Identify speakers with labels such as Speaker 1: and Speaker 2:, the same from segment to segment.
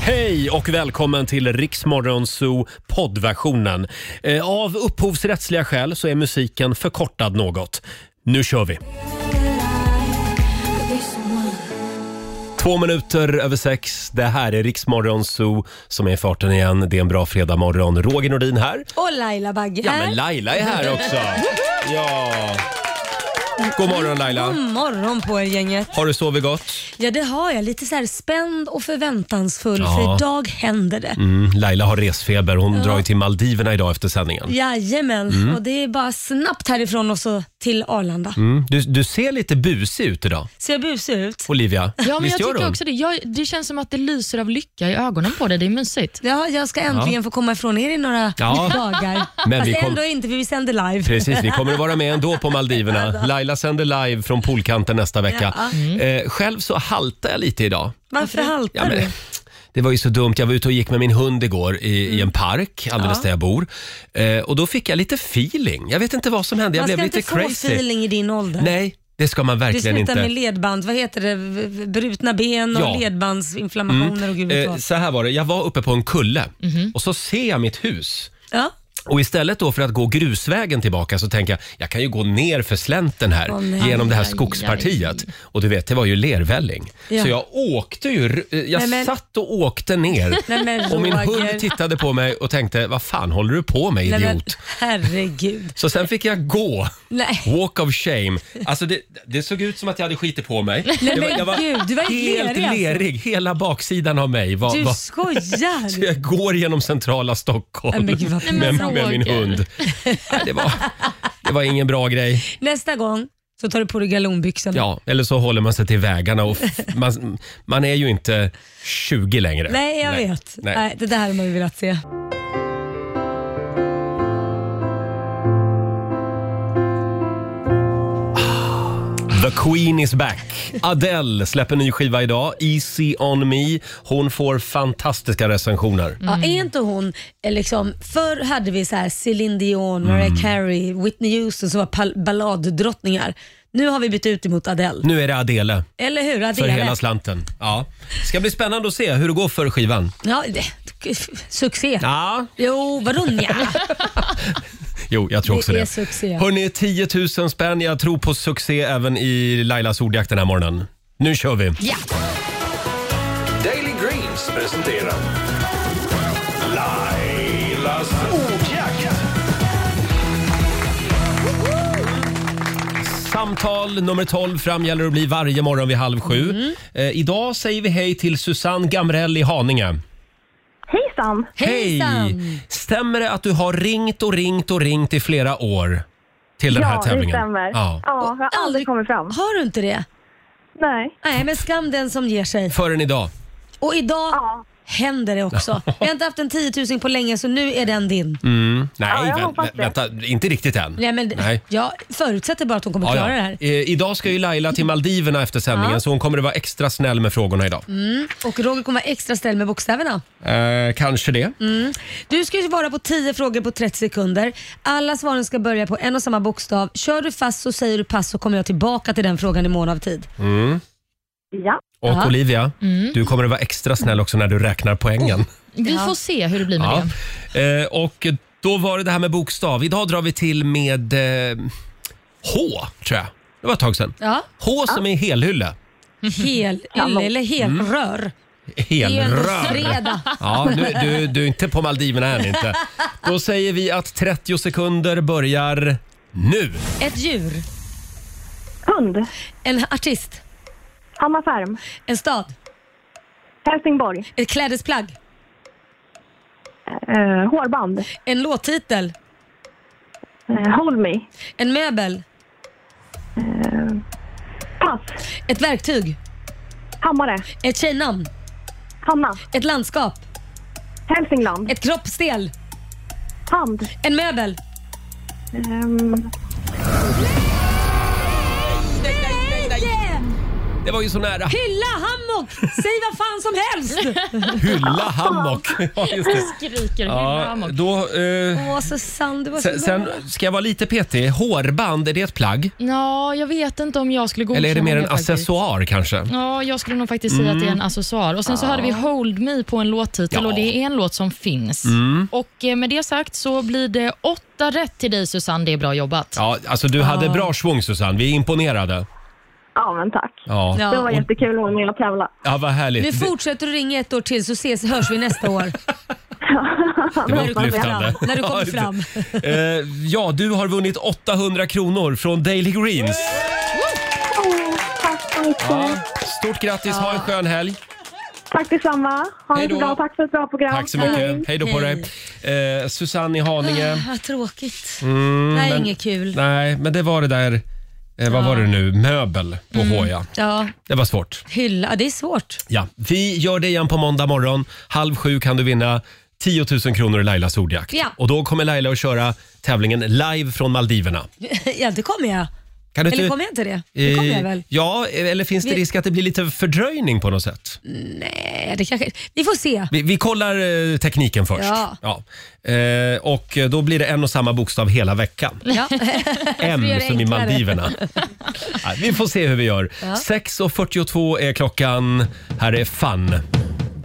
Speaker 1: Hej och välkommen till Riksmorgon Zoo poddversionen. Eh, Av upphovsrättsliga skäl så är musiken förkortad något. Nu kör vi! Två minuter över sex. Det här är Riksmorgon Zoo som är i farten igen. Det är en bra fredagmorgon. Roger Nordin här.
Speaker 2: Och Laila Bagge
Speaker 1: Ja,
Speaker 2: här.
Speaker 1: men Laila är här också. Ja. God morgon Laila.
Speaker 2: Mm,
Speaker 3: Mm.
Speaker 2: God morgon på er gänget.
Speaker 1: Har du sovit gott?
Speaker 2: Ja det har jag. Lite så här spänd och förväntansfull
Speaker 1: Ja.
Speaker 2: för idag händer det.
Speaker 1: Mm, Laila har resfeber. Hon drar ju till Maldiverna idag efter sändningen.
Speaker 2: Jajamän, och det är bara snabbt härifrån och så till Arlanda.
Speaker 1: Mm. Du, du ser lite busig ut idag,
Speaker 2: Ser jag busig ut?
Speaker 1: Olivia.
Speaker 3: Ja, men
Speaker 1: Visst
Speaker 3: jag
Speaker 1: gör
Speaker 3: tycker
Speaker 1: hon?
Speaker 3: också det. Jag, det känns som att det lyser av lycka i ögonen på dig. Det är mysigt.
Speaker 2: Ja, jag ska äntligen få komma ifrån er i några
Speaker 1: Ja.
Speaker 2: dagar.
Speaker 1: Men
Speaker 2: Fast
Speaker 1: vi kom-
Speaker 2: ändå inte för vi sänder live.
Speaker 1: Precis, vi kommer att vara med ändå på Maldiverna. Laila sänder live från poolkanten nästa vecka.
Speaker 2: Ja. Mm.
Speaker 1: Eh, själv så haltar jag lite idag.
Speaker 2: Varför haltar
Speaker 1: Ja, men,
Speaker 2: du?
Speaker 1: det var ju så dumt. Jag var ute och gick med min hund igår i,
Speaker 2: Mm.
Speaker 1: i en park alldeles där jag bor. Eh, och då fick jag lite feeling. Jag vet inte vad som hände. Jag
Speaker 2: Man ska
Speaker 1: blev
Speaker 2: inte
Speaker 1: lite
Speaker 2: få
Speaker 1: crazy.
Speaker 2: feeling i din ålder.
Speaker 1: Nej, det ska man
Speaker 2: Du
Speaker 1: verkligen
Speaker 2: slutar
Speaker 1: inte.
Speaker 2: med ledband, vad heter det, V- v- brutna ben och
Speaker 1: Ja.
Speaker 2: ledbandsinflammationer och gud vet
Speaker 1: Eh,
Speaker 2: vad. Mhm.
Speaker 1: så här var det, jag var uppe på en kulle och så ser jag mitt hus.
Speaker 2: Ja.
Speaker 1: Och istället då för att gå grusvägen tillbaka så tänker jag, jag kan ju gå ner för slänten här
Speaker 2: Åh, nej.
Speaker 1: genom det här
Speaker 3: Aj, aj, aj.
Speaker 1: skogspartiet. Och du vet, det var ju lervälling.
Speaker 2: Ja.
Speaker 1: Så jag åkte ju, r- eh, jag
Speaker 2: Nej, men-
Speaker 1: satt och åkte ner.
Speaker 2: Nej, men,
Speaker 1: och min
Speaker 2: Roger.
Speaker 1: hund tittade på mig och tänkte, vad fan håller du på med idiot?
Speaker 2: Nej, men, herregud.
Speaker 1: Så sen fick jag gå.
Speaker 2: Nej.
Speaker 1: Walk of shame. Alltså det, det såg ut som att jag hade skitit på mig. jag, var-
Speaker 2: men
Speaker 1: jag var
Speaker 2: gud, du var helt
Speaker 1: helt
Speaker 2: lerig alltså.
Speaker 1: lerig. Hela baksidan av mig var,
Speaker 2: Du
Speaker 1: var
Speaker 2: skojar!
Speaker 1: jag går genom centrala Stockholm
Speaker 2: Nej, men gud, vad
Speaker 1: med,
Speaker 2: pinsamt.
Speaker 1: med min hund. Nej, det, var, det var ingen bra grej.
Speaker 2: Nästa gång så tar du på dig galonbyxorna.
Speaker 1: Ja, eller så håller man sig till vägarna. Och f- man, man är ju inte 20 längre.
Speaker 2: Nej, jag vet.
Speaker 1: Nej.
Speaker 2: Nej. det där hade man ju velat se.
Speaker 1: The Queen is back. Adele släpper ny skiva idag, Easy on me. Hon får fantastiska recensioner.
Speaker 4: Mm.
Speaker 2: Ja, är inte hon, eh, liksom, förr hade vi så här Céline Dion, Mariah
Speaker 1: Mm.
Speaker 2: Carey, Whitney Houston som var pal- balladdrottningar. Nu har vi bytt ut emot Adele.
Speaker 1: Nu är det Adele
Speaker 2: Eller hur?
Speaker 1: för
Speaker 2: Adele.
Speaker 1: hela slanten. Ja. Ska bli spännande att se hur det går för skivan.
Speaker 2: ja, det, succé.
Speaker 1: Ja,
Speaker 2: Jo, vadå nja?
Speaker 1: Jo, jag tror också det.
Speaker 2: Det är succé.
Speaker 1: Hörrni, 10 000 spänn. Jag tror på succé även i Lailas ordjakt den här morgonen. Nu kör vi!
Speaker 5: Daily Greens presenterar Lailas ordjakt.
Speaker 1: Samtal nummer 12 fram gäller att bli varje morgon vid halv sju.
Speaker 2: Mm.
Speaker 1: Eh, idag säger vi hej till Susanne Gamrell i Haninge.
Speaker 4: Hejsan!
Speaker 2: Hejsan.
Speaker 1: Hej! Stämmer det att du har ringt och ringt och ringt i flera år till den här
Speaker 4: Ja, det
Speaker 1: tävlingen?
Speaker 4: stämmer. Ja.
Speaker 1: Ja.
Speaker 4: jag har aldrig kommit fram.
Speaker 2: Har du inte det?
Speaker 4: Nej.
Speaker 2: Nej, men skam den som ger sig.
Speaker 1: Förrän idag.
Speaker 2: Och idag
Speaker 4: Ja.
Speaker 2: händer det också. Vi har inte haft en 10 000 på länge så nu är den din.
Speaker 1: Mm. Nej,
Speaker 4: Ja, jag
Speaker 1: vä-
Speaker 4: hoppas
Speaker 1: vä- vänta. Inte riktigt än.
Speaker 2: Nej, men
Speaker 1: Nej.
Speaker 2: Jag förutsätter bara att hon kommer klara det här.
Speaker 1: Eh, idag ska ju Laila till Maldiverna efter sändningen
Speaker 2: Ja.
Speaker 1: så hon kommer att vara extra snäll med frågorna idag.
Speaker 2: Mm. Och Roger kommer vara extra snäll med bokstäverna. Mm.
Speaker 1: Eh, kanske det.
Speaker 2: Du ska ju svara på 10 frågor på 30 sekunder. Alla svaren ska börja på en och samma bokstav. Kör du fast så säger du pass så kommer jag tillbaka till den frågan i mån av tid. Mm.
Speaker 4: Ja.
Speaker 1: Och
Speaker 2: Ja.
Speaker 1: Olivia,
Speaker 3: Mm.
Speaker 1: du kommer att vara extra snäll också när du räknar poängen.
Speaker 3: Vi
Speaker 2: Ja.
Speaker 3: får se hur det blir Oh, med
Speaker 1: Ja.
Speaker 3: det.
Speaker 1: Eh, och då var det det här med bokstav. Idag drar vi till med eh, H, tror jag. Det var ett tag sedan.
Speaker 2: Ja.
Speaker 1: H som i helhylle.
Speaker 2: Hel ylle eller helrör. Det är ju ändå
Speaker 1: Helrör.
Speaker 2: fredag.
Speaker 1: Ja, nu, du, du är inte på Maldiverna än inte. Då säger vi att 30 sekunder börjar nu.
Speaker 2: Ett djur.
Speaker 4: Hund.
Speaker 2: En artist.
Speaker 4: Hanna Färm.
Speaker 2: En stad.
Speaker 4: Helsingborg.
Speaker 2: Ett klädesplagg.
Speaker 4: Eh, hårband.
Speaker 2: En låttitel.
Speaker 4: Eh, hold me. Eh,
Speaker 2: En möbel.
Speaker 4: Pass.
Speaker 2: Ett verktyg.
Speaker 4: Hammare.
Speaker 2: Ett tjejnamn.
Speaker 4: Hanna.
Speaker 2: Ett landskap.
Speaker 4: Hälsingland.
Speaker 2: Ett kroppsdel.
Speaker 4: Hand.
Speaker 2: En möbel.
Speaker 4: Ehm,
Speaker 1: Det var ju så nära.
Speaker 2: Hylla hammock! Säg vad fan som helst!
Speaker 1: Hylla hammock. Ja, just det.
Speaker 3: Skriker hylla
Speaker 1: Ja,
Speaker 3: hammock.
Speaker 1: då, eh,
Speaker 2: Åh Susanne, du var så
Speaker 1: sen,
Speaker 2: gullig.
Speaker 1: sen ska jag vara lite petig. Hårband, är det ett plagg?
Speaker 3: Ja, jag vet inte om jag skulle godkänna
Speaker 1: Eller är det mer en
Speaker 3: faktiskt.
Speaker 1: accessoar kanske?
Speaker 3: Ja, jag skulle nog faktiskt säga att det är en accessoar. Och Sen så hörde vi Hold Me på en låttitel
Speaker 1: Ja. Mm.
Speaker 3: och det är en låt som finns. Och eh, Med det sagt så blir det åtta rätt till dig Susanne. Det är bra jobbat.
Speaker 1: Ja, alltså du hade bra schvung Susanne. Vi är imponerade.
Speaker 4: Ja, men tack.
Speaker 1: Ja, ja.
Speaker 4: Det var
Speaker 2: Ja.
Speaker 4: jättekul att vara med och tävla.
Speaker 1: vad härligt.
Speaker 2: Nu
Speaker 1: Det-
Speaker 2: fortsätter du ringa ett år till så ses, hörs vi nästa år.
Speaker 1: Det var
Speaker 2: När du kommer
Speaker 1: upplyftande.
Speaker 2: fram. När du kommer fram.
Speaker 1: Eh, ja, du har vunnit 800 kronor från Daily Greens.
Speaker 4: Åh, tack så mycket.
Speaker 1: Ja, stort grattis, ha en skön helg.
Speaker 4: Tack detsamma. Ha
Speaker 1: Hej
Speaker 4: en så
Speaker 1: då.
Speaker 4: bra tack för ett bra program.
Speaker 1: Tack så mycket. Hej då på dig.
Speaker 2: Hej.
Speaker 1: Eh, Susanne i Haninge. Mm,
Speaker 2: Ah, Vad tråkigt. det här är
Speaker 1: men-
Speaker 2: inget kul.
Speaker 1: Nej, men det var det där, eh, vad var det nu, möbel på
Speaker 2: Mm.
Speaker 1: H, ja.
Speaker 2: Ja,
Speaker 1: Det var svårt.
Speaker 2: hylla. Ja, Det är svårt.
Speaker 1: Ja, vi gör det igen på måndag morgon. Halv sju kan du vinna 10 000 kronor i Lailas ordjakt.
Speaker 2: Ja.
Speaker 1: Och då kommer Laila att köra tävlingen live från Maldiverna.
Speaker 2: Ja, det kommer jag.
Speaker 1: Kan du
Speaker 2: Eller
Speaker 1: inte-
Speaker 2: kommer jag inte det? Det kommer jag väl?
Speaker 1: Eh, Ja, eller finns det
Speaker 2: Vi-
Speaker 1: risk att det blir lite fördröjning på något sätt?
Speaker 2: Nej, det kanske... Vi får se.
Speaker 1: Vi, vi kollar eh, tekniken först.
Speaker 2: Ja.
Speaker 1: Ja. Eh, och då blir det en och samma bokstav hela veckan.
Speaker 2: Ja.
Speaker 1: M
Speaker 2: göra det
Speaker 1: som i
Speaker 2: enklare.
Speaker 1: Maldiverna. ja, vi får se hur vi gör. 6.42 är klockan. Här är Fun.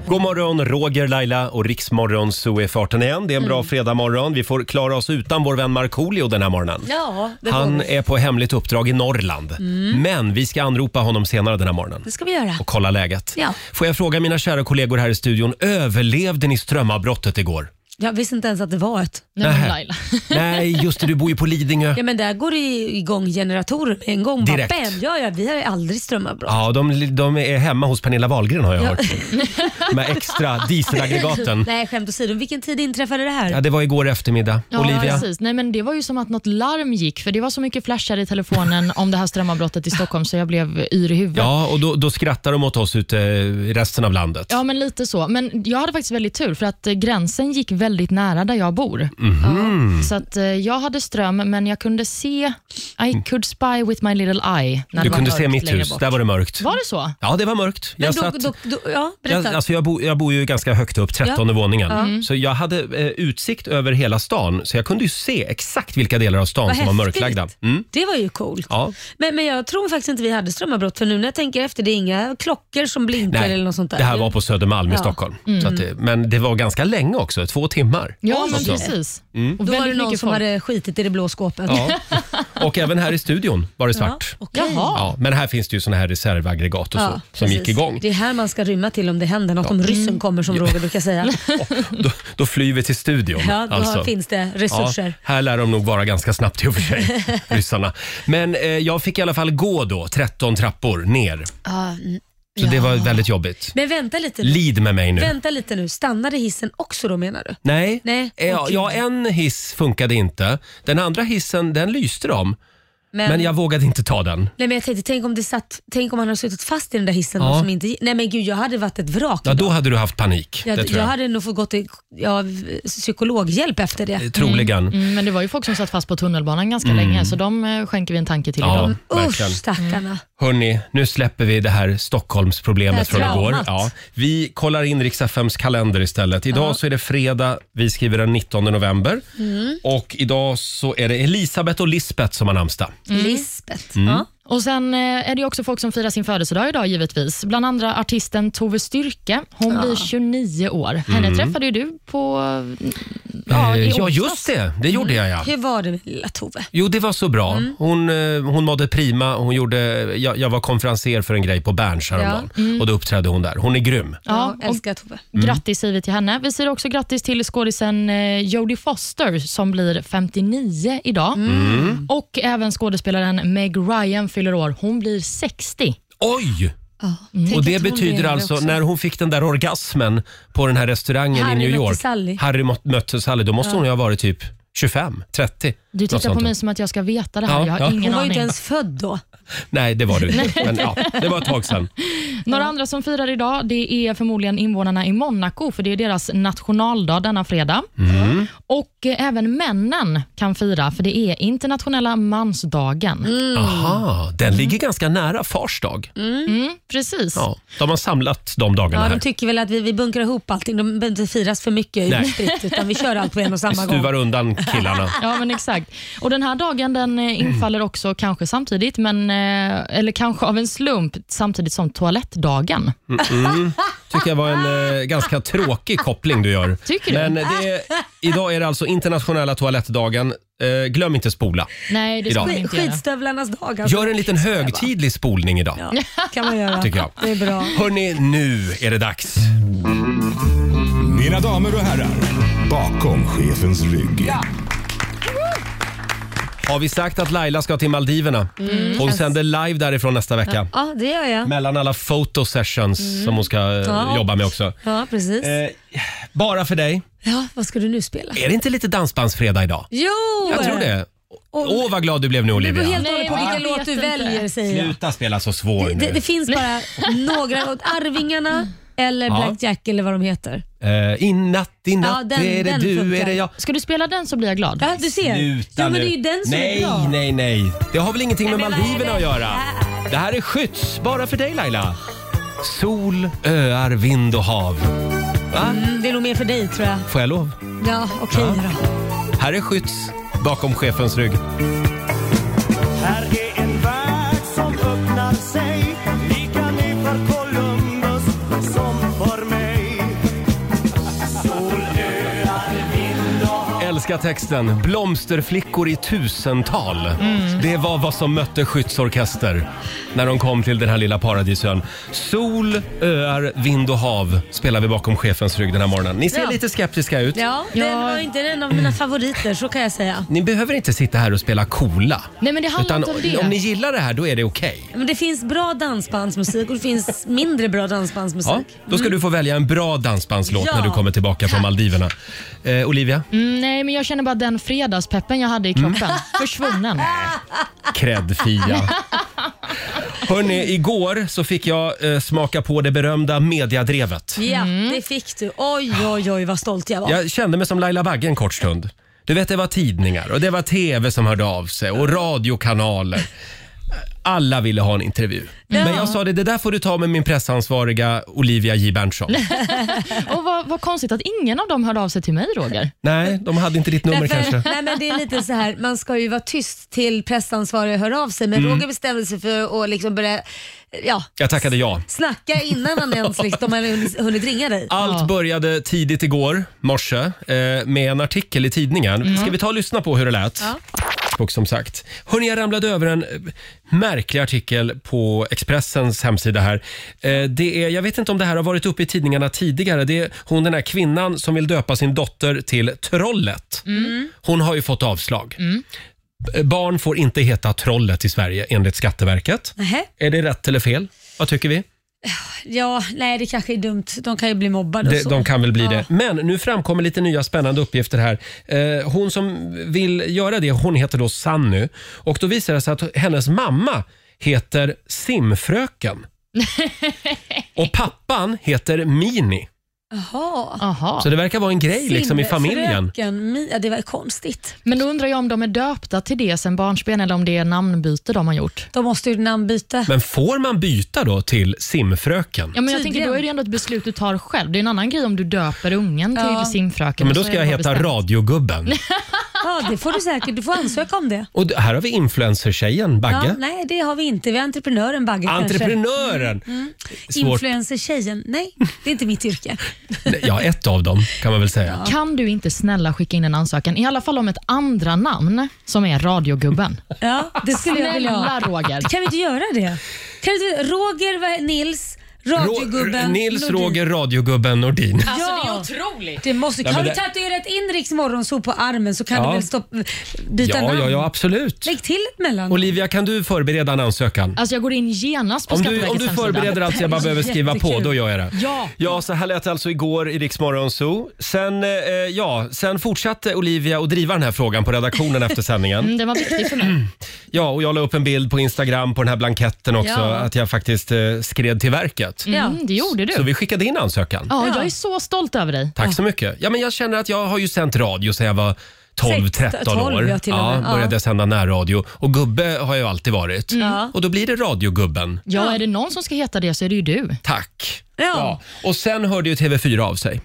Speaker 1: God morgon, Roger, Laila och Riksmorgon så är farten igen. Det är en bra
Speaker 2: Mm.
Speaker 1: fredagmorgon. Vi får klara oss utan vår vän Markoolio den här morgonen.
Speaker 2: ja, det får
Speaker 1: Han
Speaker 2: vi. Mm.
Speaker 1: är på hemligt uppdrag i Norrland. Men vi ska anropa honom senare den här morgonen
Speaker 2: Det ska vi göra.
Speaker 1: och kolla läget.
Speaker 2: Ja.
Speaker 1: Får jag fråga mina kära kollegor här i studion, överlevde ni strömavbrottet igår?
Speaker 2: Jag visste inte ens att det var ett.
Speaker 3: Nej,
Speaker 1: Nähä.
Speaker 3: men Laila.
Speaker 1: Nej, just det, du bor ju på Lidingö.
Speaker 2: Ja, men där går det ju igång generatorer med en gång.
Speaker 1: Direkt.
Speaker 2: Bara, bam, ja, ja, vi har ju aldrig strömavbrott.
Speaker 1: Ja, de, de är hemma hos Pernilla Wahlgren har jag hört. Med extra dieselaggregaten.
Speaker 2: Nej, skämt åsido. Vilken tid inträffade det här?
Speaker 1: Ja, det var igår eftermiddag.
Speaker 3: Ja,
Speaker 1: Olivia?
Speaker 3: precis. Nej, men det var ju som att något larm gick, för det var så mycket flashar i telefonen om det här strömavbrottet i Stockholm, så jag blev yr i huvudet.
Speaker 1: Ja, och då, då skrattar de åt oss ute i resten av landet.
Speaker 3: Ja, men lite så. Men jag hade faktiskt väldigt tur för att eh, gränsen gick väldigt nära där jag bor.
Speaker 1: Mm. Mhm.
Speaker 3: Ja. Så att eh, jag hade ström, men jag kunde se, I could spy with my little eye. När
Speaker 1: Mm. du
Speaker 3: det var
Speaker 1: kunde se
Speaker 3: mörkt
Speaker 1: mitt
Speaker 3: längre
Speaker 1: hus,
Speaker 3: bort.
Speaker 1: där var det mörkt.
Speaker 3: Var det så?
Speaker 1: Ja, det var mörkt.
Speaker 2: Men
Speaker 1: Jag,
Speaker 2: då,
Speaker 1: satt,
Speaker 2: då, då, ja,
Speaker 1: jag,
Speaker 2: berätta. Mm.
Speaker 1: alltså jag, bo, jag bor ju ganska högt upp, 13 våningen. Så jag hade eh, utsikt över hela stan, så jag kunde ju se exakt vilka delar av stan
Speaker 2: Vad
Speaker 1: som var
Speaker 2: häftigt.
Speaker 1: mörklagda. Mm.
Speaker 2: Det var ju coolt.
Speaker 1: Ja.
Speaker 2: Men, men jag tror faktiskt inte vi hade strömavbrott för nu när jag tänker efter, det är inga klockor som blinkar eller något sånt där.
Speaker 1: Det här var på Södermalm i
Speaker 2: Ja. Mm.
Speaker 1: Stockholm. Så att det, men det var ganska länge också, två timmar.
Speaker 3: Ja, men
Speaker 1: så.
Speaker 3: precis.
Speaker 1: Mm.
Speaker 2: Då
Speaker 3: Och
Speaker 2: var det
Speaker 3: väldigt
Speaker 2: någon
Speaker 3: mycket
Speaker 2: som
Speaker 3: folk.
Speaker 2: hade skitit i det blå skåpet.
Speaker 1: Ja. Och även här i studion var det svart.
Speaker 2: Ja, okej.
Speaker 3: Jaha.
Speaker 1: Ja, men här finns det ju såna här reservaggregat och så,
Speaker 2: Ja,
Speaker 1: som gick
Speaker 2: precis.
Speaker 1: igång.
Speaker 2: Det är här man ska rymma till om det händer något, om ryssen
Speaker 3: Mm.
Speaker 2: kommer som Roger brukar säga.
Speaker 1: Då, då flyr vi till studion.
Speaker 2: Ja, då
Speaker 1: alltså.
Speaker 2: finns det
Speaker 1: Ja,
Speaker 2: resurser.
Speaker 1: här lär de nog vara ganska snabbt i och för sig, ryssarna. Men eh, jag fick i alla fall gå då, 13 trappor ner.
Speaker 2: Ja, n-
Speaker 1: Så det var väldigt jobbigt.
Speaker 2: Men vänta lite nu.
Speaker 1: Lid med mig nu.
Speaker 2: Vänta lite nu. Stannade hissen också då menar du?
Speaker 1: Nej,
Speaker 2: Nej,
Speaker 1: Eh, ja,
Speaker 2: okej.
Speaker 1: ja, en hiss funkade inte. Den andra hissen, den lyste de.
Speaker 2: Men,
Speaker 1: Men jag vågade inte ta den.
Speaker 2: nej, men jag tänkte, tänk om, det satt, tänk om han hade suttit fast i den där hissen
Speaker 1: Ja.
Speaker 2: då, som inte Nej men gud, jag hade varit ett vrak
Speaker 1: Ja,
Speaker 2: idag.
Speaker 1: då hade du haft panik.
Speaker 2: jag,
Speaker 1: det
Speaker 2: jag.
Speaker 1: tror jag.
Speaker 2: hade nog fått gå till ja, psykologhjälp efter det.
Speaker 1: Eh, Troligen. Mm.
Speaker 3: Mm, men det var ju folk som satt fast på tunnelbanan ganska länge, så de eh, skänker vi en tanke till
Speaker 1: Ja,
Speaker 3: idag.
Speaker 2: Usch
Speaker 1: verkligen.
Speaker 2: stackarna.
Speaker 1: Hörni, nu släpper vi det här Stockholmsproblemet
Speaker 2: Det här
Speaker 1: från igår.
Speaker 2: traumat.
Speaker 1: Ja, vi kollar in Rix FMs kalender istället. Idag så är det fredag, vi skriver den 19 november.
Speaker 3: Mm.
Speaker 2: Mm.
Speaker 1: Och idag så är det Elisabeth och Lisbeth som har namnsdag.
Speaker 2: Lisbeth.
Speaker 1: Mm.
Speaker 2: Ja.
Speaker 3: Och Sen eh, är det ju också folk som firar sin födelsedag idag givetvis. Bland andra artisten Tove Styrke. Hon blir 29 år. Henne
Speaker 1: Mm.
Speaker 3: träffade ju du på... eh, Ja, i
Speaker 1: Eh, ja
Speaker 3: onsdags.
Speaker 1: just det. Det gjorde jag ja.
Speaker 2: Mm. Hur Mm. var det med lilla Tove?
Speaker 1: Jo, det var så bra. Hon, eh, hon mådde prima. Hon gjorde, jag, jag var konferenser för en grej på Berns häromdagen
Speaker 2: Mm.
Speaker 1: och då uppträdde hon där. Hon är grym.
Speaker 3: Ja,
Speaker 2: jag älskar Tove.
Speaker 1: Mm.
Speaker 3: Grattis säger vi till henne. Vi säger också grattis till skådisen eh, Jodie Foster som blir 59 idag.
Speaker 1: Mm.
Speaker 2: Mm.
Speaker 3: Och även skådespelaren Meg Ryan fyller år. Hon blir Mm. 60.
Speaker 1: Oj!
Speaker 2: Ja.
Speaker 1: Mm. Och det betyder alltså, när hon fick den där orgasmen på den här restaurangen
Speaker 2: Harry
Speaker 1: i New
Speaker 2: mötte
Speaker 1: York.
Speaker 2: Sally.
Speaker 1: Harry mot- mötte Sally. Då måste hon ju ha varit typ 25, 30.
Speaker 3: Du
Speaker 1: något
Speaker 3: tittar
Speaker 1: sånt
Speaker 3: på
Speaker 1: där.
Speaker 3: mig som att jag ska veta det här.
Speaker 1: Ja,
Speaker 3: jag har
Speaker 1: ja.
Speaker 3: ingen
Speaker 2: Hon var ju
Speaker 3: aning.
Speaker 2: inte ens född då.
Speaker 1: Nej, det var du inte. Men, ja, det var ett tag sedan.
Speaker 3: Några andra som firar idag det är förmodligen invånarna i Monaco, för det är deras nationaldag denna fredag.
Speaker 1: Mm.
Speaker 3: Och eh, även männen kan fira, för det är internationella mansdagen.
Speaker 2: Mm.
Speaker 1: Aha, den ligger
Speaker 3: Mm.
Speaker 1: ganska nära fars dag.
Speaker 3: Precis.
Speaker 1: Ja, de har samlat de dagarna
Speaker 2: Mm. Ja, de
Speaker 1: här.
Speaker 2: tycker väl att vi, vi bunkrar ihop allting. De behöver inte firas för mycket
Speaker 1: Nej.
Speaker 2: utspritt utan vi kör allt på en och samma gång.
Speaker 1: Stuvar undan killarna.
Speaker 3: Ja, men exakt. Och Den här dagen den
Speaker 1: Mm.
Speaker 3: eh, infaller också kanske samtidigt, men, eh, eller kanske av en slump, samtidigt som toalettdagen.
Speaker 1: Mm, tycker jag var en eh, ganska tråkig koppling du gör.
Speaker 3: Tycker du?
Speaker 1: Men det är, idag är det alltså internationella toalettdagen. Eh, glöm inte spola.
Speaker 3: Nej, det ska
Speaker 1: Idag.
Speaker 3: man
Speaker 2: Sk-
Speaker 3: inte göra.
Speaker 2: Skidstövlarnas dag alltså.
Speaker 1: Gör en liten högtidlig spolning idag.
Speaker 2: Ja, kan man göra.
Speaker 1: Tycker jag.
Speaker 2: Det är bra.
Speaker 1: Hörni, nu är det dags.
Speaker 5: Mina damer och herrar, bakom chefens rygg.
Speaker 1: Har vi sagt att Laila ska till Maldiverna? Hon sänder live därifrån nästa vecka.
Speaker 2: Mm, Ja, det gör jag.
Speaker 1: Mellan alla fotosessions som hon ska eh,
Speaker 2: Ja.
Speaker 1: jobba med också.
Speaker 2: Ja, precis.
Speaker 1: Eh, bara för dig.
Speaker 2: Ja, vad ska du nu spela?
Speaker 1: Är det inte lite dansbandsfredag idag?
Speaker 2: Jo!
Speaker 1: Jag tror det.
Speaker 2: Och-
Speaker 1: Åh, vad glad du blev nu
Speaker 2: Det beror
Speaker 1: Olivia.
Speaker 2: helt och hållet på
Speaker 3: Nej,
Speaker 2: vilken
Speaker 3: jag
Speaker 2: låt
Speaker 3: vet
Speaker 2: du
Speaker 3: inte.
Speaker 2: väljer säger jag.
Speaker 1: Sluta spela så svår
Speaker 2: Det, det
Speaker 1: nu.
Speaker 2: finns bara några, åt Arvingarna eller
Speaker 1: Ja.
Speaker 2: Black Jack eller vad de heter.
Speaker 1: Eh, I natt, i natt
Speaker 2: den-
Speaker 1: är det
Speaker 2: den
Speaker 1: du,
Speaker 2: funkar.
Speaker 1: är det jag.
Speaker 3: Ska du spela den så blir jag glad.
Speaker 2: Ja, du ser.
Speaker 1: Sluta
Speaker 2: ja, men
Speaker 1: nu.
Speaker 2: det är ju den som
Speaker 1: nej,
Speaker 2: är bra.
Speaker 1: nej, nej. Det har väl ingenting med
Speaker 2: men vad är
Speaker 1: Maldiverna
Speaker 2: det
Speaker 1: att göra? Det här är skydds, bara för dig Laila. Sol, öar, vind och hav. Va?
Speaker 2: Mm, det är nog mer för dig tror jag.
Speaker 1: Får jag lov?
Speaker 2: Ja, okej då.
Speaker 1: Här är skydds, bakom chefens rygg.
Speaker 6: Här är en värld som öppnar sig Lika ny för Columbus som för mig
Speaker 1: Älskar texten. Blomsterflickor i tusental. Det var vad som mötte skyddsorkester när de kom till den här lilla paradisön. Sol, öar, vind och hav spelar vi bakom chefens rygg den här morgonen. Ni ser
Speaker 2: Ja.
Speaker 1: lite skeptiska ut. Mm.
Speaker 2: Ja, den
Speaker 3: Ja.
Speaker 2: var inte en av mina favoriter så kan jag säga.
Speaker 1: Ni behöver inte sitta här och spela coola.
Speaker 3: Nej, men det handlar
Speaker 1: Utan
Speaker 3: inte om det.
Speaker 1: om ni gillar det här, då är det okej.
Speaker 2: Men det finns bra dansbandsmusik och det finns mindre bra
Speaker 1: Ja,
Speaker 2: dansbandsmusik. Mm.
Speaker 1: då ska du få välja en bra dansbandslåt
Speaker 2: Ja.
Speaker 1: när du kommer tillbaka från Maldiverna. Eh, Olivia,
Speaker 3: Mm, nej, men jag känner bara den fredagspeppen jag hade i kroppen.
Speaker 1: Mm.
Speaker 3: Försvunnen.
Speaker 1: cred Fia. Hörrni, igår så fick jag eh, smaka på det berömda mediadrevet.
Speaker 2: Ja,
Speaker 3: Mm.
Speaker 2: det fick du. Oj, oj, oj vad stolt jag var.
Speaker 1: Jag kände mig som Laila Bagge en kort stund. Du vet, det var tidningar och det var TV som hörde av sig och radiokanaler. Alla ville ha en intervju. Men jag sa det, det där får du ta med min pressansvariga Olivia J Berntsson.
Speaker 3: Och vad, vad konstigt att ingen av dem hörde av sig till mig, Roger.
Speaker 1: Nej, de hade inte ditt nummer
Speaker 2: Därför-
Speaker 1: kanske.
Speaker 2: Nej, men det är lite så här, man ska ju vara tyst till pressansvariga hör av sig, men
Speaker 1: Mm.
Speaker 2: Roger bestämde sig för att liksom börja ja,
Speaker 1: Jag tackade ja.
Speaker 2: snacka innan han ens liksom, har hunnit- hunnit ringa dig.
Speaker 1: Allt
Speaker 3: Ja.
Speaker 1: började tidigt igår morse eh, med en artikel i tidningen. Ska vi ta och lyssna på hur det lät? Och som sagt. Hörrni, jag ramlade över en eh, märklig artikel på Expressens hemsida här. Eh, det är, jag vet inte om det här har varit uppe i tidningarna tidigare. Det är hon den här kvinnan som vill döpa sin dotter till Trollet.
Speaker 7: Mm.
Speaker 2: Mm.
Speaker 1: Hon har ju fått avslag. B- Barn får inte heta Trollet i Sverige enligt Skatteverket.
Speaker 2: Nähä.
Speaker 1: Är det rätt eller fel? Vad tycker vi?
Speaker 2: Ja, nej det kanske är dumt. De kan ju bli mobbade och
Speaker 1: Det,
Speaker 2: så.
Speaker 1: de kan väl bli
Speaker 2: ja.
Speaker 1: det. Men nu framkommer lite nya spännande uppgifter här. Eh, hon som vill göra det, hon heter då Sanny. Och då visar det sig att hennes mamma heter Simfröken. Och pappan heter Mini.
Speaker 2: Jaha.
Speaker 3: Aha.
Speaker 1: Så det verkar vara en grej liksom i familjen.
Speaker 2: Fröken Mia, det var konstigt.
Speaker 3: Men då undrar jag om de är döpta till det sen barnsben eller om det är namnbyte de har gjort.
Speaker 2: De måste ju namnbyte.
Speaker 1: Men får man byta då till Simfröken?
Speaker 3: Ja, men jag tänker,
Speaker 2: Tydligen.
Speaker 3: då är det ändå ett beslut du tar själv. Det är en annan grej om du döper ungen till
Speaker 2: Ja.
Speaker 3: simfröken.
Speaker 1: Ja, men då
Speaker 3: Så är
Speaker 1: ska
Speaker 3: det
Speaker 1: jag
Speaker 3: bara
Speaker 1: heta
Speaker 3: bestämt.
Speaker 1: Radiogubben.
Speaker 2: Ja, det får du säkert. Du får ansöka om det.
Speaker 1: Och d- här har vi influencertjejen
Speaker 2: Ja,
Speaker 1: Bagge.
Speaker 2: nej, det har vi inte. Vi har entreprenören Bagge kanske. Mm,
Speaker 1: Entreprenören! Svårt.
Speaker 2: Influencer-tjejen. Nej, det är inte mitt yrke.
Speaker 1: Ja, ett av dem kan man väl säga.
Speaker 3: Kan du inte snälla skicka in en ansökan, i alla fall om ett andra namn som är radiogubben?
Speaker 2: Ja, det skulle jag vilja ha.
Speaker 3: Snälla Roger.
Speaker 2: Kan vi inte göra det? Kan vi inte, Roger, vad är- Nils,
Speaker 1: Rå-
Speaker 2: radiogubben,
Speaker 1: Nils
Speaker 2: Nordin.
Speaker 1: Roger radiogubben Nordin.
Speaker 2: Ja,
Speaker 3: Alltså, det är otroligt.
Speaker 2: det måste,
Speaker 1: Nej, men
Speaker 2: har du
Speaker 1: det-
Speaker 2: tatuerat in Riks morgonsol på armen så kan
Speaker 1: Ja.
Speaker 2: du väl stopp, byta
Speaker 1: Ja,
Speaker 2: namn?
Speaker 1: ja, ja, absolut.
Speaker 2: Lägg till ett mellan.
Speaker 1: Olivia, kan du förbereda en ansökan?
Speaker 3: Alltså jag går in genast på
Speaker 1: Om du,
Speaker 3: Skatteverkets
Speaker 1: om du
Speaker 3: hemsida.
Speaker 1: förbereder allt jag bara behöver skriva på,
Speaker 2: Jättekul.
Speaker 1: då gör jag det.
Speaker 3: Ja.
Speaker 1: ja så här lät det alltså igår i Rix Morgon Zoo. Sen, eh, ja, sen fortsatte Olivia att driva den här frågan på redaktionen efter sändningen.
Speaker 3: Mm, det var viktigt för mig.
Speaker 1: Ja, och jag la upp en bild på Instagram på den här blanketten också,
Speaker 2: Ja.
Speaker 1: att jag faktiskt eh, skred till verket. försöket.
Speaker 3: Mm, det gjorde du.
Speaker 1: Så vi skickade in ansökan.
Speaker 3: Ja, jag är så stolt över dig.
Speaker 1: Tack så mycket. Ja, men jag känner att jag har ju sänt radio sedan jag var 12, 13
Speaker 2: 12,
Speaker 1: år.
Speaker 2: ja, till och med. Ja. Mm.
Speaker 1: började jag sända närradio. Och gubbe har jag ju alltid varit.
Speaker 2: Ja.
Speaker 1: Och då blir det radiogubben.
Speaker 3: Ja, är det någon som ska heta det så är det ju du.
Speaker 1: Tack.
Speaker 2: Ja.
Speaker 1: Och sen hörde ju TV4 av sig.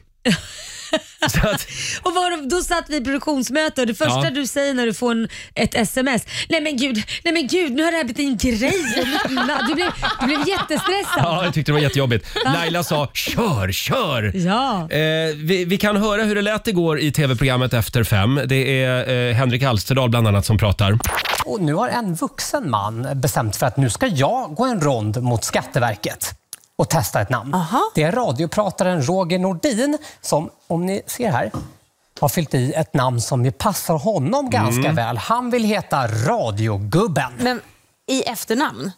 Speaker 1: så att,
Speaker 2: Och var, då satt vi i produktionsmöte och det första
Speaker 1: Ja.
Speaker 2: du säger när du får en, ett sms, nej men gud, nej men gud, nu har det här blivit en grej. i mitt liv." Du blev, du blev jättestressad.
Speaker 1: ja, jag tyckte det var jättejobbigt. Laila sa kör, kör.
Speaker 2: Ja.
Speaker 1: Eh, vi, vi kan höra hur det lät igår i tv-programmet Efter fem. Det är eh, Henrik Alsterdal bland annat som pratar.
Speaker 8: Och nu har en vuxen man bestämt för att nu ska jag gå en rond mot Skatteverket och testa ett namn. Det är radioprataren Roger Nordin som, om ni ser här, har fyllt i ett namn som ju passar honom ganska väl. Han vill heta Radiogubben.
Speaker 9: Mm. Men i efternamn?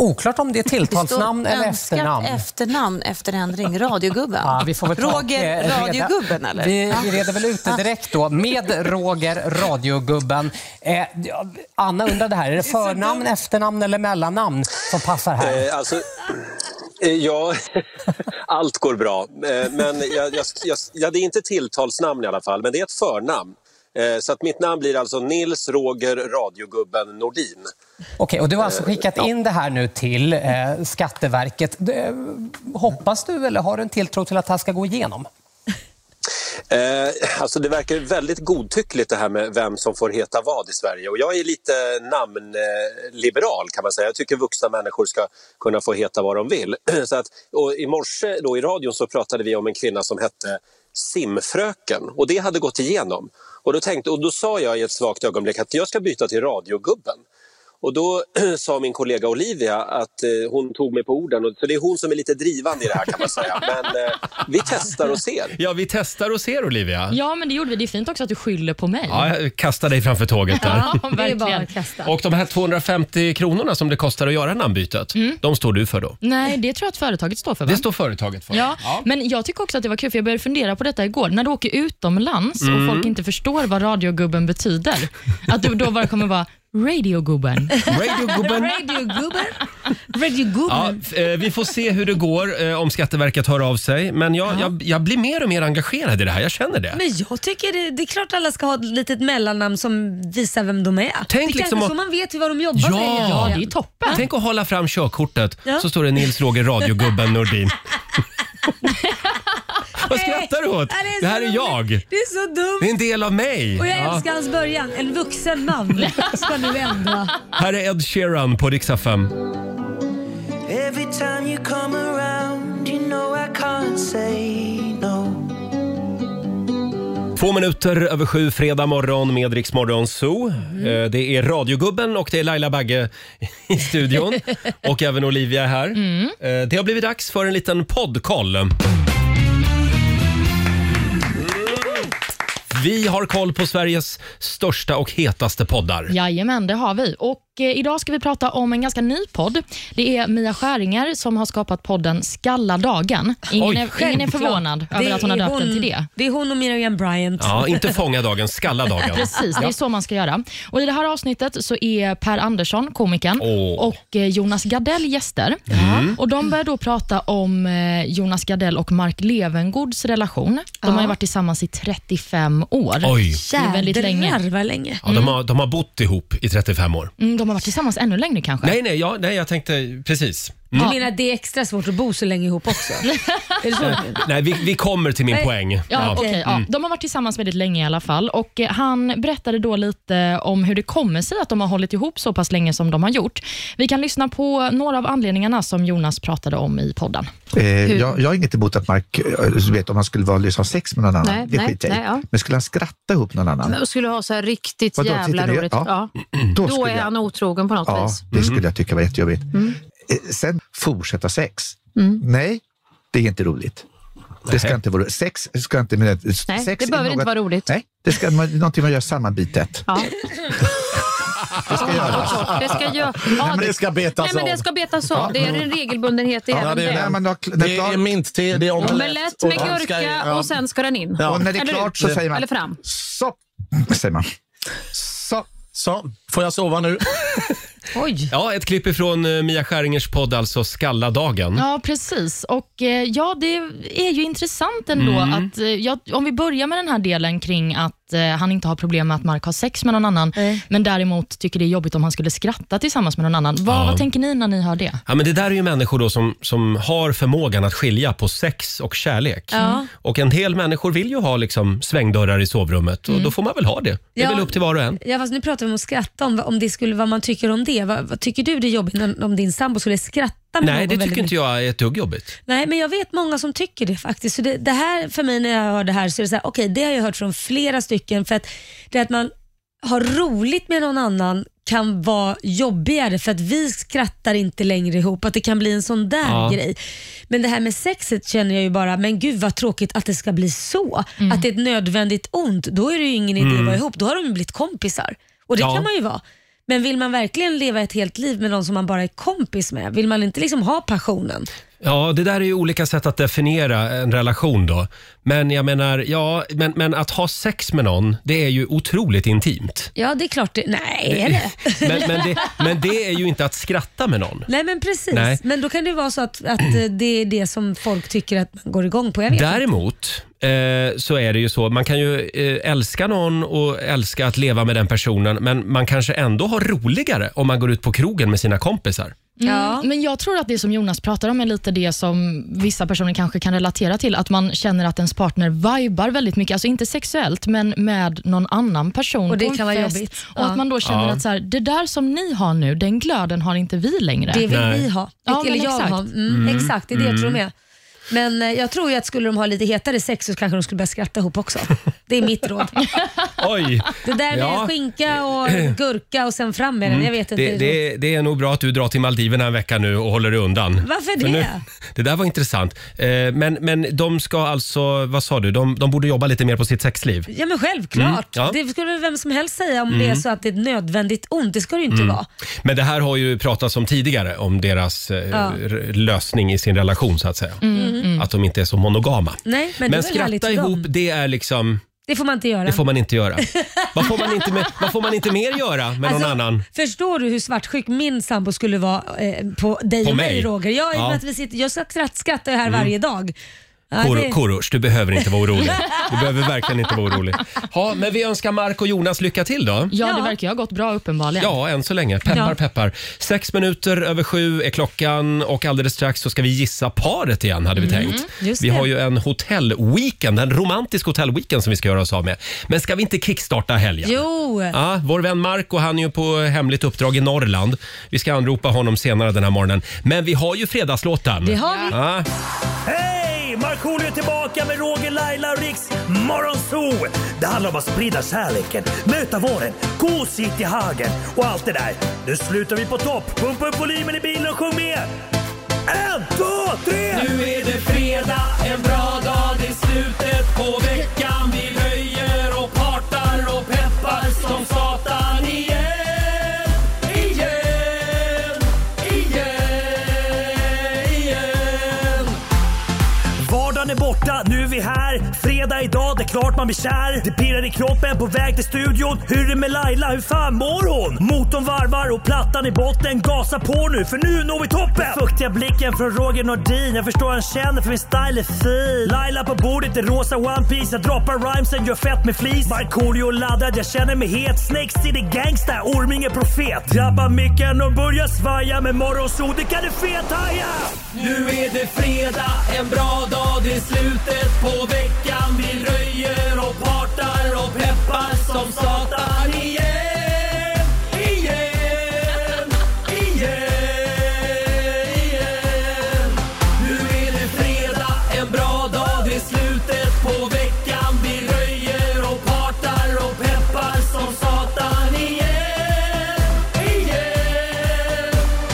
Speaker 8: Oklart om det är tilltalsnamn
Speaker 9: Det står
Speaker 8: eller
Speaker 9: önskat
Speaker 8: efternamn.
Speaker 9: efternamn efter ändring. Radiogubben.
Speaker 8: Ja, vi får väl ta
Speaker 9: Roger
Speaker 8: eh, reda-
Speaker 9: Radiogubben, eller?
Speaker 8: Vi,
Speaker 9: Ja.
Speaker 8: vi reder väl ut det direkt då. Med Roger Radiogubben. Eh, ja, Anna undrade här, är det förnamn, efternamn eller mellannamn som passar här?
Speaker 10: Eh, Alltså, eh, ja, allt går bra. Eh, Men jag, jag, jag, ja, det är inte tilltalsnamn i alla fall, men det är ett förnamn. Eh, Så att mitt namn blir alltså Nils Roger Radiogubben Nordin.
Speaker 8: Okej, och du har alltså skickat in det här nu till eh, Skatteverket. Det, hoppas du eller har du en tilltro till att det här ska gå igenom?
Speaker 10: Eh, Alltså det verkar väldigt godtyckligt det här med vem som får heta vad i Sverige. Och jag är lite namnliberal kan man säga. Jag tycker vuxna människor ska kunna få heta vad de vill. Så att, och I morse då i radion så pratade vi om en kvinna som hette simfröken och det hade gått igenom. Och då, tänkte, och då sa jag i ett svagt ögonblick att jag ska byta till radiogubben. Och då sa min kollega Olivia att eh, hon tog mig på orden, och- så det är hon som är lite drivande i det här kan man säga. Men eh, vi testar och ser.
Speaker 1: Ja, vi testar och ser Olivia.
Speaker 3: Ja, men det gjorde vi. Det är fint också att du skyller på mig.
Speaker 1: Ja, jag kastar dig framför tåget där.
Speaker 3: Ja,
Speaker 2: Det är bara
Speaker 3: verkligen.
Speaker 2: att kasta.
Speaker 1: Och de här 250 kronorna som det kostar att göra namnbytet,
Speaker 3: Mm.
Speaker 1: de står du för då?
Speaker 3: Nej, det tror jag att företaget står för. Va?
Speaker 1: Det står företaget för.
Speaker 3: Ja, Mm. men jag tycker också att det var kul, för jag började fundera på detta igår. När du åker utomlands
Speaker 1: Mm.
Speaker 3: och folk inte förstår vad radiogubben betyder, att du då bara kommer vara radiogubben.
Speaker 1: Radiogubben.
Speaker 2: Radiogubben. Radiogubben.
Speaker 1: Ja, f- eh, vi får se hur det går eh, om Skatteverket hör av sig. Men jag, jag, jag blir mer och mer engagerad i det här. Jag känner det.
Speaker 2: Men jag tycker det, det är klart alla ska ha ett litet mellannamn som visar vem de är.
Speaker 1: Tänk
Speaker 2: det är
Speaker 1: liksom
Speaker 2: kanske
Speaker 1: att-
Speaker 2: så man vet vad de jobbar
Speaker 1: Ja.
Speaker 2: med. egentligen.
Speaker 3: Ja, det är toppen.
Speaker 1: Tänk att hålla fram körkortet
Speaker 2: Ja.
Speaker 1: så står det Nils Roger Radiogubben Nordin. Vad skrattar du åt?
Speaker 2: Ja, är så
Speaker 1: Det här är
Speaker 2: roligt.
Speaker 1: jag.
Speaker 2: Det är så dumt.
Speaker 1: Det är en del av mig.
Speaker 2: Och jag
Speaker 1: Ja.
Speaker 2: älskar hans början. En vuxen man ska nu ändra.
Speaker 1: Här är Ed Sheeran på riksdag 5.
Speaker 6: Every time you come around you know I can't say no
Speaker 1: Två minuter över sju, fredag morgon med Rix Morgon Zoo.
Speaker 3: Mm.
Speaker 1: Eh, Det är radiogubben och det är Laila Bagge i studion. och även Olivia är här.
Speaker 3: Mm.
Speaker 1: Eh, Det har blivit dags för en liten poddkoll. Vi har koll på Sveriges största och hetaste poddar.
Speaker 3: Jajamän, det har vi. Och eh, Idag ska vi prata om en ganska ny podd. Det är Mia Skäringer som har skapat podden Skalladagen. Ingen,
Speaker 1: Oj,
Speaker 3: är, ingen är förvånad över att hon har
Speaker 2: är
Speaker 3: döpt den till det.
Speaker 2: Det är hon och Miriam Bryant.
Speaker 1: Ja, inte fånga dagen, skalla dagen.
Speaker 3: Precis, det är så man ska göra. Och I det här avsnittet så är Per Andersson, komikern,
Speaker 1: Åh.
Speaker 3: och eh, Jonas Gardell gäster.
Speaker 1: Mm.
Speaker 3: Och De börjar då prata om eh, Jonas Gardell och Mark Levengårds relation. De har ju varit tillsammans i 35 år.
Speaker 1: Oj.
Speaker 3: är väldigt
Speaker 2: Jädrar
Speaker 3: länge.
Speaker 2: vad länge.
Speaker 1: Ja, de, har, de har bott ihop i 35 år.
Speaker 3: Mm, de har varit tillsammans ännu längre kanske.
Speaker 1: Nej, Mm. nej, ja, nej jag tänkte precis.
Speaker 2: Du
Speaker 1: Eh,
Speaker 2: menar att det är extra svårt att bo så länge ihop också? är det så?
Speaker 1: Nej, vi, vi kommer till min
Speaker 2: Nej.
Speaker 1: poäng.
Speaker 3: Ja,
Speaker 1: Ja. Mm.
Speaker 3: okej, ja. De har varit tillsammans väldigt länge i alla fall. Och eh, Han berättade då lite om hur det kommer sig att de har hållit ihop så pass länge som de har gjort. Vi kan lyssna på några av anledningarna som Jonas pratade om i podden.
Speaker 11: Eh, jag, jag har inget emot att Mark, eh, du vet, om han skulle vara, liksom, ha sex med någon annan,
Speaker 9: Nej,
Speaker 11: det
Speaker 9: nej,
Speaker 11: skiter jag i.
Speaker 9: nej, ja.
Speaker 11: Men skulle han skratta ihop någon annan,
Speaker 9: Och skulle ha så här riktigt
Speaker 11: Vadå,
Speaker 9: jävla
Speaker 11: sitter det?
Speaker 9: roligt.
Speaker 11: Ja.
Speaker 9: Ja.
Speaker 11: då,
Speaker 9: Då
Speaker 11: skulle
Speaker 9: är
Speaker 11: jag,
Speaker 9: han otrogen på något
Speaker 11: ja,
Speaker 9: vis. Mm.
Speaker 11: det skulle jag tycka var jättejobbigt. Eh, sen, fortsätta sex. Nej, det är inte roligt. Det ska inte vara roligt. Sex ska inte... Men, eh, sex
Speaker 9: Nej, det
Speaker 11: är
Speaker 9: behöver inte
Speaker 11: något-
Speaker 9: vara roligt.
Speaker 11: Nej, det ska man, någonting man gör sammanbitet.
Speaker 9: Ja.
Speaker 11: Det ska göras.
Speaker 9: Det ska ju... ja,
Speaker 12: men det ska betas
Speaker 9: Nej, men det
Speaker 12: av.
Speaker 9: ska betas av. Det är en regelbundenhet i
Speaker 12: Alltså- Ja,
Speaker 9: även
Speaker 12: det är
Speaker 9: det.
Speaker 11: När man har, kl- när
Speaker 12: Det
Speaker 11: klar-
Speaker 12: är mintte, det är
Speaker 9: Omelett
Speaker 12: omelett.
Speaker 9: med
Speaker 12: och- ska-
Speaker 9: gurka
Speaker 12: ja.
Speaker 9: och sen ska den in.
Speaker 12: Ja.
Speaker 11: och när det är
Speaker 9: Eller
Speaker 11: klart
Speaker 9: ut.
Speaker 11: så säger man...
Speaker 9: Eller fram.
Speaker 11: Så, säger man. Så,
Speaker 12: Så, får jag sova nu?
Speaker 9: Oj.
Speaker 1: Ja, ett klipp ifrån eh, Mia Skäringers podd, alltså Skalladagen.
Speaker 12: Mm.
Speaker 3: Ja, precis. Och eh, ja, det är ju intressant ändå
Speaker 1: Mm.
Speaker 3: att, eh, ja, om vi börjar med den här delen kring att eh, han inte har problem med att Mark har sex med någon annan, men däremot tycker det är jobbigt om han skulle skratta tillsammans med någon annan. Vad,
Speaker 1: Ja.
Speaker 3: vad tänker ni när ni hör det?
Speaker 1: Ja, men det där är ju människor då som, som har förmågan att skilja på sex och kärlek.
Speaker 3: Ja.
Speaker 1: Och en del människor vill ju ha liksom svängdörrar i sovrummet och
Speaker 2: Mm.
Speaker 1: då får man väl ha det. Det är
Speaker 2: Ja.
Speaker 1: väl upp till var och en.
Speaker 2: Ja, fast nu pratar vi om att skratta, om, om det skulle, vad man tycker om det. Vad, vad tycker du det är jobbigt när- om din sambo skulle skratta med någon
Speaker 1: Nej, det
Speaker 2: väldigt
Speaker 1: tycker inte
Speaker 2: mycket?
Speaker 1: jag är ett dugg jobbigt.
Speaker 2: Nej, men jag vet många som tycker det faktiskt. Så det, det här för mig när jag hör det här så är det så här, okej det har jag hört från flera stycken för att det att man har roligt med någon annan kan vara jobbigare för att vi skrattar inte längre ihop. Att det kan bli en sån där
Speaker 13: Ja.
Speaker 2: grej. Men det här med sexet känner jag ju bara, men gud vad tråkigt att det ska bli så. Att det är ett nödvändigt ont. Då är det ju ingen idé att
Speaker 13: Mm.
Speaker 2: vara ihop. Då har de ju blivit kompisar. Och det
Speaker 13: Ja.
Speaker 2: kan man ju vara. Men vill man verkligen leva ett helt liv med någon som man bara är kompis med? Vill man inte liksom ha passionen?
Speaker 1: Ja, det där är ju olika sätt att definiera en relation då. Men jag menar, ja, men, men att ha sex med någon, det är ju otroligt intimt.
Speaker 2: Ja, det är klart. Det, nej, är det?
Speaker 1: Men, men, det, men det är ju inte att skratta med någon.
Speaker 2: Nej, men precis.
Speaker 1: Nej.
Speaker 2: Men då kan det vara så att, att eh, det är det som folk tycker att man går igång på. Jag vet. inte.
Speaker 1: Däremot eh, så är det ju så, man kan ju eh, älska någon och älska att leva med den personen, men man kanske ändå har roligare om man går ut på krogen med sina kompisar.
Speaker 3: Mm, Men jag tror att det som Jonas pratar om är lite det som vissa personer kanske kan relatera till, att man känner att ens partner vibar väldigt mycket, alltså inte sexuellt, men med någon annan person
Speaker 2: Och det
Speaker 3: på en
Speaker 2: kan vara
Speaker 3: fest.
Speaker 2: jobbigt.
Speaker 3: Och
Speaker 2: Ja.
Speaker 3: att man då känner
Speaker 1: Ja.
Speaker 3: att så här, det där som ni har nu, den glöden har inte vi längre.
Speaker 2: Det vill
Speaker 1: Nej.
Speaker 2: vi ha.
Speaker 3: Ja,
Speaker 2: Eller
Speaker 3: men
Speaker 2: jag
Speaker 3: exakt.
Speaker 2: ha. Mm,
Speaker 1: Mm.
Speaker 2: Exakt, det är det jag tror
Speaker 1: Mm.
Speaker 2: med. Men eh, jag tror ju att skulle de ha lite hetare sex så kanske de skulle börja skratta ihop också. Det är mitt råd.
Speaker 1: Oj!
Speaker 2: Det där med
Speaker 1: Ja.
Speaker 2: skinka och gurka och sen fram med den,
Speaker 1: Mm.
Speaker 2: jag vet inte.
Speaker 1: det, det, det är nog bra att du drar till Maldiverna en vecka nu och håller dig undan.
Speaker 2: Varför
Speaker 1: För
Speaker 2: det?
Speaker 1: Nu, det där var intressant. Eh, Men, men de ska alltså, vad sa du, de, de borde jobba lite mer på sitt sexliv?
Speaker 2: Ja men självklart.
Speaker 1: Mm, ja.
Speaker 2: Det skulle väl vem som helst säga om
Speaker 1: Mm.
Speaker 2: det är så att det är ett nödvändigt ont. Det ska det ju inte
Speaker 1: Mm.
Speaker 2: vara.
Speaker 1: Men det här har ju pratats om tidigare, om deras eh,
Speaker 2: Ja.
Speaker 1: r- lösning i sin relation så att säga.
Speaker 2: Mm, mm.
Speaker 1: Att de inte är så monogama.
Speaker 2: Nej, men,
Speaker 1: Men,
Speaker 2: det är väl härligt
Speaker 1: skratta
Speaker 2: för
Speaker 1: ihop,
Speaker 2: dem.
Speaker 1: det är liksom...
Speaker 2: Det får man inte göra.
Speaker 1: Det får man inte göra. Vad får man inte, med, vad får man inte mer göra med
Speaker 2: Alltså,
Speaker 1: någon annan?
Speaker 2: Förstår du hur svartsjuk min sambo skulle vara eh, på dig
Speaker 1: På
Speaker 2: och
Speaker 1: mig?
Speaker 2: mig Roger? Jag,
Speaker 1: Ja.
Speaker 2: ja. att vi sitter, jag skratt, skrattar ju här
Speaker 1: Mm.
Speaker 2: varje dag. Ja,
Speaker 1: Kor-
Speaker 2: det-
Speaker 1: Korosh, du behöver inte vara orolig. Du behöver verkligen inte vara orolig. Ja, men vi önskar Mark och Jonas lycka till då.
Speaker 3: Ja, det verkar ju ha gått bra uppenbarligen.
Speaker 1: Ja, än så länge. Peppar,
Speaker 3: Ja.
Speaker 1: peppar. Sex minuter över sju är klockan och alldeles strax så ska vi gissa paret igen hade vi
Speaker 3: Mm,
Speaker 1: tänkt.
Speaker 3: just
Speaker 1: Vi
Speaker 3: det.
Speaker 1: har ju en hotellweekend, en romantisk hotellweekend som vi ska göra oss av med. Men ska vi inte kickstarta helgen?
Speaker 2: Jo!
Speaker 1: Ja, vår vän Marco han är ju på hemligt uppdrag i Norrland. Vi ska anropa honom senare den här morgonen. Men vi har ju fredagslåten.
Speaker 6: Det har vi.
Speaker 1: Ja.
Speaker 6: Hej! Markoolio är tillbaka med Roger, Laila och Riks Morgonzoo! Det handlar om att sprida kärleken, möta våren, gosigt i hagen och allt det där. Nu slutar vi på topp! Pumpa upp volymen i bilen och sjung med! En, två, tre!
Speaker 7: Nu är det fredag, en bra dag, det är slutet på veckan. Vi röjer och partar och peppar som satan igen. Igen, igen, igen.
Speaker 6: Vardagen är borta, nu är vi här. Fredag idag, det är klart man blir kär. Det pirrar i kroppen på väg till studion. Hur är det med Laila, hur fan mår hon? Motorn varvar och plattan i botten. Gasa på nu, för nu når vi toppen! Den fuktiga blicken från Roger Nordin. Jag förstår han känner för min style är fin. Laila på bordet i rosa One Piece Jag droppar rhymesen, gör fett med flis. Markoolio laddad, jag känner mig het. Snake City Gangsta, Orminge profet. Drabbar micken och börjar svaja. Med morgonsol, det kan du fethaja!
Speaker 7: Nu är det fredag, en bra dag, det är slutet på veckan. Vi röjer och partar och peppar som satan igen. Igen, igen, igen. Nu är det fredag, en bra dag, det är slutet på veckan. Vi röjer och partar och peppar som satan igen. Igen,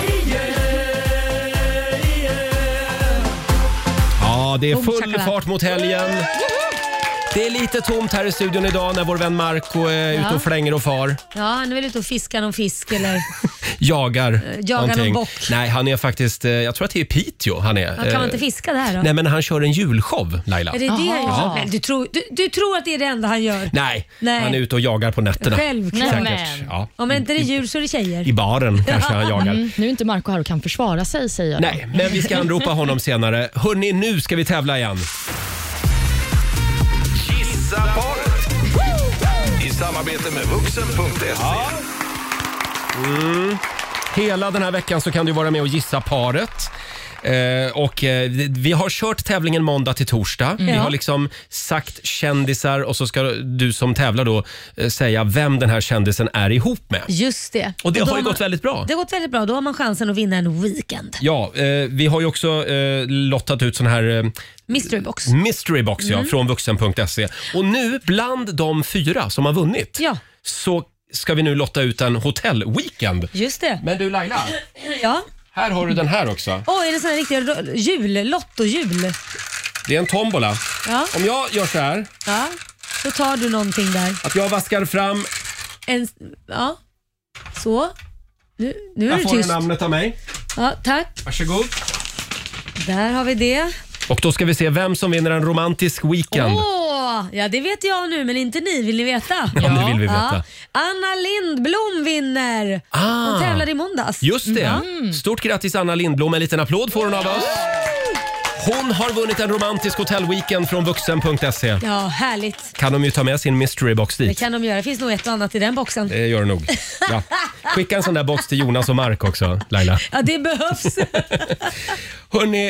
Speaker 7: igen, igen.
Speaker 1: Ja, det är
Speaker 7: Boom,
Speaker 1: full
Speaker 7: shakalaka.
Speaker 1: fart mot helgen. Det är lite tomt här i studion idag när vår vän Marco är
Speaker 2: Ja.
Speaker 1: ute och flänger och far.
Speaker 2: Ja, han är väl ute och fiskar någon fisk eller...
Speaker 1: Jagar
Speaker 2: Eh, jagar någon
Speaker 1: någonting.
Speaker 2: bock.
Speaker 1: Nej, han är faktiskt, eh, jag tror att det är i Piteå han är.
Speaker 2: Ja, kan man
Speaker 1: Eh,
Speaker 2: inte fiska där då?
Speaker 1: Nej, men han kör en julshow, Laila.
Speaker 2: Är det det jag gör?
Speaker 1: Ja.
Speaker 2: Men Du, tror, du, du tror att det är det enda han gör?
Speaker 1: Nej,
Speaker 2: Nej.
Speaker 1: han är ute och jagar på nätterna.
Speaker 2: Självklart.
Speaker 1: Säkert. Ja.
Speaker 2: Om inte det är djur så är det tjejer.
Speaker 1: I baren kanske han jagar.
Speaker 3: Mm, nu är inte Marco här och kan försvara sig, säger jag.
Speaker 1: Nej, men vi ska anropa honom senare. Hörni, nu ska vi tävla igen.
Speaker 5: Gissa paret. I samarbete med vuxen.se.
Speaker 1: Mm. Hela den här veckan så kan du vara med och gissa paret. Eh, och eh, vi- vi har kört tävlingen måndag till torsdag.
Speaker 7: Mm.
Speaker 1: Vi
Speaker 7: Ja.
Speaker 1: har liksom sagt kändisar och så ska du som tävlar då eh, säga vem den här kändisen är ihop med.
Speaker 2: Just det.
Speaker 1: Och det
Speaker 2: då
Speaker 1: har ju
Speaker 2: man-
Speaker 1: gått väldigt bra.
Speaker 2: Det har gått väldigt bra. Då har man chansen att vinna en weekend.
Speaker 1: Ja, eh, vi har ju också eh, lottat ut sån här eh,
Speaker 2: Mystery box.
Speaker 1: Mystery box ja,
Speaker 2: Mm.
Speaker 1: från vuxen.se. Och nu bland de fyra som har vunnit så ska vi nu lotta ut en hotellweekend.
Speaker 2: Just det.
Speaker 1: Men du Laila.
Speaker 2: Ja.
Speaker 1: Här har du den här också.
Speaker 2: Åh, är det sån här riktig ro- jul? Lottojul?
Speaker 1: Det är en tombola.
Speaker 2: Ja.
Speaker 1: Om jag gör så här,
Speaker 2: ja. Då tar du någonting där.
Speaker 1: att jag vaskar fram...
Speaker 2: En, ja. Så. Nu, nu är
Speaker 1: Där
Speaker 2: du
Speaker 1: får du
Speaker 2: tyst.
Speaker 1: namnet av mig.
Speaker 2: Ja, tack.
Speaker 1: Varsågod.
Speaker 2: Där har vi det.
Speaker 1: Och då ska vi se vem som vinner en romantisk
Speaker 2: Åh,
Speaker 1: weekend.
Speaker 2: ja det vet jag nu men inte ni. Vill ni veta?
Speaker 1: Ja, det vill vi veta.
Speaker 2: Anna Lindblom vinner.
Speaker 1: Ah.
Speaker 2: Hon tävlade i måndags.
Speaker 1: Just det.
Speaker 2: Mm.
Speaker 1: Stort grattis Anna Lindblom. En liten applåd får hon av oss. Hon har vunnit en romantisk hotellweekend från vuxen.se.
Speaker 2: Ja, härligt.
Speaker 1: Kan de ju ta med sin mystery box
Speaker 2: Det
Speaker 1: dit.
Speaker 2: kan de göra. Det finns nog ett och annat i den boxen.
Speaker 1: Det gör det nog. Ja. Skicka en sån där box till Jonas och Mark också, Laila.
Speaker 2: Ja, det behövs.
Speaker 1: Hörni,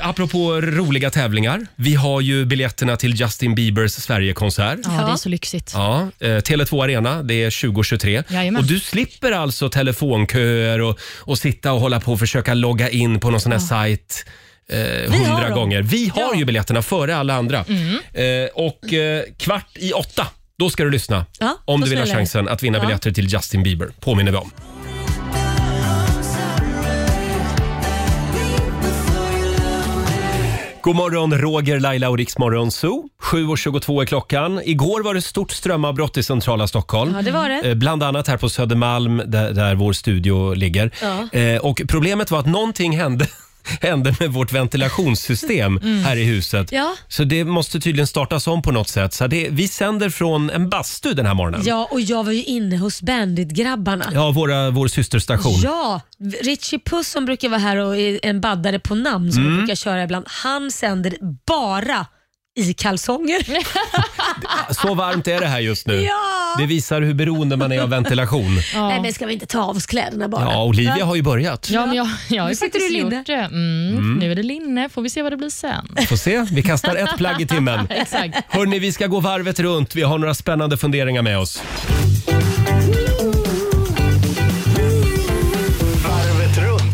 Speaker 1: eh, apropå roliga tävlingar. Vi har ju biljetterna till Justin Biebers Sverigekonsert.
Speaker 3: Ja, det är så lyxigt.
Speaker 1: Ja, eh, Tele2 Arena, det är 2023.
Speaker 3: Jajamän.
Speaker 1: Och du slipper alltså telefonköer och, och sitta och hålla på och försöka logga in på någon sån här sajt eh,
Speaker 7: Vi har
Speaker 1: hundra
Speaker 7: dem.
Speaker 1: gånger. Vi har ju biljetterna före alla andra.
Speaker 7: Mm.
Speaker 1: Eh, och eh, kvart i åtta, då ska du lyssna.
Speaker 7: Ja,
Speaker 1: om
Speaker 7: då
Speaker 1: du vill ha
Speaker 7: smäller det.
Speaker 1: chansen att vinna
Speaker 7: Ja.
Speaker 1: biljetter till Justin Bieber, påminner vi om. God morgon, Roger, Laila och Riksmorgon Zoo. 7.22 är klockan. Igår var det stort strömavbrott i centrala Stockholm.
Speaker 2: Ja, det var det.
Speaker 1: Eh, Bland annat här på Södermalm där, där vår studio ligger.
Speaker 2: Ja.
Speaker 1: Eh, Och problemet var att någonting hände hände med vårt ventilationssystem
Speaker 7: Mm.
Speaker 1: här i huset.
Speaker 2: Ja.
Speaker 1: Så det måste tydligen startas om på något sätt. Så det, vi sänder från en bastu den här morgonen.
Speaker 2: Ja, och jag var ju inne hos Bandit-grabbarna.
Speaker 1: Ja, våra, vår systerstation.
Speaker 2: Ja, Richie Puss som brukar vara här och är en baddare på namn som
Speaker 1: Mm.
Speaker 2: vi brukar köra ibland. Han sänder bara i kalsonger.
Speaker 1: Så varmt är det här just nu.
Speaker 2: Ja.
Speaker 1: Det visar hur beroende man är av ventilation.
Speaker 2: Nej men ska vi inte ta av oss kläderna bara?
Speaker 1: Ja, Olivia har ju börjat.
Speaker 3: Ja, men jag, jag har
Speaker 2: Nu
Speaker 3: ju
Speaker 2: sitter du
Speaker 3: faktiskt
Speaker 2: i linne.
Speaker 3: gjort det. Mm,
Speaker 1: Mm.
Speaker 3: Nu är det linne, får vi se vad det blir sen.
Speaker 1: Får se, vi kastar ett plagg i timmen.
Speaker 3: Exakt.
Speaker 1: Hörni, vi ska gå varvet runt. Vi har några spännande funderingar med oss.
Speaker 7: Varvet runt.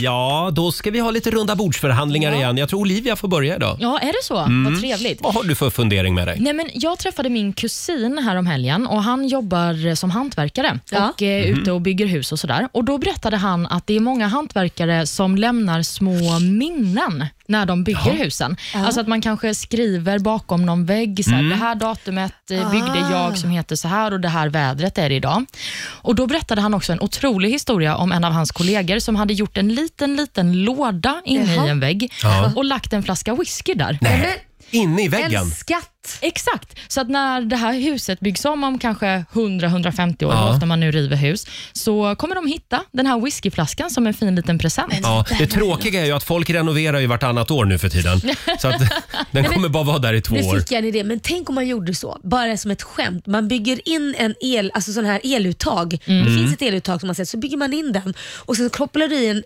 Speaker 1: Ja, då ska vi ha lite runda bordsförhandlingar igen. Jag tror Olivia får börja idag.
Speaker 3: Ja, är det så? Vad trevligt.
Speaker 1: Mm. Vad har du för fundering med dig?
Speaker 3: Nej, men jag träffade min kusin här om helgen och han jobbar som hantverkare och är
Speaker 1: Mhm.
Speaker 3: ute och bygger hus och sådär. Och Då berättade han att det är många hantverkare som lämnar små minnen när de bygger
Speaker 7: Jaha.
Speaker 3: husen. Alltså att man kanske skriver bakom någon vägg, så här,
Speaker 7: Mm.
Speaker 3: det här datumet eh, byggde
Speaker 7: Ah.
Speaker 3: jag som heter så här och det här vädret är det idag. Och Då berättade han också en otrolig historia om en av hans kollegor som hade gjort en liten, liten låda inne
Speaker 7: Jaha.
Speaker 3: i en vägg
Speaker 7: Ja.
Speaker 3: och lagt en flaska whisky där.
Speaker 1: Nej. Inne i väggen?
Speaker 3: En skatt. Exakt. Så att när det här huset byggs om om kanske 100-150 år,
Speaker 1: Ja.
Speaker 3: ofta man nu river hus, så kommer de hitta den här whiskyflaskan som en fin liten present.
Speaker 1: Ja, det tråkiga är ju att folk renoverar ju vartannat år nu för tiden. Så att den kommer bara vara där i två
Speaker 2: Nu
Speaker 1: år.
Speaker 2: fick jag en idé, men tänk om man gjorde så, bara som ett skämt. Man bygger in en el, alltså sån här eluttag.
Speaker 7: Mm.
Speaker 2: Det finns ett eluttag som man sett, så bygger man in den och så kopplar du i en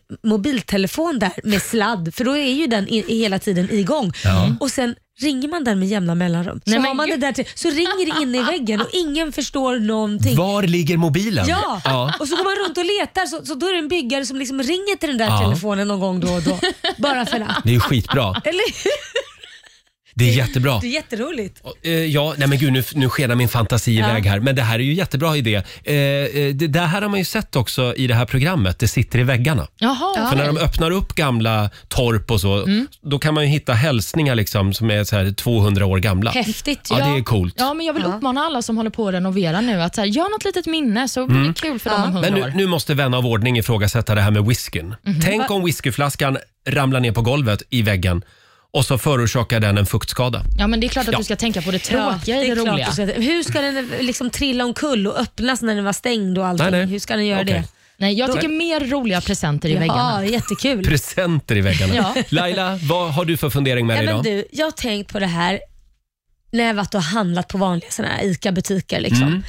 Speaker 2: mobiltelefon där med sladd, för då är ju den i, hela tiden igång.
Speaker 7: Ja.
Speaker 2: Och sen ringer man den med jämna mellanrum. Så,
Speaker 7: Nej, men
Speaker 2: har man det där till, så ringer det in i väggen och ingen förstår någonting.
Speaker 1: Var ligger mobilen?
Speaker 2: Ja.
Speaker 1: Ja.
Speaker 2: och så går man runt och letar så, så då är det en byggare som liksom ringer till den där
Speaker 1: Ja.
Speaker 2: telefonen någon gång då och då. Bara för att.
Speaker 1: Det är ju skitbra.
Speaker 2: Eller hur?
Speaker 1: Det är jättebra.
Speaker 2: Det är jätteroligt.
Speaker 1: Eh, ja, nej men gud nu, nu skenar min fantasi
Speaker 2: Ja.
Speaker 1: iväg här. Men det här är ju jättebra idé. Eh, eh, det, det här har man ju sett också i det här programmet, Det sitter i väggarna.
Speaker 3: Jaha.
Speaker 1: För när de öppnar upp gamla torp och så,
Speaker 3: Mm.
Speaker 1: då kan man ju hitta hälsningar liksom som är så här 200 år gamla.
Speaker 3: Häftigt.
Speaker 1: Ja, det är coolt.
Speaker 3: Ja, men jag vill uppmana alla som håller på att renovera nu att så här, gör något litet minne så blir
Speaker 1: Mm.
Speaker 3: det kul för dem om
Speaker 1: Men
Speaker 3: hundra
Speaker 1: nu,
Speaker 3: år.
Speaker 1: nu måste vän av ordning ifrågasätta det här med whiskyn.
Speaker 3: Mhm.
Speaker 1: Tänk
Speaker 3: Va-
Speaker 1: om whiskyflaskan ramlar ner på golvet i väggen och så förorsakar den en fuktskada.
Speaker 3: Ja, men det är klart att
Speaker 1: Ja.
Speaker 3: du ska tänka på det tråkiga i
Speaker 2: Ja,
Speaker 3: det,
Speaker 2: är klart
Speaker 3: roliga.
Speaker 2: du ska- Hur ska den liksom trilla omkull och öppnas när den var stängd och allting?
Speaker 1: Nej, nej.
Speaker 2: Hur ska den göra
Speaker 1: Okej.
Speaker 2: det?
Speaker 3: Nej, jag
Speaker 1: Då-
Speaker 3: tycker mer roliga presenter i väggarna.
Speaker 2: Ja, jättekul.
Speaker 1: Presenter i väggarna.
Speaker 2: Ja.
Speaker 1: Laila, vad har du för fundering med dig
Speaker 2: Nej, men
Speaker 1: idag?
Speaker 2: du, jag har tänkt på det här när jag varit och handlat på vanliga såna här ICA-butiker. Liksom.
Speaker 1: Mm.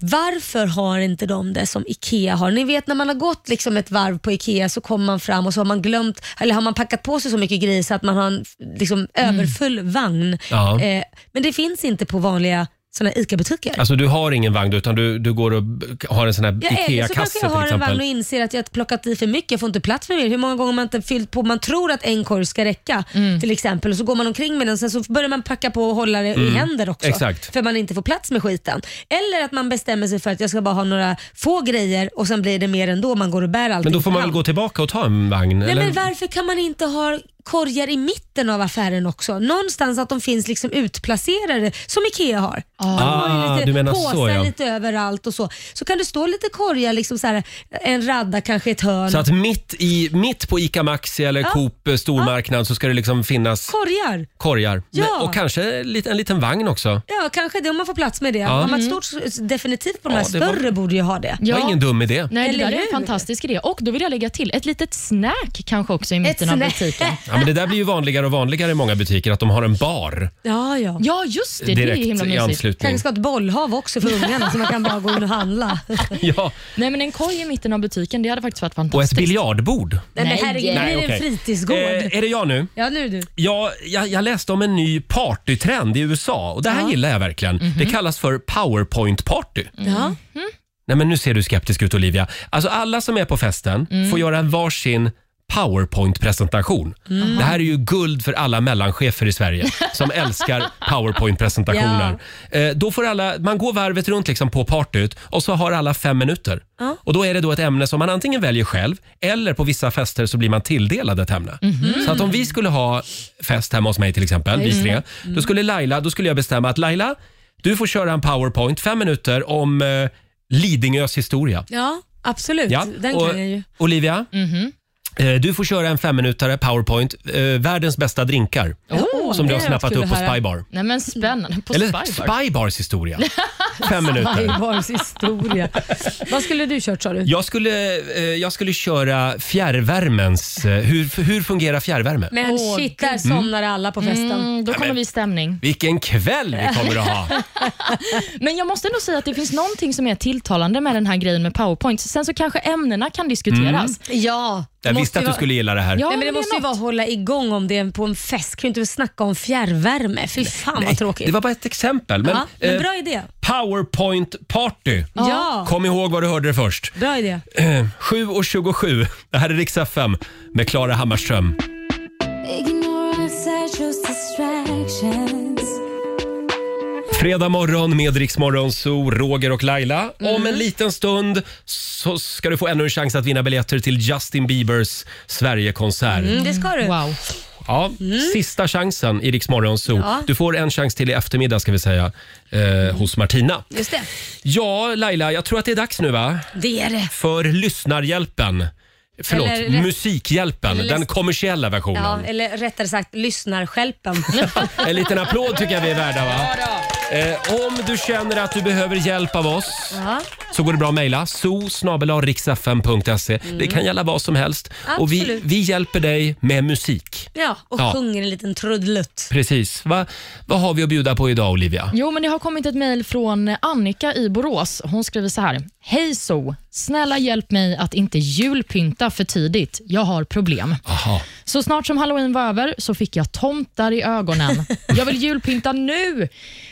Speaker 2: Varför har inte de det som IKEA har? Ni vet när man har gått liksom ett varv på IKEA så kommer man fram och så har man glömt, eller har man packat på sig så mycket grejer så att man har en liksom, överfull vagn.
Speaker 1: Ja.
Speaker 2: Eh, men det finns inte på vanliga såna här ICA-butiker.
Speaker 1: Alltså du har ingen vagn utan du, du går och b- har en sån här
Speaker 2: jag äger så
Speaker 1: IKEA-kasse
Speaker 2: kanske
Speaker 1: till
Speaker 2: jag har en vagn
Speaker 1: exempel.
Speaker 2: och inser att jag har plockat i för mycket, jag får inte plats för mer. Hur många gånger har man inte fyllt på, man tror att en korg ska räcka till exempel och så går man omkring med den sen så börjar man packa på och hålla det
Speaker 1: Mm,
Speaker 2: i händer också.
Speaker 1: exakt.
Speaker 2: För man inte får plats med skiten. Eller att man bestämmer sig för att jag ska bara ha några få grejer och sen blir det mer ändå man går och bär allting
Speaker 1: Men då får man väl
Speaker 2: fram.
Speaker 1: gå tillbaka och ta en vagn?
Speaker 2: Nej,
Speaker 1: eller?
Speaker 2: men varför kan man inte ha korgar i mitten av affären också? Någonstans att de finns liksom utplacerade, som IKEA har. De har
Speaker 1: Ah,
Speaker 2: ju
Speaker 1: du menar så,
Speaker 2: påsar
Speaker 1: ja.
Speaker 2: lite överallt och så. Så kan det stå lite korgar, liksom så här, en radda kanske i ett hörn.
Speaker 1: Så att mitt, i, mitt på ICA Maxi eller
Speaker 2: Ja.
Speaker 1: Coop eh, stormarknad så ska det liksom finnas
Speaker 2: Korgar.
Speaker 1: korgar.
Speaker 2: Ja.
Speaker 1: Men- Och kanske en liten, en liten vagn också.
Speaker 2: Ja, kanske det om man får plats med det.
Speaker 1: Ja.
Speaker 2: Har man ett
Speaker 1: Mm.
Speaker 2: stort, definitivt på de
Speaker 1: Ja,
Speaker 2: här
Speaker 1: det var-
Speaker 2: större borde ju ha det.
Speaker 1: Det var ingen dum idé.
Speaker 3: Nej, det
Speaker 2: Eller
Speaker 3: där är en
Speaker 2: hur?
Speaker 3: fantastisk idé. Och då vill jag lägga till ett litet snack kanske också i mitten av
Speaker 2: snack.
Speaker 3: butiken.
Speaker 1: Ja, men det där blir ju vanligare och vanligare i många butiker att de har en bar.
Speaker 2: Ja, ja.
Speaker 3: Ja, just det. det är
Speaker 1: Direkt
Speaker 3: himla
Speaker 1: i
Speaker 3: mysigt.
Speaker 1: anslutning.
Speaker 2: Kanske ska ha ett bollhav också för ungarna så man kan bara gå in och handla.
Speaker 1: Ja,
Speaker 3: Nej, men en koj i mitten av butiken, det hade faktiskt varit
Speaker 1: och ett
Speaker 3: fantastiskt.
Speaker 1: biljardbord.
Speaker 2: Nej, men herregud,
Speaker 1: Nej,
Speaker 2: blir det
Speaker 1: okej.
Speaker 2: en fritidsgård?
Speaker 1: Eh, är det jag nu?
Speaker 2: Ja, nu du.
Speaker 1: Ja, jag, jag läste om en ny partytrend i USA och det här
Speaker 2: Ja. Mhm.
Speaker 1: gillar jag verkligen. Det kallas för powerpoint-party.
Speaker 2: Ja.
Speaker 1: Nej, men nu ser du skeptisk ut Olivia. Alltså alla som är på festen
Speaker 7: Mm.
Speaker 1: får göra en varsin powerpoint-presentation.
Speaker 7: Mm.
Speaker 1: Det här är ju guld för alla mellanchefer i Sverige som älskar powerpoint-presentationer. Eh, då får alla, man går varvet runt liksom på partyt och så har alla fem minuter.
Speaker 7: Ja.
Speaker 1: Och Då är det då ett ämne som man antingen väljer själv eller på vissa fester så blir man tilldelad ett ämne.
Speaker 7: Mhm.
Speaker 1: Så att om vi skulle ha fest hemma hos mig till exempel, vi
Speaker 7: Mm.
Speaker 1: tre, då skulle, Laila, då skulle jag bestämma att Laila, du får köra en powerpoint fem minuter om eh, Lidingös historia.
Speaker 2: Ja, absolut.
Speaker 1: Ja,
Speaker 2: Den
Speaker 1: och-
Speaker 2: kan jag ju.
Speaker 1: Olivia, eh, du får köra en femminutare powerpoint, eh, världens bästa drinkar,
Speaker 2: Oh,
Speaker 3: Åh,
Speaker 1: som
Speaker 3: det
Speaker 1: du har
Speaker 3: hade varit
Speaker 1: snappat
Speaker 3: kul
Speaker 1: upp på
Speaker 3: att höra.
Speaker 1: Spybar.
Speaker 3: Nej, men spännande. På
Speaker 1: Eller
Speaker 3: Spybar.
Speaker 1: Spybars historia. Fem minuter.
Speaker 2: Svajbars historia. Vad skulle du kört sa du?
Speaker 1: Jag skulle, eh, jag skulle köra fjärrvärmens... eh, Hur, hur fungerar fjärrvärme?
Speaker 2: Men shit, där somnar alla på festen.
Speaker 3: Mm, då kommer vi i stämning.
Speaker 1: Vilken kväll vi kommer att ha!
Speaker 3: Men jag måste ändå säga att det finns någonting som är tilltalande med den här grejen med powerpoint. Sen så kanske ämnena kan diskuteras.
Speaker 2: Ja.
Speaker 1: Mm. Jag visste att du skulle gilla det här.
Speaker 2: Nej, men det måste ju vara att hålla igång om det är på en fest. Kan ju inte snacka om fjärrvärme. Fy fan vad tråkigt.
Speaker 1: Det var bara ett exempel. Men,
Speaker 2: ja, men
Speaker 1: eh,
Speaker 2: bra idé.
Speaker 1: Powerpoint party.
Speaker 2: Ja.
Speaker 1: Kom ihåg vad du hörde det först.
Speaker 2: Bra idé.
Speaker 1: 7.27. Det här är Rix FM med Klara Hammarström. Fredag morgon med Rix Morgon, så Roger och Laila.
Speaker 2: Mm.
Speaker 1: Om en liten stund så ska du få ännu en chans att vinna biljetter till Justin Biebers Sverigekonsert.
Speaker 2: Mm, det ska du.
Speaker 3: Wow.
Speaker 1: Ja, sista chansen i Rix Morgon Zoo.
Speaker 2: Ja.
Speaker 1: Du får en chans till i eftermiddag ska vi säga, eh, hos Martina.
Speaker 2: Just det.
Speaker 1: Ja, Laila, jag tror att det är dags nu va?
Speaker 2: Det är det.
Speaker 1: För Lyssnarhjälpen. Förlåt,
Speaker 2: Eller rätt-
Speaker 1: Musikhjälpen,
Speaker 2: eller-
Speaker 1: den kommersiella versionen.
Speaker 2: Ja, eller rättare sagt lyssnarskälpen.
Speaker 1: En liten applåd tycker jag vi är värda va? Eh, om du känner att du behöver hjälp av oss
Speaker 2: ja.
Speaker 1: så går det bra att mejla zoo.riksfm.se. Det kan gälla vad som helst. Och vi,
Speaker 2: Mm. Absolut.
Speaker 1: vi hjälper dig med musik.
Speaker 2: ja, och
Speaker 1: Ja.
Speaker 2: sjunger en liten trudelutt.
Speaker 1: Precis. Va, vad har vi att bjuda på idag Olivia?
Speaker 3: Jo, men det har kommit ett mejl från Annika i Borås. Hon skriver så här. Hej so, snälla hjälp mig att inte julpynta för tidigt. Jag har problem.
Speaker 1: Aha.
Speaker 3: Så snart som halloween var över så fick jag tomtar i ögonen. Jag vill julpynta nu!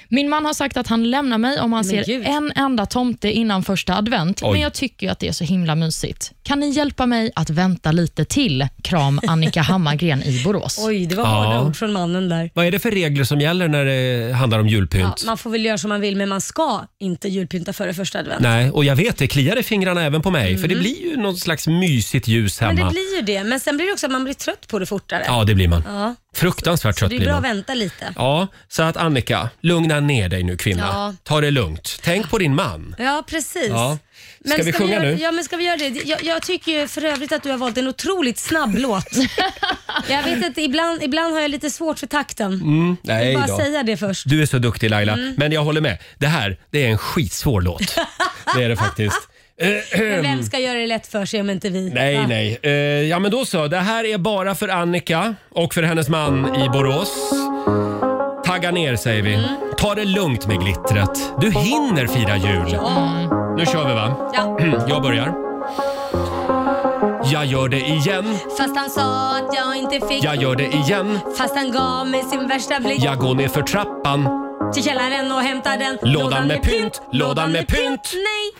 Speaker 3: Min man har sagt att han lämnar mig om han
Speaker 2: Men
Speaker 3: ser
Speaker 2: gud.
Speaker 3: en enda tomte innan första advent,
Speaker 2: Oj.
Speaker 3: men jag tycker ju att det är så himla mysigt. Kan ni hjälpa mig att vänta lite till? Kram Annika Hammargren i Borås.
Speaker 2: Oj, det var
Speaker 1: Ja.
Speaker 2: hårda ord från mannen där.
Speaker 1: Vad är det för regler som gäller när det handlar om
Speaker 2: Ja,
Speaker 1: julpynt?
Speaker 2: man får väl göra som man vill, men man ska inte julpynta före första advent.
Speaker 1: Nej, och jag vet det kliar i fingrarna även på mig för det
Speaker 2: Mm.
Speaker 1: blir ju någon slags mysigt ljus hemma.
Speaker 2: Men det blir ju det. Men sen blir det också att man blir trött på det fortare.
Speaker 1: Ja, det blir man.
Speaker 2: Ja.
Speaker 1: Fruktansvärt
Speaker 2: Så
Speaker 1: trött
Speaker 2: det är
Speaker 1: blir
Speaker 2: bra
Speaker 1: man.
Speaker 2: att vänta lite.
Speaker 1: Ja, så att Annika, lugna ner dig nu kvinna.
Speaker 2: Ja.
Speaker 1: Ta det lugnt. Tänk på din man.
Speaker 2: Ja, precis.
Speaker 1: Ja. Ska vi sjunga
Speaker 2: göra,
Speaker 1: nu?
Speaker 2: Ja, men ska vi göra det? Jag, jag tycker ju för övrigt att du har valt en otroligt snabb låt. jag vet inte, ibland, ibland har jag lite svårt för takten.
Speaker 1: Mm, nej
Speaker 2: jag vill
Speaker 1: då.
Speaker 2: bara säga det först.
Speaker 1: Du är så duktig Laila,
Speaker 2: Mm.
Speaker 1: men jag håller med. Det här, det är en skitsvår låt. Det är det faktiskt.
Speaker 2: Men vem ska göra det lätt för sig om inte vi?
Speaker 1: Ehm. Nej,
Speaker 2: Va?
Speaker 1: nej. Eh, ja, men då så. Det här är bara för Annika och för hennes man i Borås. Tagga ner säger vi.
Speaker 2: Mm.
Speaker 1: Ta det lugnt med glittret. Du hinner fira jul. Nu kör vi va?
Speaker 2: Ja.
Speaker 1: Jag börjar. Jag gör det igen.
Speaker 2: Fast han sa att jag inte fick.
Speaker 1: Jag gör det igen.
Speaker 2: Fast han gav mig sin värsta blick.
Speaker 1: Jag går ner för trappan.
Speaker 2: Till källaren och hämtar den.
Speaker 1: Lådan med pynt, lådan med pynt.
Speaker 2: Nej.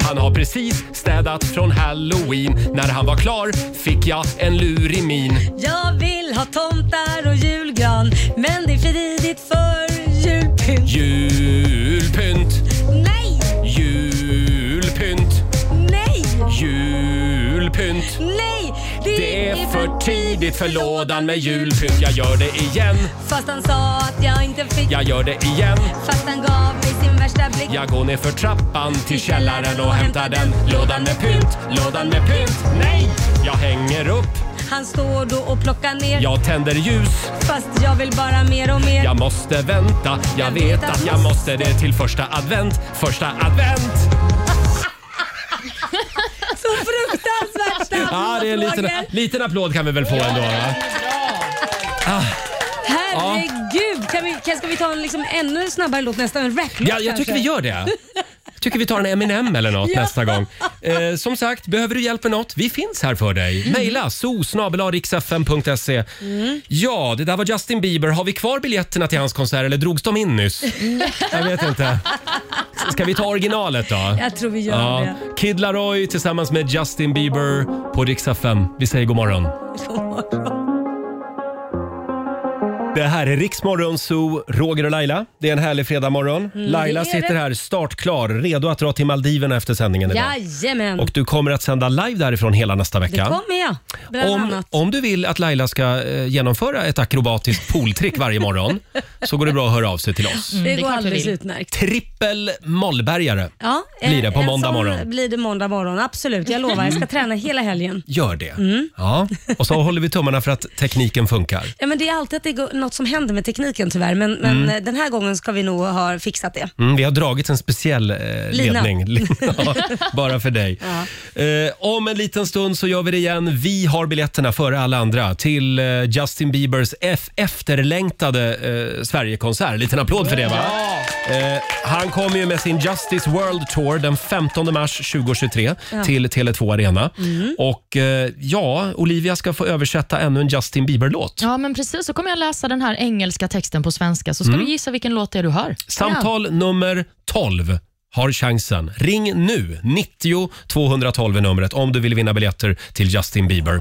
Speaker 1: Han har precis städat från halloween. När han var klar fick jag en lurig min.
Speaker 2: Jag vill ha tomtar och julgran. Men det är för tidigt för julpynt.
Speaker 1: Julpynt,
Speaker 2: Nej,
Speaker 1: julpynt,
Speaker 2: nej,
Speaker 1: julpynt.
Speaker 2: nej. Det,
Speaker 1: Det är för tidigt för lådan med julpynt. Jag gör det igen,
Speaker 2: Fast han sa att jag inte fick.
Speaker 1: jag gör det igen.
Speaker 2: Fast han gav mig sin värsta blick.
Speaker 1: Jag går ner för trappan till källaren och hämtar den. Lådan med pynt, lådan med pynt. Nej! Jag hänger upp,
Speaker 2: Han står då och plockar ner.
Speaker 1: jag tänder ljus.
Speaker 2: Fast jag vill bara mer och mer.
Speaker 1: Jag måste vänta, jag vet att jag måste det till första advent. Första advent!
Speaker 2: Så fruktansvärt snabbt.
Speaker 1: Ja, det är en liten,
Speaker 2: Roger.
Speaker 1: liten applåd kan vi väl få ändå. Va? Ah.
Speaker 2: Herregud! Kan vi, kan, ska vi ta en liksom ännu snabbare låt nästa? En raplåt
Speaker 1: Ja, jag tycker vi gör det. Jag tycker vi tar en Eminem eller något
Speaker 2: Ja.
Speaker 1: nästa gång. Eh, som sagt, behöver du hjälp med något? Vi finns här för
Speaker 2: Mm.
Speaker 1: dig. Mejla so.riksfm.se.
Speaker 7: Mm.
Speaker 1: Ja, det där var Justin Bieber. Har vi kvar biljetterna till hans konsert eller drogs de in nyss? Jag vet inte. Ska vi ta originalet då?
Speaker 2: Jag tror vi gör det.
Speaker 1: Kid Laroi tillsammans med Justin Bieber på riksdag 5. Vi säger god morgon. Det här är Riksmorgon Zoo, Roger och Laila. Det är en härlig fredagmorgon.
Speaker 2: Mm,
Speaker 1: Laila
Speaker 2: det är
Speaker 1: sitter
Speaker 2: det.
Speaker 1: här startklar, redo att dra till Maldiverna efter sändningen idag.
Speaker 2: Jajamän.
Speaker 1: Och du kommer att sända live därifrån hela nästa
Speaker 2: Mm. Det
Speaker 1: vecka.
Speaker 2: kommer jag. Bland
Speaker 1: Om,
Speaker 2: annat.
Speaker 1: om du vill att Laila ska eh, genomföra ett akrobatiskt pooltrick varje morgon så går det bra att höra av sig till oss.
Speaker 2: Mm, det går alldeles utmärkt.
Speaker 1: Trippel mollbergare
Speaker 2: Ja, eh,
Speaker 1: blir det på
Speaker 2: en
Speaker 1: måndag
Speaker 2: sån
Speaker 1: morgon. Mm.
Speaker 2: blir det måndag morgon, absolut. Jag lovar, jag ska träna hela helgen.
Speaker 1: Gör det.
Speaker 2: Mm.
Speaker 1: Ja. Och så håller vi tummarna för att tekniken funkar.
Speaker 2: Ja, men det är alltid att det går, något som händer med tekniken tyvärr, men, men
Speaker 1: Mm.
Speaker 2: eh, den här gången ska vi nog ha fixat det.
Speaker 1: Mm, vi har dragit en speciell eh,
Speaker 2: Lina.
Speaker 1: ledning. Lina, bara för dig. Eh, om en liten stund så gör vi det igen. Vi har biljetterna före alla andra till eh, Justin Biebers F- efterlängtade eh, Sverigekonsert. En liten applåd för det va? Eh, han kommer ju med sin Justice World Tour den 15 mars 2023
Speaker 7: Ja.
Speaker 1: till Tele2 Arena.
Speaker 3: Mm.
Speaker 1: Och eh, ja, Olivia ska få översätta ännu en Justin Bieber-låt.
Speaker 3: Ja, men precis. Så kommer jag läsa den här engelska texten på svenska, så ska
Speaker 1: Mm.
Speaker 3: du gissa vilken låt det är du hör.
Speaker 1: Samtal nummer 12 har chansen. Ring nu! 90 212 är numret om du vill vinna biljetter till Justin Bieber.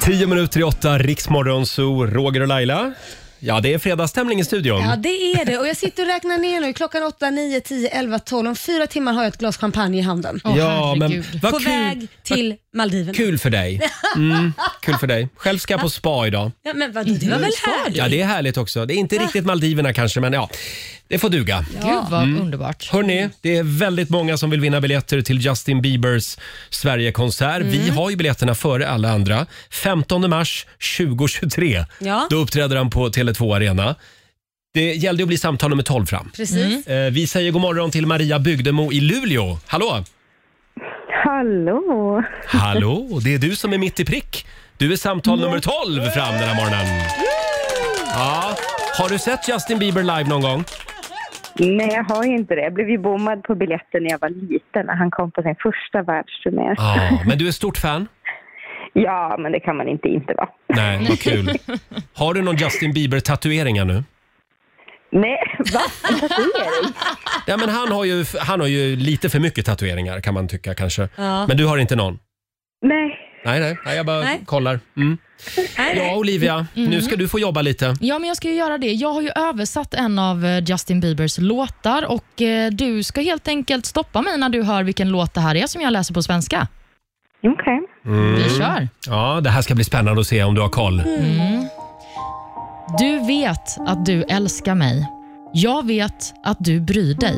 Speaker 1: 10 minuter i åtta, Riksmorgon Zoo, Roger och Laila. Ja, det är fredagsstämning i studion.
Speaker 3: Mm.
Speaker 2: Ja, det är det. Och jag sitter och räknar ner nu. Klockan 8, 9, 10, 11, 12. Om fyra timmar har jag ett glas champagne i handen.
Speaker 1: Åh, Ja, men herregud. vad
Speaker 2: På
Speaker 1: kul.
Speaker 2: väg till Maldiverna.
Speaker 1: Kul för dig. Mm, kul för dig. Själv ska jag på spa idag.
Speaker 2: Ja, men vad, det var väl härligt?
Speaker 1: Ja, det är härligt också. Det är inte riktigt Maldiverna kanske, men ja, det får duga.
Speaker 3: Ja. Gud, vad underbart.
Speaker 1: Hörni, det är väldigt många som vill vinna biljetter till Justin Biebers Sverigekonsert. Vi
Speaker 7: Mm.
Speaker 1: har ju biljetterna före alla andra. 15 mars 2023,
Speaker 7: Ja.
Speaker 1: då uppträder han på Tele2 Arena. Det gällde att bli samtal nummer 12 fram.
Speaker 2: Precis.
Speaker 1: Eh, Vi säger god morgon till Maria Bygdemo i Luleå. Hallå!
Speaker 4: Hallå!
Speaker 1: Hallå, det är du som är mitt i prick. Du är samtal nummer 12 fram den här morgonen. Ja. Har du sett Justin Bieber live någon gång?
Speaker 4: Nej, jag har ju inte det. Jag blev ju bommad på biljetten när jag var liten, när han kom på sin första världsturné.
Speaker 1: Ja, men du är stort fan?
Speaker 4: Ja, men det kan man inte inte vara.
Speaker 1: Nej, vad kul. Har du någon Justin Bieber-tatuering ännu?
Speaker 4: Nej, va? Tatuering?
Speaker 1: Ja, men han har, ju, han har ju lite för mycket tatueringar kan man tycka kanske.
Speaker 4: Ja.
Speaker 1: Men du har inte någon?
Speaker 4: Nej.
Speaker 1: Nej, nej, nej jag bara
Speaker 3: Nej.
Speaker 1: kollar. Mm. Ja, Olivia,
Speaker 3: Mm.
Speaker 1: nu ska du få jobba lite.
Speaker 3: Ja, men jag ska ju göra det. Jag har ju översatt en av eh, Justin Biebers låtar och eh, du ska helt enkelt stoppa mig när du hör vilken låt det här är som jag läser på svenska.
Speaker 4: Okej.
Speaker 3: Vi kör.
Speaker 1: Mm. Ja, det här ska bli spännande att se om du har koll.
Speaker 3: Mm. Du vet att du älskar mig. Jag vet att du bryr dig.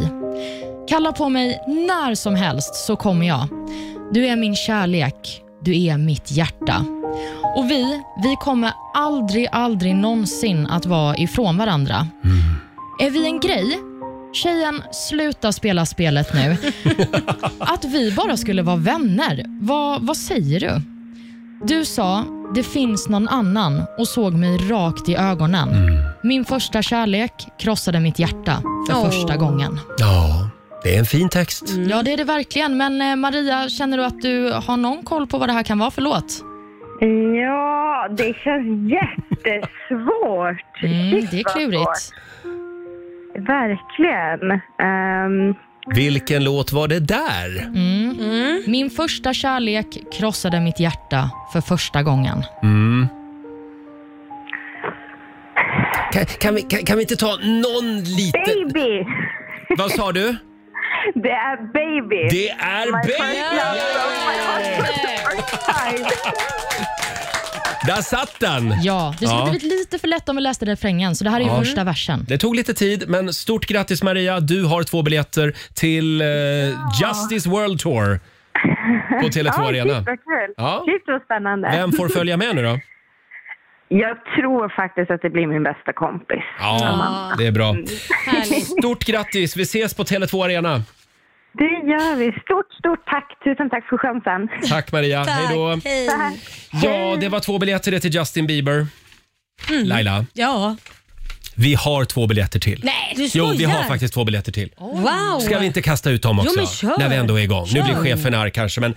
Speaker 3: Kalla på mig när som helst så kommer jag. Du är min kärlek. Du är mitt hjärta. Och vi, vi kommer aldrig, aldrig någonsin att vara ifrån varandra. Är vi en grej? Tjejen, sluta spela spelet nu. Att vi bara skulle vara vänner, vad, vad säger du? Du sa, det finns någon annan och såg mig rakt i ögonen. Min första kärlek krossade mitt hjärta för
Speaker 1: Åh. Mm.
Speaker 3: första gången.
Speaker 1: Ja, det är en fin text.
Speaker 3: Ja, det är det verkligen. Men eh, Maria, känner du att du har någon koll på vad det här kan vara för låt?
Speaker 4: Ja, det känns jättesvårt.
Speaker 3: Mm,
Speaker 4: Shit,
Speaker 3: det är
Speaker 4: vad
Speaker 3: klurigt.
Speaker 4: svårt. Verkligen. Ehm,
Speaker 1: Vilken låt var det där?
Speaker 3: Mm. Min första kärlek krossade mitt hjärta för första gången.
Speaker 1: Mm. Kan, kan, vi, kan, kan vi inte ta någon liten...
Speaker 4: Baby!
Speaker 1: Vad sa du?
Speaker 4: det är baby.
Speaker 1: Det är
Speaker 4: My
Speaker 1: Baby!
Speaker 4: first love of my heart for the first time.
Speaker 1: Där satt den!
Speaker 3: Ja, Det skulle blivit lite för lätt om vi läste refrängen, så det här är ju
Speaker 1: Ja.
Speaker 3: första versen.
Speaker 1: Det tog lite tid, men stort grattis Maria. Du har två biljetter till eh, Justice World Tour på Tele2
Speaker 4: ja,
Speaker 1: Arena.
Speaker 4: Shit vad kul.
Speaker 1: Ja.
Speaker 4: Shit vad spännande.
Speaker 1: Vem får följa med nu då?
Speaker 4: Jag tror faktiskt att det blir min bästa kompis.
Speaker 1: Ja, det är bra.
Speaker 4: Mm.
Speaker 1: Stort grattis! Vi ses på Tele2 Arena.
Speaker 4: Det gör vi. Stort, stort tack. Tusen tack för chansen.
Speaker 1: Tack Maria, hej då. Ja, det var två biljetter det till Justin Bieber.
Speaker 2: Mm.
Speaker 1: Laila,
Speaker 2: Ja.
Speaker 1: vi har två biljetter till.
Speaker 2: Nej, du
Speaker 1: Jo, vi har
Speaker 2: skojar.
Speaker 1: faktiskt två biljetter till.
Speaker 2: Wow.
Speaker 1: Ska vi inte kasta ut dem
Speaker 2: Jo,
Speaker 1: också?
Speaker 2: men kör.
Speaker 1: När vi ändå är igång. Nu
Speaker 2: Kör.
Speaker 1: blir chefen arg kanske, men...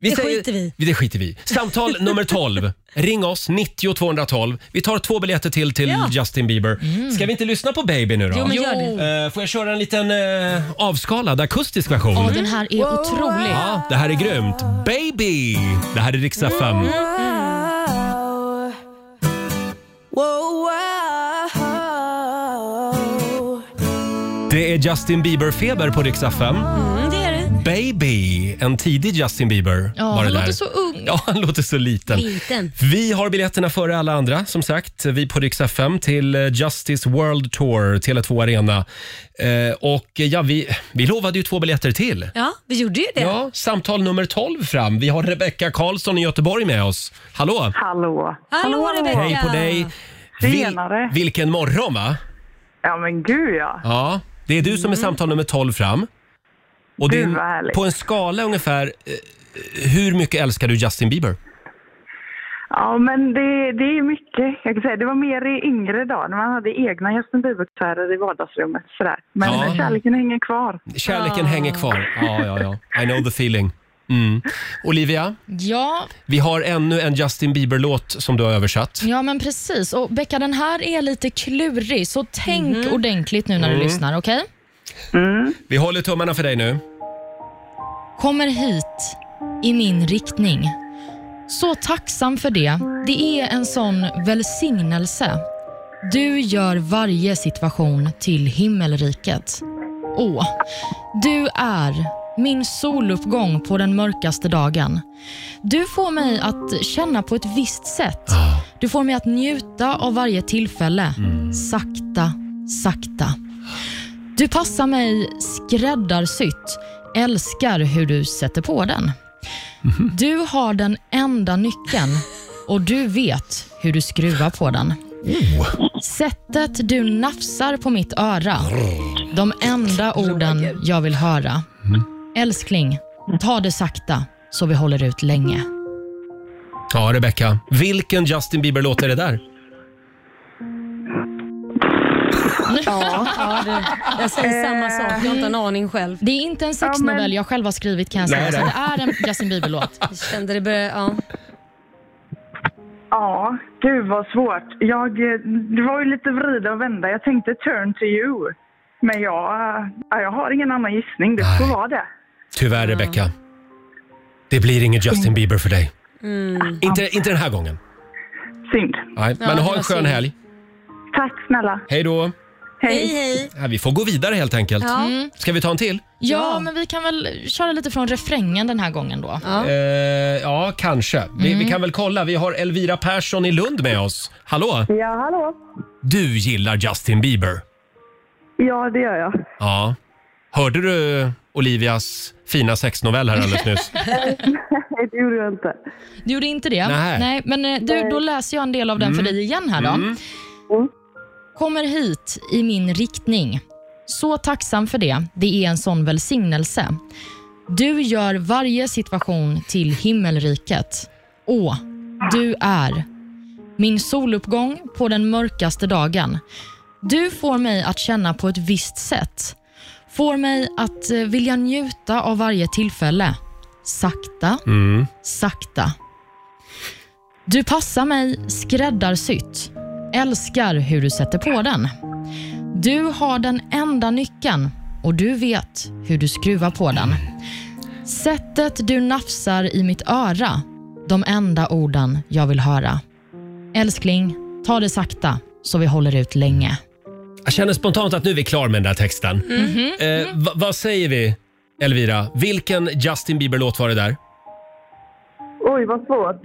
Speaker 1: Vi
Speaker 2: Det skiter vi.
Speaker 1: Det skiter vi i. Samtal nummer 12. Ring oss, 90 212. Vi tar två biljetter till till
Speaker 2: Ja. Mm.
Speaker 1: Justin Bieber. Ska vi inte lyssna på Baby nu då?
Speaker 2: Jo, men gör det.
Speaker 1: Eh, Får jag köra en liten eh, avskalad akustisk version?
Speaker 3: Ja, den här är otrolig.
Speaker 1: Mm. Ja, det här är grymt. Baby! Det här är riksdag 5.
Speaker 2: Mm.
Speaker 1: Det är Justin Bieber-feber på riksdag 5.
Speaker 2: Mm, det är det.
Speaker 1: Baby, en tidig Justin Bieber
Speaker 2: Ja,
Speaker 1: var det
Speaker 2: han
Speaker 1: där.
Speaker 2: låter så ung.
Speaker 1: Ja, han låter så liten.
Speaker 2: Liten.
Speaker 1: Vi har biljetterna före alla andra, som sagt. Vi på Rix FM till eh, Justice World Tour, Tele2 Arena. Eh, och eh, ja, vi, vi lovade ju två biljetter till.
Speaker 2: Ja, vi gjorde ju det.
Speaker 1: Ja, samtal nummer 12 fram. Vi har Rebecka Karlsson i Göteborg med oss. Hallå!
Speaker 4: Hallå!
Speaker 2: Hallå, Rebecka.
Speaker 1: Hej på dig!
Speaker 4: Tjenare.
Speaker 1: vilken morgon, va?
Speaker 4: Ja men gud ja.
Speaker 1: Ja, det är du som är samtal nummer 12 fram. Och
Speaker 4: Mm. Gud,
Speaker 1: din,
Speaker 4: vad härligt.
Speaker 1: på en skala ungefär, eh, hur mycket älskar du Justin Bieber?
Speaker 4: Ja men det, det är mycket. Jag kan säga, det var mer i yngre dagar när man hade egna Justin Bieber-konserter i vardagsrummet. Sådär. Men
Speaker 1: Ja.
Speaker 4: kärleken hänger kvar.
Speaker 1: Kärleken hänger kvar. Ja, ja, ja. I know the feeling. Mm. Olivia,
Speaker 3: Ja,
Speaker 1: vi har ännu en Justin Bieber-låt som du har översatt.
Speaker 3: Ja, men precis. Och Becka, den här är lite klurig, så tänk ordentligt nu när du
Speaker 1: Mm.
Speaker 3: lyssnar. okej?
Speaker 4: Mm.
Speaker 1: Vi håller tummarna för dig nu.
Speaker 3: Kommer hit i min riktning. Så tacksam för det. Det är en sån välsignelse. Du gör varje situation till himmelriket. Åh, du är min soluppgång på den mörkaste dagen. Du får mig att känna på ett visst sätt. Du får mig att njuta av varje tillfälle. Sakta, sakta. Du passar mig skräddarsytt. Älskar hur du sätter på den. Du har den enda nyckeln och du vet hur du skruvar på den. Sättet du nafsar på mitt öra. De enda orden jag vill höra. Älskling, ta det sakta så vi håller ut länge.
Speaker 1: Ja, Rebecca. Vilken Justin Bieber-låt är det där?
Speaker 2: Ja, ja det, jag säger samma sak. Jag har inte en aning själv.
Speaker 3: Eh, Det är inte en sexnovell jag själv har skrivit kan jag
Speaker 2: Nej,
Speaker 3: säga, så
Speaker 2: nej.
Speaker 3: det är en Justin Bieber-låt.
Speaker 2: Jag kände det började, ja.
Speaker 4: Ja, gud vad svårt. Jag, eh, det var ju lite vrida och vända. Jag tänkte turn to you. Men jag, eh, ja, jag har ingen annan gissning. Det får vara det.
Speaker 1: Tyvärr, Rebecca. Det blir ingen Justin
Speaker 4: Mm.
Speaker 1: Bieber för dig.
Speaker 2: Mm.
Speaker 1: Inte, inte den här gången.
Speaker 4: Synd.
Speaker 1: Nej,
Speaker 4: Ja,
Speaker 1: men
Speaker 4: det
Speaker 1: ha
Speaker 4: var
Speaker 1: en skön
Speaker 4: synd.
Speaker 1: helg.
Speaker 4: Tack snälla.
Speaker 1: Hej då.
Speaker 4: Hej.
Speaker 2: hej.
Speaker 1: Ja, vi får gå vidare helt enkelt.
Speaker 3: Ja. Mm.
Speaker 1: Ska vi ta en till?
Speaker 3: Ja, men vi kan väl köra lite från refrängen den här gången då.
Speaker 1: Ja, eh, ja kanske. Vi,
Speaker 3: Mm.
Speaker 1: vi kan väl kolla. Vi har Elvira Persson i Lund med oss. Hallå!
Speaker 4: Ja, hallå.
Speaker 1: Du gillar Justin Bieber.
Speaker 4: Ja, det gör jag.
Speaker 1: Ja. Hörde du Olivias fina sexnovell här alldeles nyss?
Speaker 4: Nej, det gjorde jag inte.
Speaker 3: Du gjorde inte det?
Speaker 1: Nej.
Speaker 3: men eh, du, då läser jag en del av den för dig igen här då.
Speaker 1: Mm.
Speaker 3: Kommer hit i min riktning. Så tacksam för det. Det är en sån välsignelse. Du gör varje situation till himmelriket. Åh, du är min soluppgång på den mörkaste dagen. Du får mig att känna på ett visst sätt. Får mig att eh, vilja njuta av varje tillfälle. Sakta,
Speaker 7: Mm.
Speaker 3: sakta. Du passar mig skräddarsytt. Älskar hur du sätter på den. Du har den enda nyckeln och du vet hur du skruvar på den. Sättet du nafsar i mitt öra, de enda orden jag vill höra. Älskling, ta det sakta så vi håller ut länge.
Speaker 1: Jag känner spontant att nu är vi klar med den där texten.
Speaker 3: Mhm.
Speaker 1: Eh, va- vad säger vi, Elvira? Vilken Justin Bieber-låt var det där?
Speaker 4: Oj, vad svårt.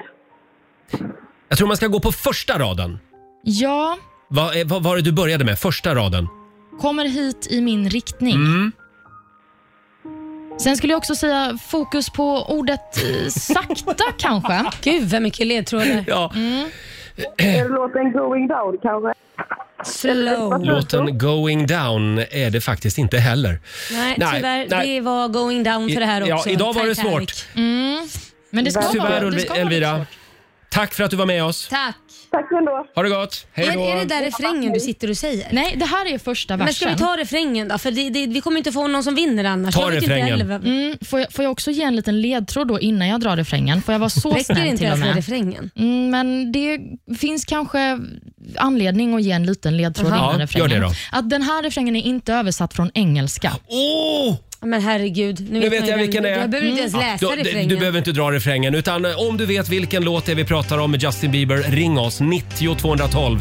Speaker 1: Jag tror man ska gå på första raden.
Speaker 3: Ja,
Speaker 1: Vad eh, vad var det du började med? Första raden?
Speaker 3: kommer hit i min riktning.
Speaker 1: Mm.
Speaker 3: Sen skulle jag också säga fokus på ordet eh, sakta kanske.
Speaker 2: Gud vad mycket ledtrådar.
Speaker 1: Ja.
Speaker 2: Mm.
Speaker 4: Är det låten Going Down kanske?
Speaker 2: Slow.
Speaker 1: Låten Going Down är det faktiskt inte heller.
Speaker 2: Nej,
Speaker 1: Nej,
Speaker 2: tyvärr.
Speaker 1: nej.
Speaker 2: Det var going down för det här
Speaker 1: I- ja,
Speaker 2: också.
Speaker 1: idag var det
Speaker 2: Titanic.
Speaker 3: Mm. Men det ska
Speaker 1: Tyvärr eh,
Speaker 3: vara, det
Speaker 1: Ulvi-
Speaker 3: ska vara
Speaker 1: Elvira. Tack för att du var med oss.
Speaker 2: Tack.
Speaker 4: Tack ändå.
Speaker 1: Ha det gott. Hej då.
Speaker 2: Är, är det där refrängen du sitter och säger?
Speaker 3: Nej, det här är första
Speaker 2: Men ska vi
Speaker 3: versen.
Speaker 2: ta refrängen då? För det, det, vi kommer inte få någon som vinner annars.
Speaker 1: Ta
Speaker 2: Jag vet inte
Speaker 1: refrängen.
Speaker 2: heller vad-
Speaker 3: Mm, får, jag, får jag också ge en liten ledtråd då innan jag drar refrängen? Får jag vara så
Speaker 2: Räcker
Speaker 3: snäll
Speaker 2: det inte
Speaker 3: till och
Speaker 2: ens med
Speaker 3: med?
Speaker 2: refrängen?
Speaker 3: Mm, men det finns kanske anledning att ge en liten ledtråd
Speaker 2: Aha.
Speaker 3: innan
Speaker 1: Ja,
Speaker 3: refrängen.
Speaker 1: gör det då.
Speaker 3: Att den här refrängen är inte översatt från engelska.
Speaker 1: Åh!
Speaker 2: Men herregud. Nu,
Speaker 1: Nu
Speaker 2: man
Speaker 1: vet
Speaker 2: ju
Speaker 1: jag
Speaker 2: vem-
Speaker 1: vilken det är. Mm.
Speaker 2: Jag behöver inte ens
Speaker 1: Ja,
Speaker 2: läsa
Speaker 1: du- du,
Speaker 2: refrängen.
Speaker 1: du behöver inte dra refrängen. Utan eh, om du vet vilken låt det är vi pratar om med Justin Bieber, ring oss. 90 212.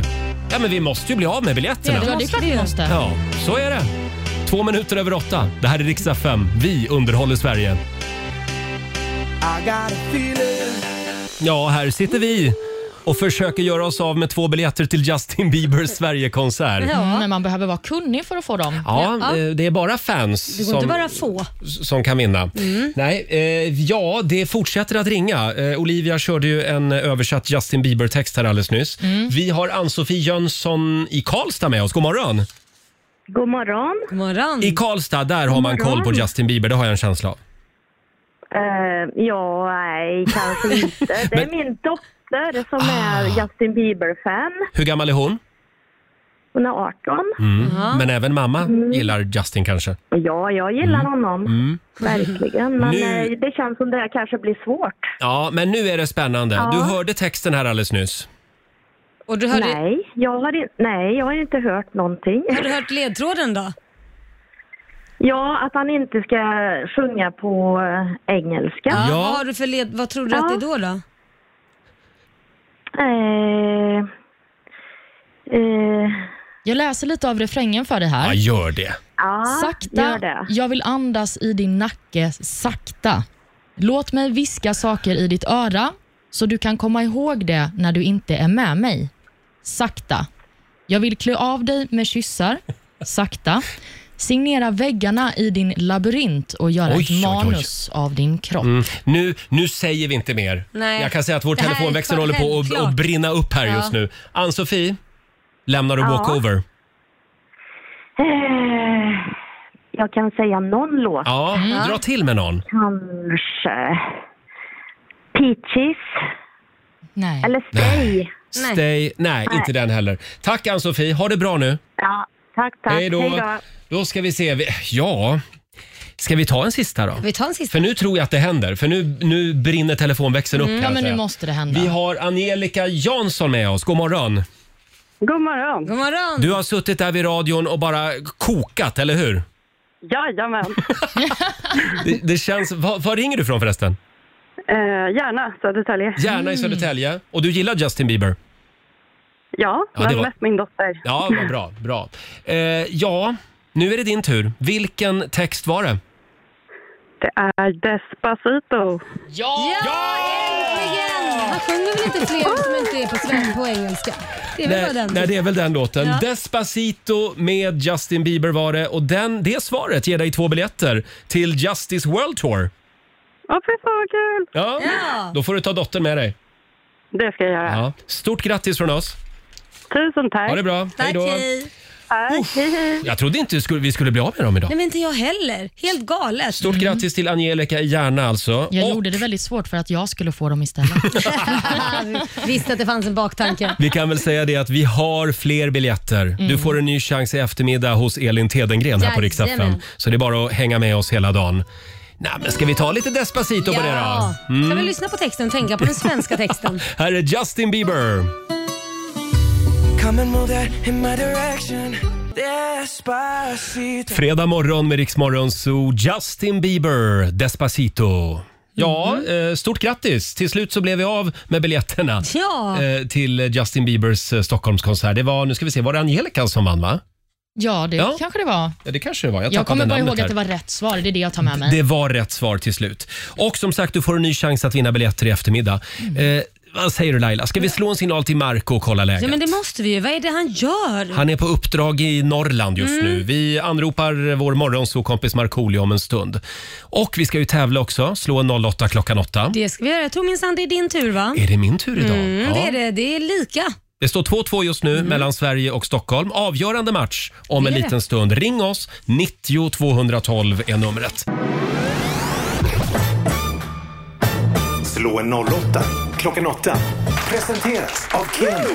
Speaker 1: Ja, men vi måste ju bli av med biljetterna.
Speaker 3: Ja, det är klart vi måste.
Speaker 1: Ja, så är det. Två minuter över åtta. Det här är riksdag 5. Vi underhåller Sverige. Ja, här sitter vi och försöker göra oss av med två biljetter till Justin Biebers Sverigekonsert.
Speaker 3: Mm, Men man behöver vara kunnig för att få dem.
Speaker 1: Ja, eh, det är bara fans
Speaker 2: Det går
Speaker 1: som,
Speaker 2: inte bara Mm. få.
Speaker 1: som kan vinna. Nej, eh, ja, det fortsätter att ringa. Eh, Olivia körde ju en översatt Justin Bieber-text här alldeles nyss.
Speaker 2: Mm.
Speaker 1: Vi har Ann-Sofie Jönsson i Karlstad med oss. God morgon!
Speaker 13: God morgon.
Speaker 2: God morgon.
Speaker 1: I Karlstad, där har man koll på Justin Bieber, det har jag en känsla av.
Speaker 13: Eh, ja, nej, kanske inte. Det är min dotter som är
Speaker 1: Ah.
Speaker 13: Justin Bieber-fan.
Speaker 1: Hur gammal är hon?
Speaker 13: Hon är 18.
Speaker 1: Mm. Men även mamma gillar Justin kanske?
Speaker 13: Ja, jag gillar honom.
Speaker 1: Mm.
Speaker 13: Verkligen. Men
Speaker 1: Nu-
Speaker 13: eh, det känns som det här kanske blir svårt.
Speaker 1: Ja, men nu är det spännande.
Speaker 13: Ja.
Speaker 1: Du hörde texten här alldeles nyss.
Speaker 2: Och du hörde-
Speaker 13: nej, jag har in... nej, jag har inte hört någonting.
Speaker 2: Har du hört ledtråden då?
Speaker 13: Ja, att han inte ska sjunga på eh, engelska.
Speaker 2: Ja. Vad, har du för led, vad tror du att det är då? då?
Speaker 13: Eh, eh,
Speaker 3: Jag läser lite av refrängen för dig här.
Speaker 1: Ja, gör det.
Speaker 13: ja, gör
Speaker 3: Sakta,
Speaker 13: det.
Speaker 3: jag vill andas i din nacke sakta. Låt mig viska saker i ditt öra så du kan komma ihåg det när du inte är med mig. Sakta. Jag vill klä av dig med kyssar. Sakta. Signera väggarna i din labyrint och göra
Speaker 1: Oj,
Speaker 3: ett
Speaker 1: oj, oj.
Speaker 3: manus av din kropp.
Speaker 1: Mm. Nu, nu säger vi inte mer.
Speaker 3: Nej.
Speaker 1: Jag kan säga att vår
Speaker 3: Det här är
Speaker 1: telefonväxel
Speaker 3: för-
Speaker 1: håller på att-
Speaker 3: självklart.
Speaker 1: att brinna upp här
Speaker 3: Ja.
Speaker 1: just nu. Ann-Sofie, lämnar du
Speaker 13: Ja.
Speaker 1: walkover?
Speaker 13: Eh, jag kan säga någon låt.
Speaker 1: Ja, dra till med någon.
Speaker 13: Kanske. Peaches.
Speaker 3: Nej.
Speaker 13: Eller Stay.
Speaker 1: Stay. Nej,
Speaker 13: Nej.
Speaker 1: inte den heller. Tack Ann-Sofie, ha det bra nu.
Speaker 13: Ja, tack, tack.
Speaker 1: Hej då. Då ska vi se. Vi- Ja, ska vi ta en sista då?
Speaker 2: Vi tar en sista.
Speaker 1: För nu tror jag att det händer, för nu, nu brinner telefonväxeln upp. kan
Speaker 3: Mm. Ja,
Speaker 1: jag
Speaker 3: men nu
Speaker 1: säga.
Speaker 3: måste det hända.
Speaker 1: Vi har Angelica Jansson med oss. God morgon.
Speaker 14: God morgon.
Speaker 2: God morgon.
Speaker 1: Du har suttit där vid radion och bara kokat, eller hur?
Speaker 14: Jajamän.
Speaker 1: Det, det känns... Var, var ringer du från förresten?
Speaker 13: Eh, gärna Södertälje.
Speaker 2: Mm.
Speaker 1: Gärna i Södertälje. Och du gillar Justin Bieber?
Speaker 13: Ja,
Speaker 1: Ja, det
Speaker 13: men
Speaker 1: var-
Speaker 13: mest min dotter.
Speaker 1: Ja,
Speaker 2: Mm.
Speaker 1: vad bra. bra. Eh, ja, nu är det din tur. Vilken text var det?
Speaker 13: Det är Despacito.
Speaker 3: Ja!
Speaker 7: Äntligen!
Speaker 2: Han sjunger väl inte fler som inte är på, sven- på engelska? Det är väl bara
Speaker 1: Nej,
Speaker 2: den?
Speaker 1: nej, det är väl den låten.
Speaker 2: Ja.
Speaker 1: Despacito med Justin Bieber var det. Och den, det svaret ger dig två biljetter till Justice World Tour.
Speaker 13: Åh, fy fan vad kul!
Speaker 1: Ja. Då får du ta dottern med dig.
Speaker 13: Det ska jag göra.
Speaker 1: Ja. Stort grattis från oss.
Speaker 13: Tusen tack.
Speaker 1: Ha det bra. Hej då.
Speaker 13: Tack, hej, hej.
Speaker 1: Jag trodde inte skulle- vi skulle bli av med dem idag.
Speaker 2: Nej men inte jag heller. Helt galet.
Speaker 1: Stort grattis till Angelica i Järna alltså.
Speaker 3: Jag
Speaker 1: Och
Speaker 3: gjorde det väldigt svårt för att jag skulle få dem istället.
Speaker 2: Visste att det fanns en baktanke.
Speaker 1: vi kan väl säga det att vi har fler biljetter.
Speaker 2: Mm.
Speaker 1: Du får en ny chans i eftermiddag hos Elin Tedengren här på Rix FM.
Speaker 2: Jajamän.
Speaker 1: Så det är bara att hänga med oss hela dagen. Nej, men ska vi ta lite Despacito på det
Speaker 2: Ja.
Speaker 1: då? Mm.
Speaker 2: Kan vi lyssna på texten och tänka på den svenska texten?
Speaker 1: Här är Justin Bieber.
Speaker 7: Come and move that in my direction. Despacito.
Speaker 1: Fredag morgon med Riksmorgon Zoo. Justin Bieber, Despacito. Ja,
Speaker 2: Mm.
Speaker 1: eh, stort grattis! Till slut så blev vi av med biljetterna
Speaker 2: Ja.
Speaker 1: eh, till Justin Biebers eh, Stockholmskonsert. Det var, nu ska vi se, var det Angelica som vann va?
Speaker 3: Ja, det
Speaker 1: Ja.
Speaker 3: kanske det var.
Speaker 1: Ja, det kanske det var. Jag,
Speaker 3: Jag,
Speaker 1: tappade
Speaker 3: kommer bara
Speaker 1: namnet
Speaker 3: ihåg
Speaker 1: här.
Speaker 3: att det var rätt svar. Det är det jag tar med mig.
Speaker 1: Det var rätt svar till slut. Och som sagt, du får en ny chans att vinna biljetter i eftermiddag. Eh, vad säger du Laila? Ska vi slå en signal till Marco och kolla läget?
Speaker 2: Mm. Ja men det måste vi ju. Vad är det han gör?
Speaker 1: Han är på uppdrag i Norrland just
Speaker 2: Mm.
Speaker 1: nu. Vi anropar vår morgonsåkompis Markoolio om en stund. Och vi ska ju tävla också. Slå en 08 klockan 8.
Speaker 2: Det ska vi göra. Jag tror minsann det är din tur va?
Speaker 1: Är det min tur idag?
Speaker 2: Mm,
Speaker 1: Ja.
Speaker 2: det, är det. det är lika.
Speaker 1: Det står 2-2 just nu
Speaker 2: Mm.
Speaker 1: mellan Sverige och Stockholm. Avgörande match om
Speaker 2: Det
Speaker 1: en
Speaker 2: är det.
Speaker 1: liten stund. Ring oss. 90 212 är numret.
Speaker 14: Slå en 08 klockan 8. Presenteras av Keno.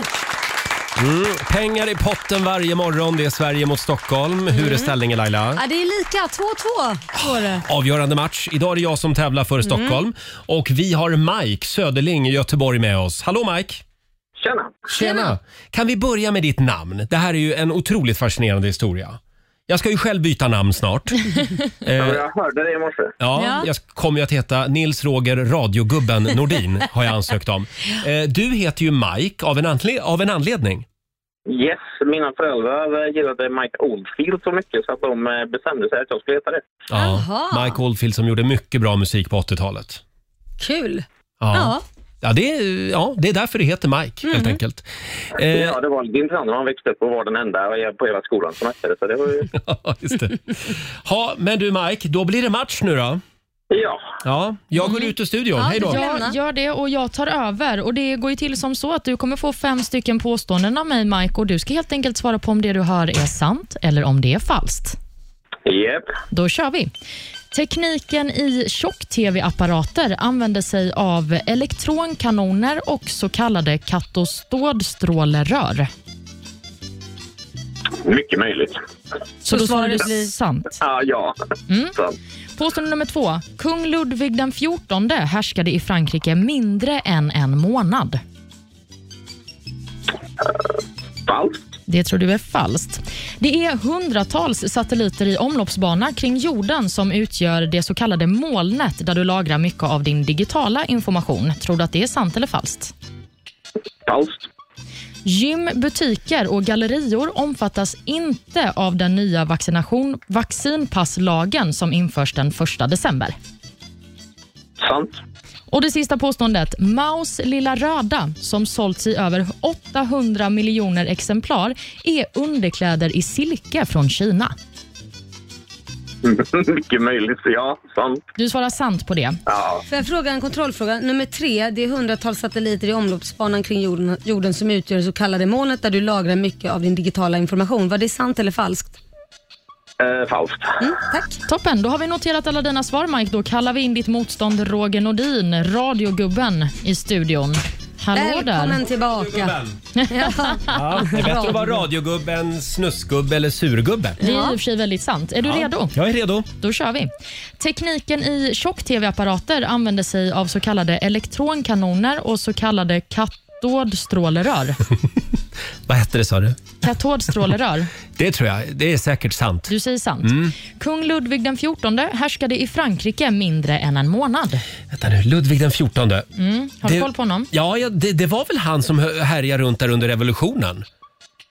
Speaker 1: Mm. Pengar i potten varje morgon. Det är Sverige mot Stockholm. Hur är
Speaker 2: Mm.
Speaker 1: ställningen Laila?
Speaker 2: Ja, det är lika. 2-2 står det.
Speaker 1: Avgörande match. Idag är det jag som tävlar för
Speaker 2: Mm.
Speaker 1: Stockholm. Och vi har Mike Söderling i Göteborg med oss. Hallå Mike!
Speaker 15: Tjena!
Speaker 1: Tjena! Kan vi börja med ditt namn? Det här är ju en otroligt fascinerande historia. Jag ska ju själv byta namn snart. Eh,
Speaker 15: Ja, men jag hörde det i morse.
Speaker 1: ja, jag kommer ju att heta Nils Roger Radiogubben Nordin, har jag ansökt om. Eh, Du heter ju Mike av en, anle- av en anledning.
Speaker 15: Yes, mina föräldrar gillade Mike Oldfield så mycket så att de eh, bestämde sig att jag skulle heta det.
Speaker 1: Ja,
Speaker 2: Jaha.
Speaker 1: Mike Oldfield som gjorde mycket bra musik på 80-talet.
Speaker 2: Kul.
Speaker 1: Ja.
Speaker 2: Ja.
Speaker 1: Ja, det är, ja, det är därför det heter Mike, helt
Speaker 2: Mhm.
Speaker 1: enkelt. Eh,
Speaker 15: Ja, det var din granne han växte upp och var den enda på hela skolan som hette det. Så det var ju...
Speaker 1: Ja, just det. Ha, men du Mike, då blir det match nu då.
Speaker 15: Ja.
Speaker 1: Ja, jag går ut ur studion. Hej då.
Speaker 3: Mm. Ja, gör det och jag tar över. Och Det går ju till som så att du kommer få fem stycken påståenden av mig, Mike, och du ska helt enkelt svara på om det du hör är sant eller om det är falskt.
Speaker 15: Yep.
Speaker 3: Då kör vi. Tekniken i tjock-tv-apparater använder sig av elektronkanoner och så kallade katostådstrålerör.
Speaker 15: Mycket möjligt.
Speaker 3: Så då svarar du sant. Mm.
Speaker 15: Ja, ja. Sant.
Speaker 3: Påstående nummer två. Kung Ludvig den XIV härskade i Frankrike mindre än en månad.
Speaker 15: Falskt.
Speaker 3: Det tror du är falskt. Det är hundratals satelliter i omloppsbana kring jorden som utgör det så kallade molnet där du lagrar mycket av din digitala information. Tror du att det är sant eller falskt?
Speaker 15: Falskt.
Speaker 3: Gym, butiker och gallerior omfattas inte av den nya vaccination, vaccinpasslagen som införs den 1 december.
Speaker 15: Sant.
Speaker 3: Och det sista påståendet. Maus lilla röda, som sålts i över 800 miljoner exemplar, är underkläder i silke från Kina.
Speaker 15: Mycket möjligt. Ja, sant.
Speaker 3: Du svarar sant på det.
Speaker 15: Ja.
Speaker 2: Får jag fråga en kontrollfråga? Nummer tre, det är hundratals satelliter i omloppsbanan kring jorden, jorden som utgör det så kallade molnet där du lagrar mycket av din digitala information. Var det sant eller falskt?
Speaker 15: Eh, falskt.
Speaker 2: Mm,
Speaker 3: Tack. Toppen, då har vi noterat alla dina svar Mike. Då kallar vi in ditt motstånd Roger Nordin, radiogubben, i studion. Hallå
Speaker 2: Välkommen
Speaker 3: där.
Speaker 2: tillbaka. Ja.
Speaker 1: Ja, det är bättre att vara radiogubbe än snuskgubbe eller surgubbe.
Speaker 3: Det är i och för sig väldigt sant. Är du
Speaker 1: Ja,
Speaker 3: redo?
Speaker 1: Jag är redo.
Speaker 3: Då kör vi. Tekniken i tjock-tv-apparater använder sig av så kallade elektronkanoner och så kallade katodstrålerör.
Speaker 1: Vad hette det sa du?
Speaker 3: Katodstrålerör.
Speaker 1: Det tror jag. Det är säkert sant.
Speaker 3: Du säger sant.
Speaker 1: Mm.
Speaker 3: Kung Ludvig den XIV härskade i Frankrike mindre än en månad.
Speaker 1: Vänta nu, Ludvig den XIV.
Speaker 3: Mm. Har du
Speaker 1: Det-
Speaker 3: koll på honom?
Speaker 1: Ja, ja det, det var väl han som hö- härjade runt där under revolutionen.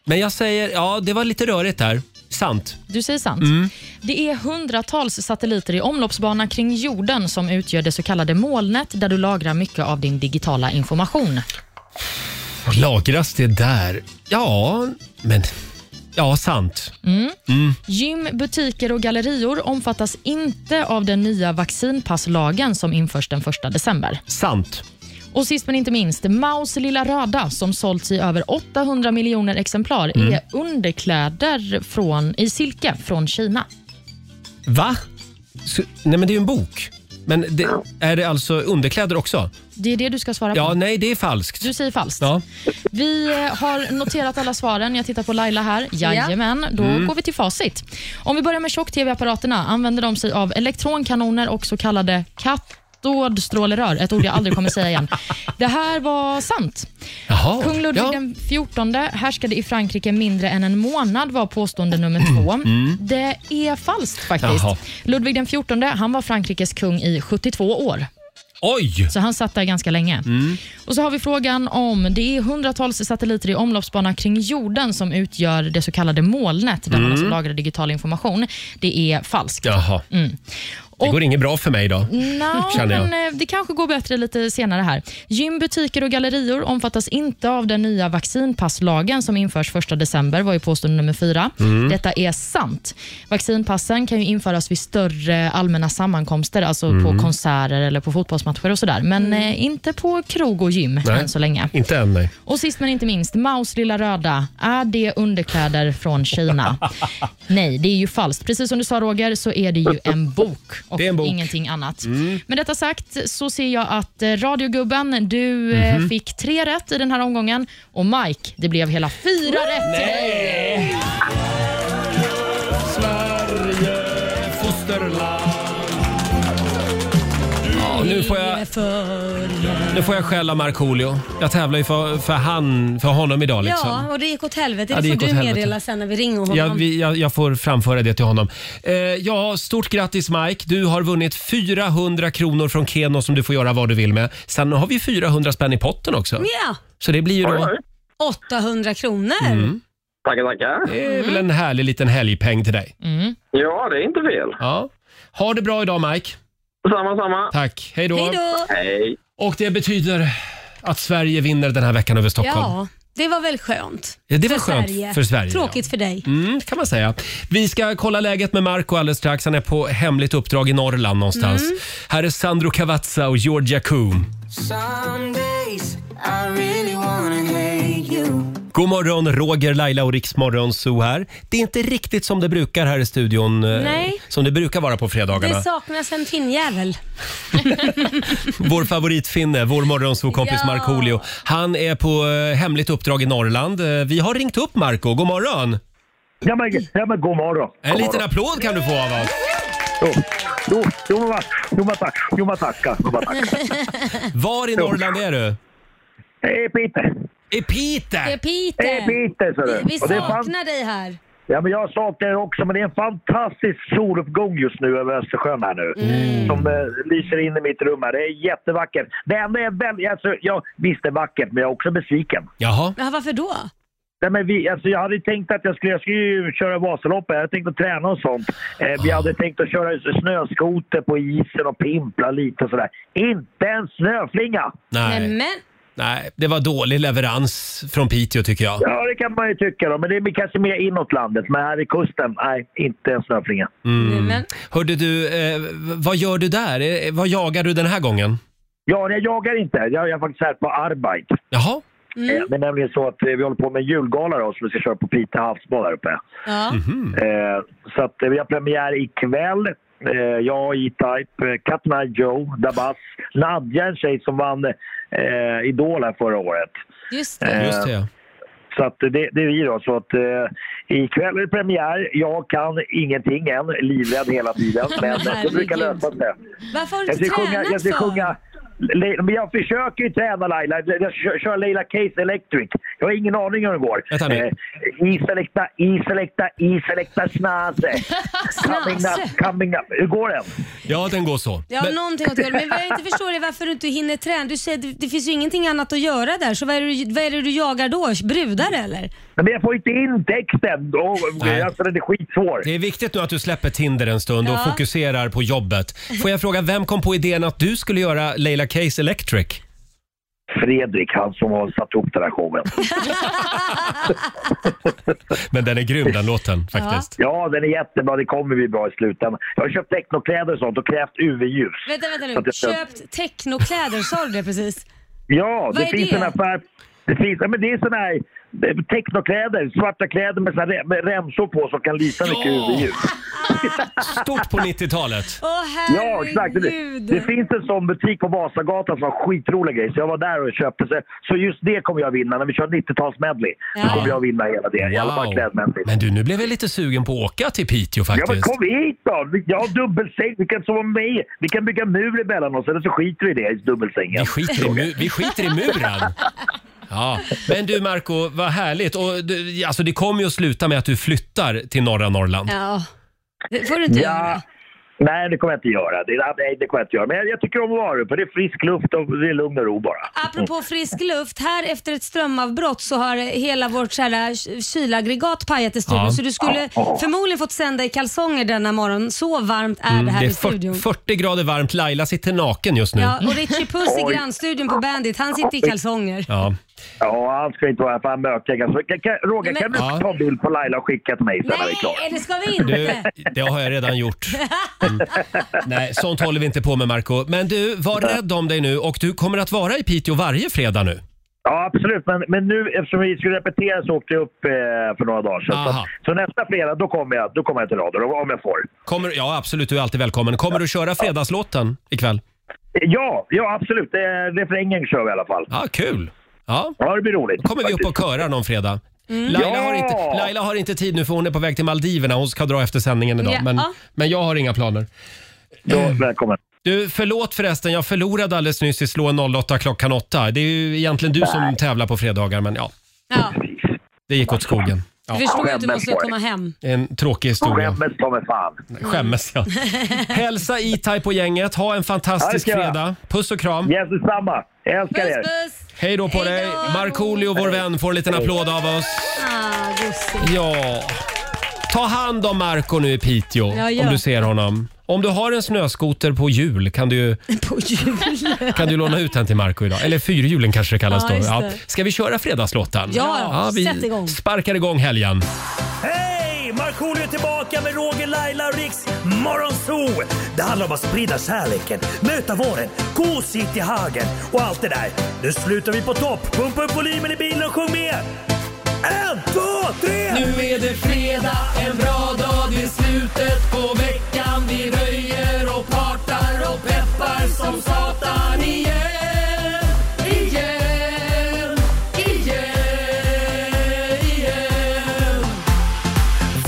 Speaker 1: Men jag säger, ja det var lite rörigt där. Sant.
Speaker 3: Du säger sant.
Speaker 1: Mm.
Speaker 3: Det är hundratals satelliter i omloppsbana kring jorden som utgör det så kallade molnet där du lagrar mycket av din digitala information.
Speaker 1: Lagras det där? Ja, men... Ja, sant.
Speaker 3: Mm.
Speaker 1: Mm.
Speaker 3: Gym, butiker och gallerior omfattas inte av den nya vaccinpasslagen som införs den 1 december.
Speaker 1: Sant.
Speaker 3: Och sist men inte minst, Maus lilla röda som sålts i över 800 miljoner exemplar
Speaker 1: Mm.
Speaker 3: är underkläder från, i silke från Kina.
Speaker 1: Va? Så, nej, men det är ju en bok. Men det, är det alltså underkläder också?
Speaker 3: Det är det du ska svara
Speaker 1: Ja,
Speaker 3: på.
Speaker 1: nej, det är falskt.
Speaker 3: Du säger falskt.
Speaker 1: Ja.
Speaker 3: Vi eh, har noterat alla svaren. Jag tittar på Laila här. Jajamän, då
Speaker 1: Mm.
Speaker 3: går vi till facit. Om vi börjar med tjock-tv-apparaterna använder de sig av elektronkanoner och så kallade katodstrålerör. Ett ord jag aldrig kommer säga igen. Det här var sant.
Speaker 1: Jaha,
Speaker 3: Kung Ludvig
Speaker 1: ja.
Speaker 3: den XIV härskade i Frankrike mindre än en månad var påstående nummer två.
Speaker 1: Mm.
Speaker 3: Det är falskt faktiskt.
Speaker 1: Jaha.
Speaker 3: Ludvig den XIV han var Frankrikes kung i 72 år.
Speaker 1: Oj!
Speaker 3: Så han satt där ganska länge.
Speaker 1: Mm.
Speaker 3: Och så har vi frågan om det är hundratals satelliter i omloppsbana kring jorden som utgör det så kallade molnet där man
Speaker 1: Mm.
Speaker 3: alltså lagrar digital information. Det är falskt.
Speaker 1: Jaha.
Speaker 3: Mm.
Speaker 1: Det går inget bra för mig idag.
Speaker 3: Nå,
Speaker 1: Känner jag.
Speaker 3: men eh, det kanske går bättre lite senare här. Gym, butiker och gallerior omfattas inte av den nya vaccinpasslagen som införs 1 december, var ju påstående nummer fyra.
Speaker 9: Mm.
Speaker 3: Detta är sant. Vaccinpassen kan ju införas vid större allmänna sammankomster, alltså
Speaker 1: Mm.
Speaker 3: på konserter eller på fotbollsmatcher och sådär, men eh, inte på krog och gym
Speaker 1: Nej.
Speaker 3: än så länge.
Speaker 1: Inte än, nej.
Speaker 3: Och sist men inte minst, Maus lilla röda. Är det underkläder från Kina? Nej, det är ju falskt. Precis som du sa Roger, så är det ju en bok och
Speaker 1: Det är en bok.
Speaker 3: ingenting annat.
Speaker 1: Mm.
Speaker 3: Med detta sagt så ser jag att eh, radiogubben, du eh,
Speaker 1: Mhm.
Speaker 3: fick tre rätt i den här omgången och Mike, det blev hela fyra rätt till dig.
Speaker 1: Sverige, fosterland Ja, nu får jag, nu får jag skälla Markoolio. Jag tävlar ju för, för, han, för honom idag liksom.
Speaker 2: Ja, och det gick åt helvete.
Speaker 1: Ja,
Speaker 2: Det
Speaker 1: det
Speaker 2: får
Speaker 1: gick
Speaker 2: du
Speaker 1: åt helvete.
Speaker 2: meddela sen när vi ringer honom.
Speaker 1: Jag, vi, jag, jag får framföra det till honom. Eh, ja, stort grattis Mike. Du har vunnit 400 kronor från Keno som du får göra vad du vill med. Sen har vi 400 spänn i potten också.
Speaker 2: Ja,
Speaker 1: Så det blir ju då...
Speaker 2: 800 kronor.
Speaker 1: Mm.
Speaker 15: Tackar, tackar.
Speaker 1: Det är väl
Speaker 2: Mm.
Speaker 1: en härlig liten helgpeng till dig.
Speaker 3: Mm.
Speaker 15: Ja, det är inte fel.
Speaker 1: Ja. Ha det bra idag Mike.
Speaker 15: Samma, samma.
Speaker 1: Tack. Hej då.
Speaker 2: Hej då.
Speaker 15: Hej.
Speaker 1: Och det betyder att Sverige vinner den här veckan över Stockholm.
Speaker 2: Ja, det var väl skönt.
Speaker 1: Ja, det var skönt för Sverige, ja.
Speaker 2: Tråkigt för dig.
Speaker 1: Mm, kan man säga. Vi ska kolla läget med Marco alldeles strax. Han är på hemligt uppdrag i Norrland någonstans.
Speaker 7: Mm.
Speaker 1: Här är Sandro Cavazza och Georgia Coom.
Speaker 7: Some days I really wanna hate you.
Speaker 1: God morgon, Roger, Laila och Riksmorgon Zoo här. Det är inte riktigt som det brukar här i studion. eh,
Speaker 2: Nej.
Speaker 1: Som det brukar vara på fredagarna.
Speaker 2: Det saknas en finnjävel.
Speaker 1: Vår favoritfinne, vår morgonsovkompis
Speaker 2: Ja.
Speaker 1: Markoolio. Han är på eh, hemligt uppdrag i Norrland. Eh, Vi har ringt upp Marco. God morgon!
Speaker 16: Ja men, ja, men god morgon.
Speaker 1: En liten applåd kan du få av oss.
Speaker 16: Jo, jo, men va- jo, men tack. Jo, men tacka. Jo, men tacka.
Speaker 1: Var i Norrland är du?
Speaker 16: I Piteå.
Speaker 1: I Piteå?
Speaker 2: Det är Peter.
Speaker 16: I Piteå, ser du.
Speaker 2: Vi
Speaker 16: Eh, Och det är fan-
Speaker 2: saknar dig här.
Speaker 16: Ja, men jag saknar er också, men det är en fantastisk soluppgång just nu över Östersjön här nu.
Speaker 1: Mm.
Speaker 16: Som eh, lyser in i mitt rum här. Det är jättevackert. Det enda är väldigt, alltså, jag, visst det är vackert, men jag är också besviken.
Speaker 1: Jaha.
Speaker 2: Ja, varför då?
Speaker 16: Nej, men vi, alltså, jag hade tänkt att jag skulle, jag skulle ju köra Vasaloppet, jag hade tänkt att träna och sånt. Eh, vi hade tänkt att köra snöskoter på isen och pimpla lite och sådär. Inte en snöflinga!
Speaker 1: Nej.
Speaker 2: Men,
Speaker 1: Nej, det var dålig leverans från Piteå tycker jag.
Speaker 16: Ja, det kan man ju tycka då, men det är kanske mer inåt landet. Men här i kusten, nej, inte en snöflinga.
Speaker 1: Mm. Hörde du, eh, vad gör du där? Eh, vad jagar du den här gången?
Speaker 16: Ja, jag jagar inte. Jag är faktiskt här på Arbeit.
Speaker 1: Jaha.
Speaker 2: Mm.
Speaker 16: Eh, Det är nämligen så att eh, vi håller på med en julgala då, som vi ska köra på Pite havsbad här uppe.
Speaker 2: Ja.
Speaker 16: Eh, så att eh, vi har premiär ikväll. Eh, jag, E-Type, eh, Cut Night Joe, Dabas, Nadja, en tjej som vann eh, Idol här förra året.
Speaker 2: Just
Speaker 16: Eh,
Speaker 7: det.
Speaker 16: Så att eh, det, det är vi då. Så att, eh, ikväll är det premiär. Jag kan ingenting än, livrädd hela tiden. Men eh, det brukar lösa sig.
Speaker 2: varför har du
Speaker 16: Jag
Speaker 2: inte
Speaker 16: ska sjunga,
Speaker 2: tränat
Speaker 16: jag ska
Speaker 2: för?
Speaker 16: sjunga Le- men jag försöker ju träna Laila. Jag kör- kör Leila Case Electric. Jag har ingen aning hur det går. Eh,
Speaker 1: Vänta nu.
Speaker 16: iselekta, iselekta, iselekta snase. Coming up, coming up. Hur går den?
Speaker 1: Ja, den går så.
Speaker 2: Ja, någonting åt golvet. Men vad jag inte förstår är varför du inte hinner träna. Du säger att det finns ju ingenting annat att göra där, så vad är det, du- vad är det du jagar då? Brudar eller?
Speaker 16: Men jag får inte in texten. Oh,
Speaker 1: Nej.
Speaker 16: alltså, den är skitsvår.
Speaker 1: Det är viktigt nu att du släpper Tinder en stund och
Speaker 2: Ja.
Speaker 1: fokuserar på jobbet. Får jag fråga, vem kom på idén att du skulle göra Leila Case Electric?
Speaker 16: Fredrik, han som har satt ihop den här showen.
Speaker 1: Men den är grym den låten faktiskt.
Speaker 16: Ja, den är jättebra. Det kommer bli bra i slutändan. Jag har köpt technokläder och sånt och krävt UV-ljus.
Speaker 2: Vänta, vänta
Speaker 16: Så att
Speaker 2: nu.
Speaker 16: jag ska-
Speaker 2: Köpt technokläder, sa du det precis?
Speaker 16: Ja,
Speaker 2: Vad
Speaker 16: det
Speaker 2: är
Speaker 16: finns
Speaker 2: det?
Speaker 16: en affär. Det, finns, ja, men det är såna här eh, technokläder, svarta kläder med, såna här, med remsor på som kan lysa mycket UV-ljus.
Speaker 1: Stort på 90-talet.
Speaker 2: Åh
Speaker 16: Ja, exakt. Det,
Speaker 2: herregud.
Speaker 16: det finns en sån butik på Vasagatan som har skitroliga grejer. Så jag var där och köpte. Så, så just det kommer jag vinna. När vi kör 90-talsmedley så kommer jag vinna hela det. I alla fall
Speaker 1: Wow.
Speaker 16: klädmässigt.
Speaker 1: Men du, nu blev jag lite sugen på att åka till Piteå
Speaker 16: Ja men
Speaker 1: faktiskt.
Speaker 16: kom hit då! Vi- Jag har dubbelsäng, vi kan sova med Vi kan bygga mur mellan oss, eller så skiter vi i det i dubbelsängen.
Speaker 1: Vi skiter i, mu- vi skiter i muren. Ja. Men du Marco, vad härligt. Och, du, alltså, det kommer ju att sluta med att du flyttar till norra Norrland.
Speaker 2: Ja, det får du inte göra.
Speaker 16: Nej, det kommer jag inte göra. Det, nej, det kommer jag inte göra. Men jag, jag tycker om att vara uppe. Det är frisk luft och det är lugn och ro bara.
Speaker 2: Apropå frisk luft, här efter ett strömavbrott så har hela vårt så här k- kylaggregat pajat i studion.
Speaker 1: Ja.
Speaker 2: Så du skulle
Speaker 1: Ja.
Speaker 2: förmodligen fått sända i kalsonger denna morgon. Så varmt är
Speaker 1: Mm,
Speaker 2: äh, det här
Speaker 1: det är
Speaker 2: i studion.
Speaker 1: 40, 40 grader varmt. Laila sitter naken just nu.
Speaker 2: Ja, och Richie Puss i grannstudion på Bandit, han sitter i kalsonger.
Speaker 1: Ja.
Speaker 16: Ja, han ska inte vara här för han mökar ganska- kan, kan, Roger,
Speaker 2: Men-
Speaker 16: kan du
Speaker 1: Ja.
Speaker 16: ta en bild på Laila och skicka till mig sen när vi är klara?
Speaker 2: Nej, det ska vi
Speaker 1: Du,
Speaker 2: inte.
Speaker 1: det har jag redan gjort. Mm. Nej, sånt håller vi inte på med Marco. Men du, var rädd om dig nu och du kommer att vara i Piteå varje fredag nu.
Speaker 16: Ja, absolut. Men, men nu eftersom vi skulle repetera så åkte jag upp eh, för några dagar sedan. Så,
Speaker 1: Aha.
Speaker 16: att- så nästa fredag, då kommer jag, då kommer jag till radion om jag får.
Speaker 1: Kommer, ja, absolut. Du är alltid välkommen. Kommer du köra fredagslåten ikväll?
Speaker 16: Eh, Ja, ja absolut. Eh, refrängen kör vi i alla fall.
Speaker 1: Ja, kul. Ja.
Speaker 16: ja, det blir roligt. Mm.
Speaker 1: Då kommer vi upp och körar någon fredag.
Speaker 2: Mm.
Speaker 1: Laila, har inte, Laila har inte tid nu för hon är på väg till Maldiverna. Hon ska dra efter sändningen idag.
Speaker 2: Ja.
Speaker 1: Men, men jag har inga planer.
Speaker 16: Då, välkommen.
Speaker 1: Du, förlåt förresten. Jag förlorade alldeles nyss i Slå en 08 klockan 8. Det är ju egentligen du som tävlar på fredagar, men ja.
Speaker 2: Ja.
Speaker 1: Det gick åt skogen. Ja.
Speaker 2: Du förstår ju att du måste komma hem.
Speaker 1: Det är En tråkig historia.
Speaker 16: Skämmes ta mig fan.
Speaker 1: Mm. Skämmes ja. Hälsa E-Type och gänget. Ha en
Speaker 16: Ja, det
Speaker 1: fantastisk
Speaker 16: ska jag.
Speaker 1: fredag. Puss och kram.
Speaker 16: Yes, detsamma. Jag älskar
Speaker 1: Puss,
Speaker 16: er.
Speaker 1: Hej då på dig. Markoolio, vår vän, får en liten applåd av oss.
Speaker 2: Ah, gosigt.
Speaker 1: Ja. Ta hand om Marco nu i Piteå,
Speaker 2: Ja, gör.
Speaker 1: om du ser honom. Om du har en snöskoter på hjul kan du ju
Speaker 2: På jul.
Speaker 1: kan du låna ut den till Marco idag. Eller fyrhjulen kanske det kallas
Speaker 2: Ja,
Speaker 1: då.
Speaker 2: just
Speaker 1: Ja.
Speaker 2: det.
Speaker 1: Ska vi köra fredagslåten?
Speaker 6: Ja,
Speaker 1: vi
Speaker 6: sätt igång.
Speaker 1: sparkar igång helgen.
Speaker 6: Hej! Markoolio är tillbaka med Roger, Laila och Riks Morgonzoo! Det handlar om att sprida kärleken, möta våren, gosigt i hagen och allt det där. Nu slutar vi på topp! Pumpa upp volymen i bilen och sjung med! En, två, tre!
Speaker 7: Nu är det fredag, en bra dag, det är slutet på veckan Vi röjer och partar och peppar som satan igen Igen, igen, igen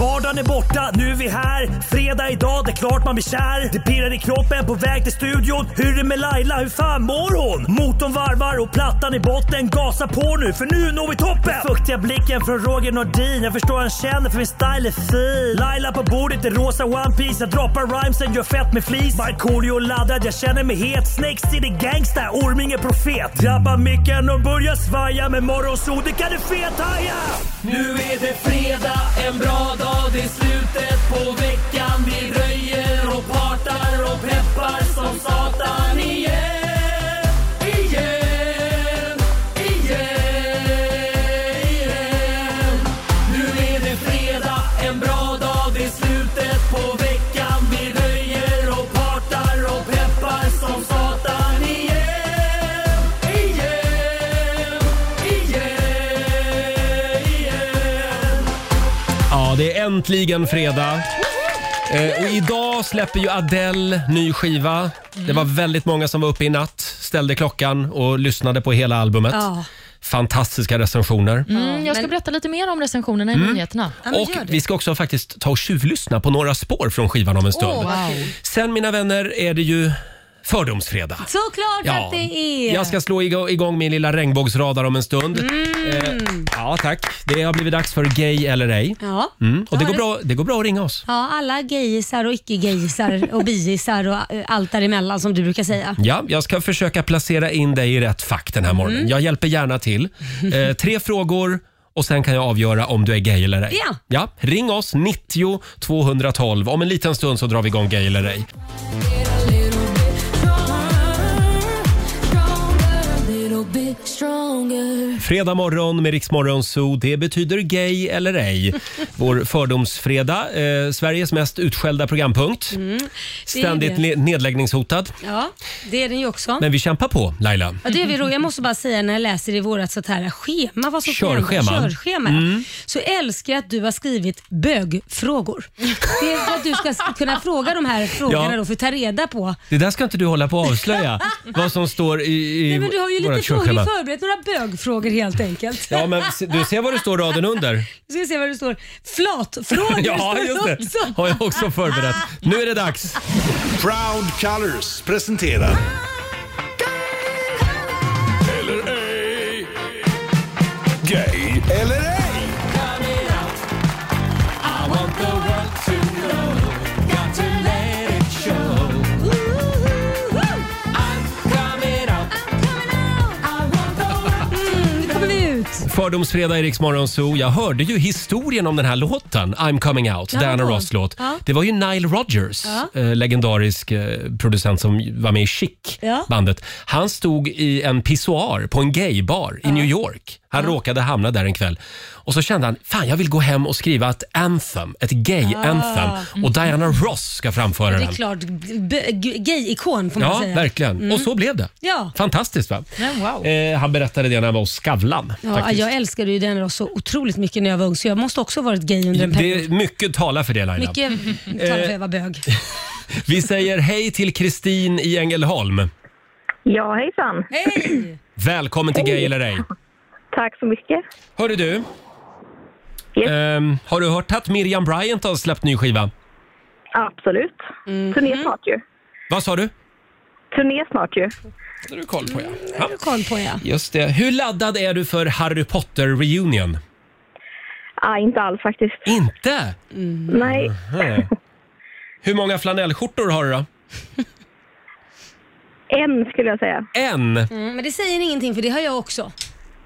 Speaker 6: Vardagen är borta, nu är vi här. Fredag idag, det är klart man blir kär. Det pirrar i kroppen på väg till studion. Hur är det med Laila, hur fan mår hon? Motorn varvar och plattan i botten. Gasa på nu, för nu når vi toppen! Den fuktiga blicken från Roger Nordin. Jag förstår han känner för min style är fin. Laila på bordet i rosa One Piece Jag droppar rhymesen, gör fett med flis. Markoolio laddad, jag känner mig het. Snakes city gangsta, Orming är profet. Drabbar micken och börjar svaja. Med morgonsol, det kan du fethaja!
Speaker 7: Nu är det fredag, en bra dag, det är slutet på veckan Vi röjer och partar och peppar som satan igen Igen, igen, igen Nu är det fredag, en bra dag, det är slutet på veckan Vi röjer och partar och peppar som satan igen Igen, igen, igen
Speaker 1: Ja, det är äntligen fredag. Eh, och idag släpper ju Adele ny skiva. Det var väldigt många som var uppe i natt, ställde klockan och lyssnade på hela albumet.
Speaker 3: Ja.
Speaker 1: Fantastiska recensioner.
Speaker 3: Mm, jag ska berätta lite mer om recensionerna i nyheterna.
Speaker 1: Mm. och vi ska också faktiskt ta och tjuvlyssna på några spår från skivan om en stund.
Speaker 3: Åh, vad kul.
Speaker 1: Sen mina vänner är det ju Fördomsfredag.
Speaker 2: Såklart
Speaker 1: Ja,
Speaker 2: att det är.
Speaker 1: Jag ska slå igo- igång min lilla regnbågsradar om en stund. Eh, ja, tack. Det har blivit dags för Gay eller ej.
Speaker 2: Ja.
Speaker 1: Mm. Och det
Speaker 2: Ja,
Speaker 1: går,
Speaker 2: det-
Speaker 1: bra, det går bra att ringa oss.
Speaker 2: Ja, alla gayisar och icke-gayisar och biisar och eh, allt däremellan som du brukar säga.
Speaker 1: Ja, jag ska försöka placera in dig i rätt fack den här morgonen.
Speaker 2: Mm.
Speaker 1: Jag hjälper gärna till. Eh, tre frågor och sen kan jag avgöra om du är gay eller ej.
Speaker 2: Ja.
Speaker 1: ring oss, 90 212. Om en liten stund så drar vi igång gay eller ej. Fredag morgon med Riksmorgon Zoo. Det betyder gay eller ej. Vår fördomsfredag, eh, Sveriges mest utskällda programpunkt.
Speaker 2: Mm, det är
Speaker 1: Ständigt
Speaker 2: det.
Speaker 1: ne- nedläggningshotad.
Speaker 2: Ja, det är den ju också.
Speaker 1: Men vi kämpar på, Laila.
Speaker 2: Ja, det är vi roligt. Jag måste bara säga när jag läser i vårat sånt här schema, vad som ska hända,
Speaker 1: Körschema.
Speaker 2: körschema
Speaker 1: Mm.
Speaker 2: så älskar jag att du har skrivit bögfrågor. Det är för att du ska s- kunna fråga de här frågorna
Speaker 1: Ja.
Speaker 2: då för att ta reda på.
Speaker 1: Det där ska inte du hålla på att avslöja, vad som står i, i
Speaker 2: Nej, men du har ju
Speaker 1: vårat
Speaker 2: lite frågor
Speaker 1: körschema.
Speaker 2: förberett, några bögfrågor helt enkelt.
Speaker 1: Ja, men se- du ser vad det står raden under.
Speaker 2: Nu ska vi se vad det står. Flatfrågor
Speaker 1: Ja,
Speaker 2: står
Speaker 1: just
Speaker 2: också.
Speaker 1: det. Har jag också förberett. Nu är det dags.
Speaker 14: Proud Colors presenterar... Eller ej. Gay eller ej.
Speaker 2: Nu kommer vi ut.
Speaker 1: Fördomsfredag i Rix Morgon Zoo. Jag hörde ju historien om den här låten, I'm coming out,
Speaker 2: Ja,
Speaker 1: Diana
Speaker 2: då.
Speaker 1: Ross låt.
Speaker 2: Ja.
Speaker 1: Det var ju Nile Rodgers,
Speaker 2: Ja.
Speaker 1: eh, legendarisk eh, producent som var med i Chic,
Speaker 2: Ja.
Speaker 1: bandet. Han stod i en pissoar på en gaybar i New York. Han råkade hamna där en kväll. Och så kände han, fan jag vill gå hem och skriva ett anthem, ett
Speaker 2: Ah.
Speaker 1: gay-anthem. Och Diana Ross ska framföra
Speaker 2: Det är
Speaker 1: den.
Speaker 2: klart, b- g- gay-ikon får man
Speaker 1: Ja,
Speaker 2: säga.
Speaker 1: verkligen. Och så blev det.
Speaker 2: Mm. Ja.
Speaker 1: Fantastiskt va?
Speaker 2: Men wow.
Speaker 1: Eh, han berättade det när han var hos Skavlan.
Speaker 2: Ja,
Speaker 1: faktiskt.
Speaker 2: jag älskade ju den så otroligt mycket när jag var ung så jag måste också ha varit gay under en period.
Speaker 1: Det, mycket talar för det Laila.
Speaker 2: Mycket
Speaker 1: Eh,
Speaker 2: talar för att jag var bög.
Speaker 1: Vi säger hej till Kristin i Ängelholm.
Speaker 13: Ja, hejsan.
Speaker 2: Hej!
Speaker 1: Välkommen till Gay eller ej.
Speaker 13: Tack så mycket.
Speaker 1: Hörru du. Ehm, har du hört att Miriam Bryant har släppt ny skiva?
Speaker 13: Absolut.
Speaker 3: Mm.
Speaker 13: Turné snart ju.
Speaker 1: Vad sa du?
Speaker 13: Turné snart ju.
Speaker 1: Det har du koll på ja. ja.
Speaker 2: Koll på ja.
Speaker 1: Just det. Hur laddad är du för Harry Potter reunion?
Speaker 13: Ah, inte alls faktiskt.
Speaker 1: Inte?
Speaker 13: Nej,
Speaker 1: Mhm. Hur många flanellskjortor har du då?
Speaker 13: en skulle jag säga.
Speaker 1: En?
Speaker 2: Mm, men det säger ingenting för det har jag också.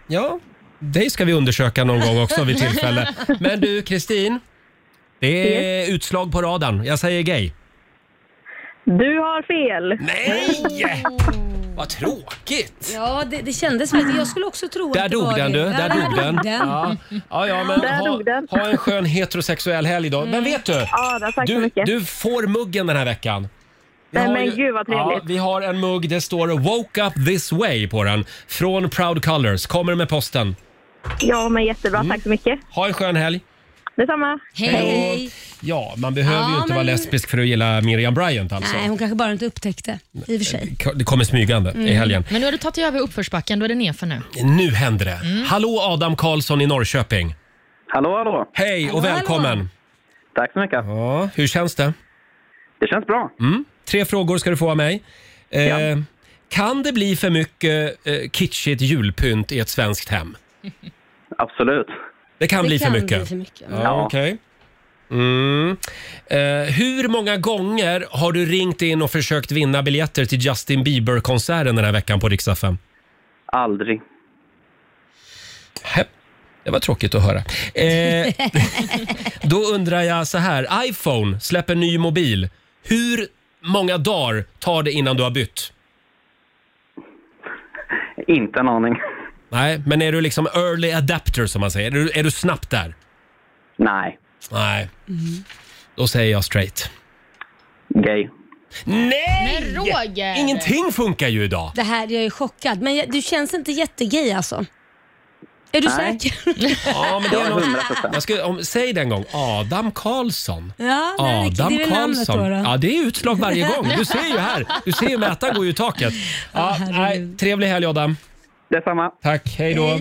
Speaker 1: Ja, det ska vi undersöka någon gång också vid tillfälle. Men du Kristin, det är utslag på radarn. Jag säger gay.
Speaker 13: Du har fel.
Speaker 1: Nej! Vad tråkigt!
Speaker 2: Ja, det, det kändes som att jag skulle också tro
Speaker 1: Där
Speaker 2: att det
Speaker 1: dog
Speaker 2: var
Speaker 1: den
Speaker 2: det.
Speaker 1: du,
Speaker 2: Ja,
Speaker 1: där dog den. Ja, ja, ja men
Speaker 2: Där
Speaker 1: ha,
Speaker 2: dog den.
Speaker 1: ha en skön heterosexuell helg då. Men vet du?
Speaker 13: Ja, då, tack så
Speaker 1: Du,
Speaker 13: mycket.
Speaker 1: du får muggen den här veckan.
Speaker 13: Nej,
Speaker 1: har
Speaker 13: men
Speaker 1: ju-
Speaker 13: gud, vad
Speaker 1: Ja,
Speaker 13: trevligt.
Speaker 1: vi har en mugg, det står “Woke up this way” på den. Från Proud Colors. Kommer med posten.
Speaker 13: Ja, men jättebra. Tack så mycket.
Speaker 1: Mm. Ha en skön helg.
Speaker 13: Detsamma.
Speaker 2: Hej!
Speaker 1: Ja, man behöver ju
Speaker 2: Ja,
Speaker 1: inte vara
Speaker 2: men-
Speaker 1: lesbisk för att gilla Miriam Bryant alltså.
Speaker 2: Nej, hon kanske bara inte upptäckte. I och för sig. Mm.
Speaker 1: Det kommer smygande i helgen.
Speaker 3: Men nu har du tagit över uppförsbacken, då är det nerför nu.
Speaker 1: Nu händer det.
Speaker 15: Mm.
Speaker 1: Hallå Adam Karlsson i Norrköping.
Speaker 15: Hallå, hallå.
Speaker 1: Hej och välkommen.
Speaker 15: Tack så mycket.
Speaker 1: Ja, hur känns det?
Speaker 15: Det känns bra.
Speaker 1: Mm. Tre frågor ska du få av mig. Eh, Kan det bli för mycket eh, kitschigt julpynt i ett svenskt hem?
Speaker 15: Absolut.
Speaker 1: Det kan,
Speaker 15: Det
Speaker 1: bli,
Speaker 15: kan
Speaker 1: för
Speaker 15: bli
Speaker 1: mycket.
Speaker 15: för mycket.
Speaker 1: Ja,
Speaker 15: Ja.
Speaker 1: okej. Mm. Eh, hur många gånger har du ringt in och försökt vinna biljetter till Justin Bieber-konserten den här veckan på Rix FM?
Speaker 15: Aldrig.
Speaker 1: Hä, Det var tråkigt att höra. Eh, då undrar jag så här. iPhone släpper ny mobil. Hur många dagar tar det innan du har bytt?
Speaker 15: Inte en aning.
Speaker 1: Nej, men är du liksom early adapter som man säger? Är du, är du snabbt där?
Speaker 15: Nej.
Speaker 1: Nej, då säger jag straight.
Speaker 15: Gay.
Speaker 1: Nej!
Speaker 2: Men Roger!
Speaker 1: Ingenting funkar ju idag.
Speaker 2: Det här, jag är chockad. Men jag, du känns inte jättegay alltså. Är du
Speaker 1: Nej.
Speaker 2: säker?
Speaker 1: Ja, men det är något... jag ska, om, säg det en gång. Adam Karlsson.
Speaker 2: Ja, det är- det är
Speaker 1: Adam
Speaker 2: väl namnet
Speaker 1: Karlsson.
Speaker 2: då, då.
Speaker 1: Ja, det är utslag varje gång. Du ser ju här. Du ser ju mätaren går ju i taket. Ja, nej, trevlig helg Adam.
Speaker 15: Detsamma.
Speaker 1: Tack, hej då.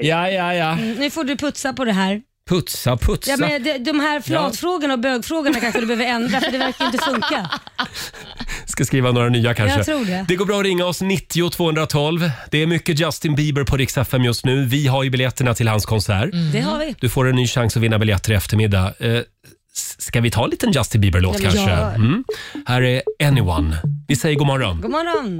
Speaker 1: Ja, ja, ja.
Speaker 2: Mm, nu får du putsa på det här.
Speaker 1: Putsa, putsa.
Speaker 2: Ja, men de, de här flatfrågorna och bögfrågorna kanske du behöver ändra för det verkar inte funka.
Speaker 1: Ska skriva några nya kanske.
Speaker 2: Jag tror det.
Speaker 1: går bra att ringa oss 90 212. Det är mycket Justin Bieber på Rix FM just nu. Vi har ju biljetterna till hans konsert.
Speaker 2: Mm. Det har vi.
Speaker 1: Du får en ny chans att vinna biljetter i eftermiddag. Eh, s- ska vi ta en liten Justin Bieber-låt
Speaker 2: Ja, vi
Speaker 1: kanske?
Speaker 2: gör.
Speaker 1: Mm. Här är Anyone. Vi säger god morgon.
Speaker 2: God morgon.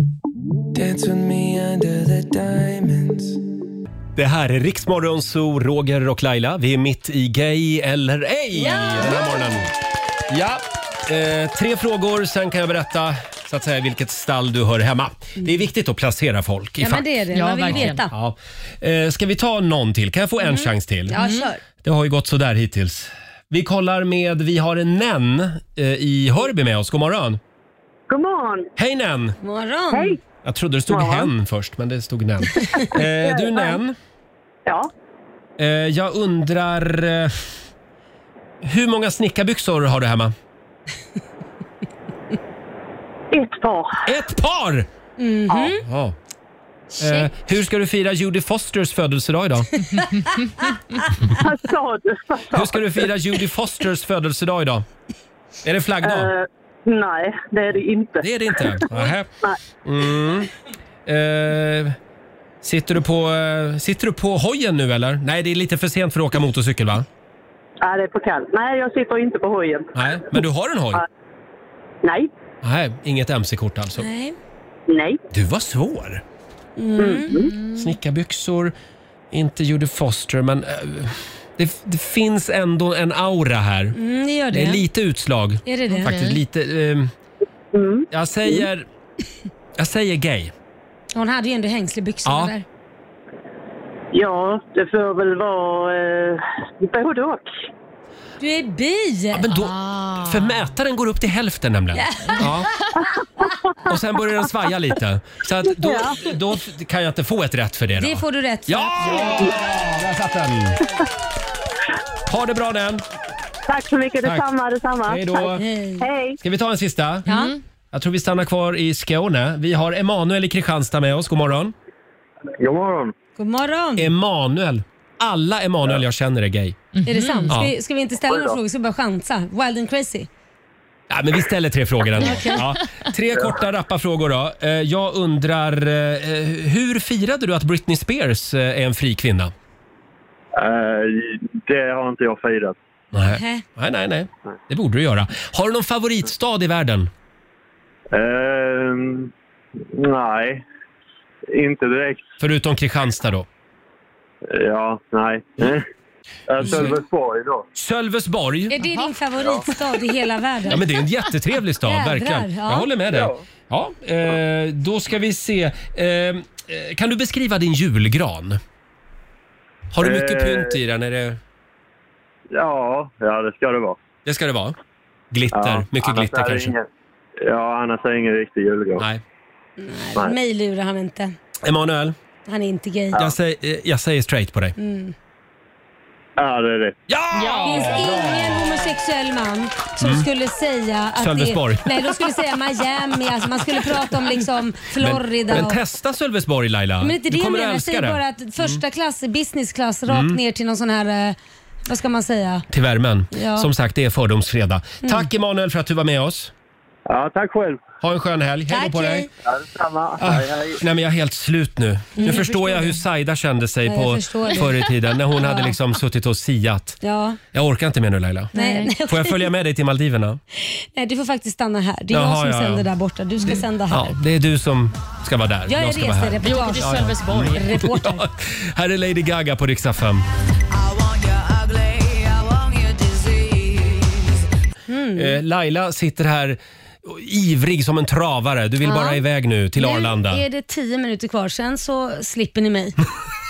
Speaker 1: Det här är Riksmorgon Zoo, Roger och Laila. Vi är mitt i Gay eller ej den här morgonen. Ja, eh, tre frågor, sen kan jag berätta så att säga, vilket stall du hör hemma. Det är viktigt att placera folk i
Speaker 2: Ja, men
Speaker 1: fack.
Speaker 2: det är det. Man Ja, vill verkligen. veta. Mm.
Speaker 1: Ja. Eh, ska vi ta någon till? Kan jag få en chans till? Mm.
Speaker 2: Ja, kör.
Speaker 1: Det har ju gått sådär hittills. Vi kollar med, vi har en Nen eh, i Hörby med oss. God morgon!
Speaker 13: God morgon.
Speaker 1: Hej Nen!
Speaker 2: Morgon. Hej.
Speaker 1: Jag trodde det stod
Speaker 13: Ja.
Speaker 1: hen först, men det stod Nen. Eh, du Nen.
Speaker 13: Ja.
Speaker 1: Eh, jag undrar... Eh, hur många snickarbyxor har du hemma?
Speaker 13: Ett par. Mm-hmm.
Speaker 1: Ett par!
Speaker 13: Ja.
Speaker 2: Mm-hmm.
Speaker 1: Ja. Eh, hur ska du fira Judy Fosters födelsedag idag?
Speaker 13: Vad sa du? Vad sa
Speaker 1: Hur ska du fira
Speaker 13: du?
Speaker 1: Judy Fosters födelsedag idag? Är det flaggdag?
Speaker 13: Eh, nej, det är det inte.
Speaker 1: Det är det inte? Nähä.
Speaker 13: Nej.
Speaker 1: Mm. Eh, sitter, du på, eh, sitter du på hojen nu eller? Nej, det är lite för sent för att åka motorcykel va?
Speaker 13: Nej, det är på kallt. Nej, jag sitter inte på hojen. Eh,
Speaker 1: Nej, men du har en hoj?
Speaker 13: Nej.
Speaker 1: Nej, inget mc-kort alltså.
Speaker 2: Nej. Mm.
Speaker 13: Nej.
Speaker 1: Du var svår. Snickarbyxor, inte Judy Foster, men eh, det, det finns ändå en aura här.
Speaker 2: Mm, det gör det.
Speaker 1: är lite utslag.
Speaker 2: Är det Mm. det?
Speaker 1: Faktiskt,
Speaker 2: Okej.
Speaker 1: lite, ehm, Jag säger... Jag säger gay.
Speaker 2: Hon hade ju ändå hängslebyxorna
Speaker 1: Ja.
Speaker 2: där.
Speaker 13: Ja, det får väl vara eh, både och.
Speaker 2: Du är bi! Ja,
Speaker 1: men då,
Speaker 3: Ah.
Speaker 1: För mätaren går upp till hälften nämligen. Ja. Och sen börjar den svaja lite. Så att då,
Speaker 2: Ja.
Speaker 1: då kan jag inte få ett rätt för det. Då.
Speaker 2: Det får du rätt för.
Speaker 1: Ja! Där satt den. Ha det bra den.
Speaker 13: Tack så mycket.
Speaker 1: Tack.
Speaker 13: Detsamma, detsamma.
Speaker 1: Hej då.
Speaker 13: Tack.
Speaker 1: Hej.
Speaker 13: Hej.
Speaker 1: Ska vi ta en sista? Mm.
Speaker 13: Ja.
Speaker 1: Jag tror vi stannar kvar i Skåne. Vi har Emanuel i Kristianstad med oss. God morgon.
Speaker 17: God morgon.
Speaker 2: God morgon.
Speaker 1: Emanuel. Alla Emanuel jag känner är gay.
Speaker 2: Är det sant? Ska,
Speaker 1: Mm. Ja.
Speaker 2: vi, ska vi inte ställa
Speaker 1: Oj då.
Speaker 2: några frågor, ska vi bara chansa? Wild and crazy.
Speaker 1: Ja, men vi ställer tre frågor ändå.
Speaker 2: Okej.
Speaker 1: Ja. Tre korta rappa frågor då. Eh, Jag undrar, eh, hur firade du att Britney Spears eh, är en fri kvinna?
Speaker 17: Eh, det har inte jag firat.
Speaker 1: Nej. Nej, nej, nej. Det borde du göra. Har du någon favoritstad i världen?
Speaker 17: Ehm, nej, inte direkt.
Speaker 1: Förutom Kristianstad då? Mm.
Speaker 17: Ja, nej. Eh, Sölvesborg då.
Speaker 1: Sölvesborg?
Speaker 2: Är det din favoritstad i hela världen?
Speaker 1: Ja, men det är en jättetrevlig stad,
Speaker 2: Jädrar,
Speaker 1: verkligen.
Speaker 2: ja.
Speaker 1: Jag håller med dig.
Speaker 2: Ja.
Speaker 1: Ja, eh, då ska vi se. Eh, eh, kan du beskriva din julgran? Har du mycket
Speaker 17: Eh.
Speaker 1: pynt i den? Är det...
Speaker 17: Ja, ja, det ska det vara.
Speaker 1: Det ska det vara. Glitter,
Speaker 17: Ja,
Speaker 1: mycket
Speaker 17: annars
Speaker 1: glitter
Speaker 17: är det
Speaker 1: kanske.
Speaker 17: Ingen, ja, annars är det ingen riktig julgran.
Speaker 1: Nej.
Speaker 17: Nej.
Speaker 2: Mig lurar han inte.
Speaker 1: Emanuel,
Speaker 2: Han är inte gay.
Speaker 1: jag, säger, eh, jag säger straight på dig.
Speaker 2: Mm.
Speaker 17: Ja, det är rätt.
Speaker 2: Det finns ingen homosexuell man som
Speaker 1: Mm.
Speaker 2: skulle säga att
Speaker 1: Sölvesborg.
Speaker 2: Det, nej, de skulle säga Miami. Alltså man skulle prata om liksom Florida.
Speaker 1: Men,
Speaker 2: och-
Speaker 1: men testa Sölvesborg Laila.
Speaker 2: Men det är inte det
Speaker 1: du
Speaker 2: jag
Speaker 1: kommer
Speaker 2: menar.
Speaker 1: att
Speaker 2: Jag
Speaker 1: älska
Speaker 2: säger
Speaker 1: det.
Speaker 2: bara att första klass, business class, rakt
Speaker 1: Mm.
Speaker 2: ner till någon sån här, eh, vad ska man säga?
Speaker 1: Till värmen.
Speaker 2: Ja.
Speaker 1: Som sagt, det är fördomsfredag.
Speaker 2: Mm.
Speaker 1: Tack Emanuel för att du var med oss.
Speaker 17: Ja, tack själv.
Speaker 1: Ha en skön helg. Hej då
Speaker 2: Tack,
Speaker 1: på dig.
Speaker 2: hej.
Speaker 17: Ja, detsamma.
Speaker 1: Ah,
Speaker 17: Hej, hej.
Speaker 1: Nej men jag är helt slut nu. Nu
Speaker 2: Mm, jag
Speaker 1: förstår
Speaker 2: förstår
Speaker 1: jag hur Saida kände sig
Speaker 2: Ja, jag
Speaker 1: på
Speaker 2: förstår det.
Speaker 1: förr i tiden när hon hade
Speaker 2: Ja.
Speaker 1: liksom suttit och siat.
Speaker 2: Ja.
Speaker 1: Jag orkar inte mer nu Laila.
Speaker 2: Nej, nej,
Speaker 1: Får jag
Speaker 2: okej.
Speaker 1: följa med dig till Maldiverna?
Speaker 2: Nej, du får faktiskt stanna här. Det är
Speaker 1: Jaha,
Speaker 2: jag som
Speaker 1: ja, ja.
Speaker 2: sänder där borta. Du ska sända här.
Speaker 1: Ja, det är du som ska vara där.
Speaker 2: Jag är
Speaker 1: ska vara här.
Speaker 2: resereportage.
Speaker 1: Ja, ja. Mm. Ja, här är Lady Gaga på riksdag 5.
Speaker 2: Mm.
Speaker 1: Eh, Laila sitter här och ivrig som en travare. Du vill
Speaker 2: Ja.
Speaker 1: bara iväg nu till Arlanda.
Speaker 2: Nu är det tio minuter kvar, sen så slipper ni mig.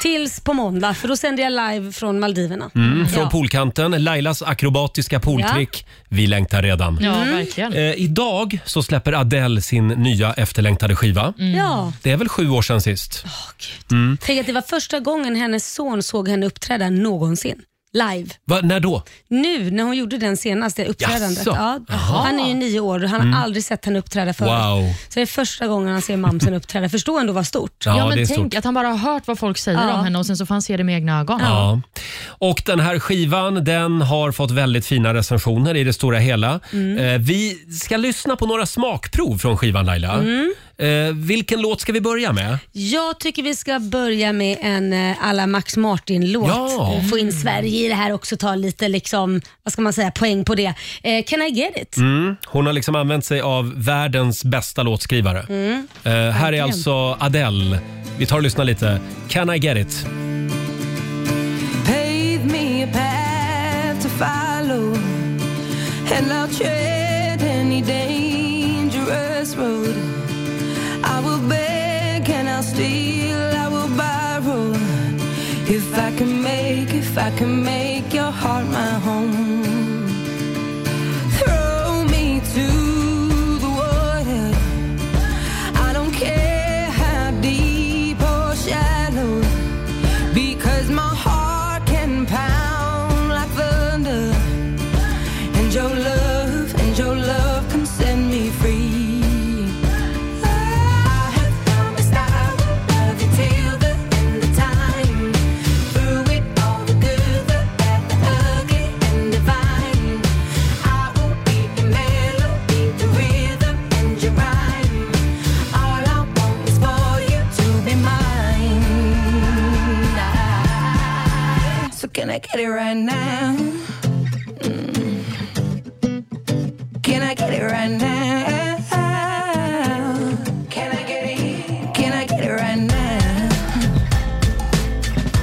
Speaker 2: Tills på måndag, för då sänder jag live från Maldiverna.
Speaker 1: Mm, från
Speaker 2: Ja.
Speaker 1: poolkanten, Lailas akrobatiska pooltrick. Vi längtar redan.
Speaker 2: Ja,
Speaker 3: Mm. verkligen.
Speaker 1: Eh, idag så släpper Adele sin nya efterlängtade skiva.
Speaker 2: Ja.
Speaker 1: Det är väl sju år sedan sist? Mm.
Speaker 2: Tänk att det var första gången hennes son såg henne uppträda någonsin. live.
Speaker 1: Va, när då?
Speaker 2: Nu när hon gjorde den senaste uppträdandet.
Speaker 1: Jaså?
Speaker 2: Ja,
Speaker 1: Jaha.
Speaker 2: han är ju nio år och han har
Speaker 1: Mm.
Speaker 2: aldrig sett henne uppträda förut.
Speaker 1: Wow.
Speaker 2: Så det är första gången han ser mamsen uppträda. Förstå ändå vad stort.
Speaker 1: Ja, Ja, men det är tänk stort.
Speaker 2: att han bara har hört vad folk
Speaker 3: säger om henne
Speaker 2: och sen så får han se det med egna ögon.
Speaker 1: Ja. Och den här skivan den har fått väldigt fina recensioner i det stora hela.
Speaker 18: Mm.
Speaker 1: Eh, vi ska lyssna på några smakprov från skivan Laila.
Speaker 2: Mm.
Speaker 1: Eh, vilken låt ska vi börja med?
Speaker 2: Jag tycker vi ska börja med en eh, alla Max Martin-låt. Eh,
Speaker 1: Ja.
Speaker 2: Få in Sverige i det här också, ta lite liksom, vad ska man säga, poäng på det. Eh, can I get it?
Speaker 1: Mm. Hon har liksom använt sig av världens bästa låtskrivare.
Speaker 2: Mm.
Speaker 1: Eh, här är
Speaker 2: Verkligen.
Speaker 1: alltså Adele. Vi tar och lyssnar lite. Can I get it?
Speaker 18: Pave me a path to follow, and I'll tread any dangerous road. I will beg and I'll steal, I will borrow. If I can make, if I can make your heart my home. Throw me to the water. I don't care how deep or shallow. Because my heart can pound like thunder, and your love, and your love can set me free. I have promised I will love you till the end of time, through it all the good, the bad, the ugly, and divine. I will be your melody, the rhythm, and your rhyme. All I want is for you to be mine. So can I get it right now? Mm. Can I get it right now? Can I get it? Can I get it right now?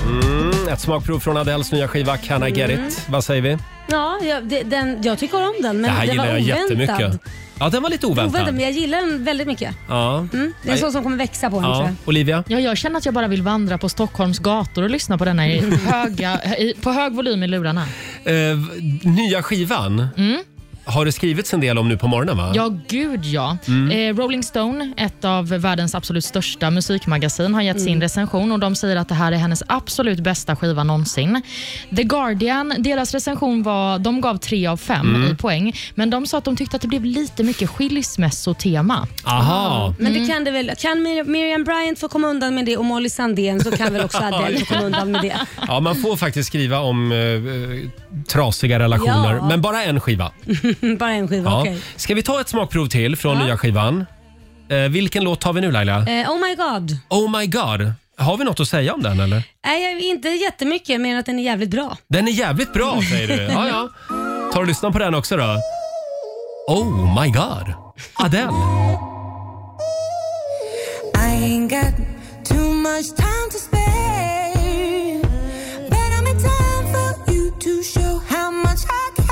Speaker 1: Mm. Ett smakprov från Adeles nya skiva Can I get
Speaker 2: Mm.
Speaker 1: it? Vad säger vi?
Speaker 2: Ja, jag, det, den, jag tycker om den, men
Speaker 1: det här
Speaker 2: den
Speaker 1: gillar
Speaker 2: var
Speaker 1: jag
Speaker 2: oväntad.
Speaker 1: jättemycket. Ja, den var lite oväntad.
Speaker 2: Oväntad, men jag gillar den väldigt mycket.
Speaker 1: Ja.
Speaker 2: Mm. Det är en sån som kommer växa på en, tror
Speaker 1: ja.
Speaker 2: jag.
Speaker 1: Olivia?
Speaker 3: Ja, jag känner att jag bara vill vandra på Stockholms gator och lyssna på denna i höga, i, på hög volym i lurarna.
Speaker 1: Eh, nya skivan
Speaker 2: Mm.
Speaker 1: har det skrivits en del om nu på morgonen va?
Speaker 3: Ja, gud ja.
Speaker 1: Mm.
Speaker 3: Eh, Rolling Stone, ett av världens absolut största musikmagasin, har gett sin
Speaker 19: Mm.
Speaker 3: recension och de säger att det här är hennes absolut bästa skiva någonsin. The Guardian, deras recension var, de gav tre av fem
Speaker 1: Mm.
Speaker 3: i poäng, men de sa att de tyckte att det blev lite mycket skilsmässotema.
Speaker 1: Aha.
Speaker 2: Men det kan det väl. Kan Mir- Miriam Bryant få komma undan med det och Molly Sandén så kan väl också Adele få komma undan med det.
Speaker 1: Ja, man får faktiskt skriva om eh, eh, trasiga relationer,
Speaker 2: Ja.
Speaker 1: men bara en skiva.
Speaker 2: Bara en skiva,
Speaker 1: Ja.
Speaker 2: okej.
Speaker 1: Ska vi ta ett smakprov till från nya skivan? Eh, vilken låt tar vi nu Laila?
Speaker 2: Eh, oh my god.
Speaker 1: Oh my god. Har vi något att säga om den eller?
Speaker 2: Nej, jag, inte jättemycket, men att den är jävligt bra.
Speaker 1: Den är jävligt bra säger du. Ja, ja. Tar du lyssna på den också då? Oh my god. Adele.
Speaker 18: I ain't got too much time to spare. But I'm in time for you to show how much I care.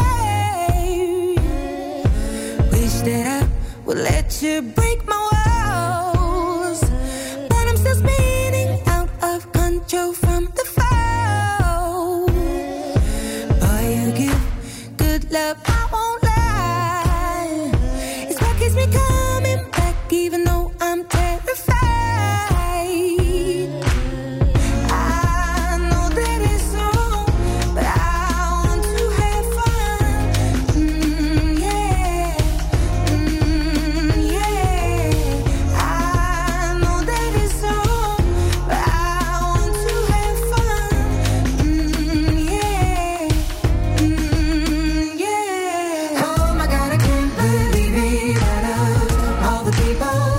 Speaker 18: Wish that I would let you break my walls. But I'm still spinning out of control from the fall. Boy, you give good love, I won't lie. It's what keeps me coming back, even though I'm terrified. I know that it's wrong, but I want to have fun. Mm, yeah. Mm, yeah. I know that it's wrong, but I want to have fun. Mm, yeah. Mm, yeah. Oh my God, I can't believe it. Out of all the people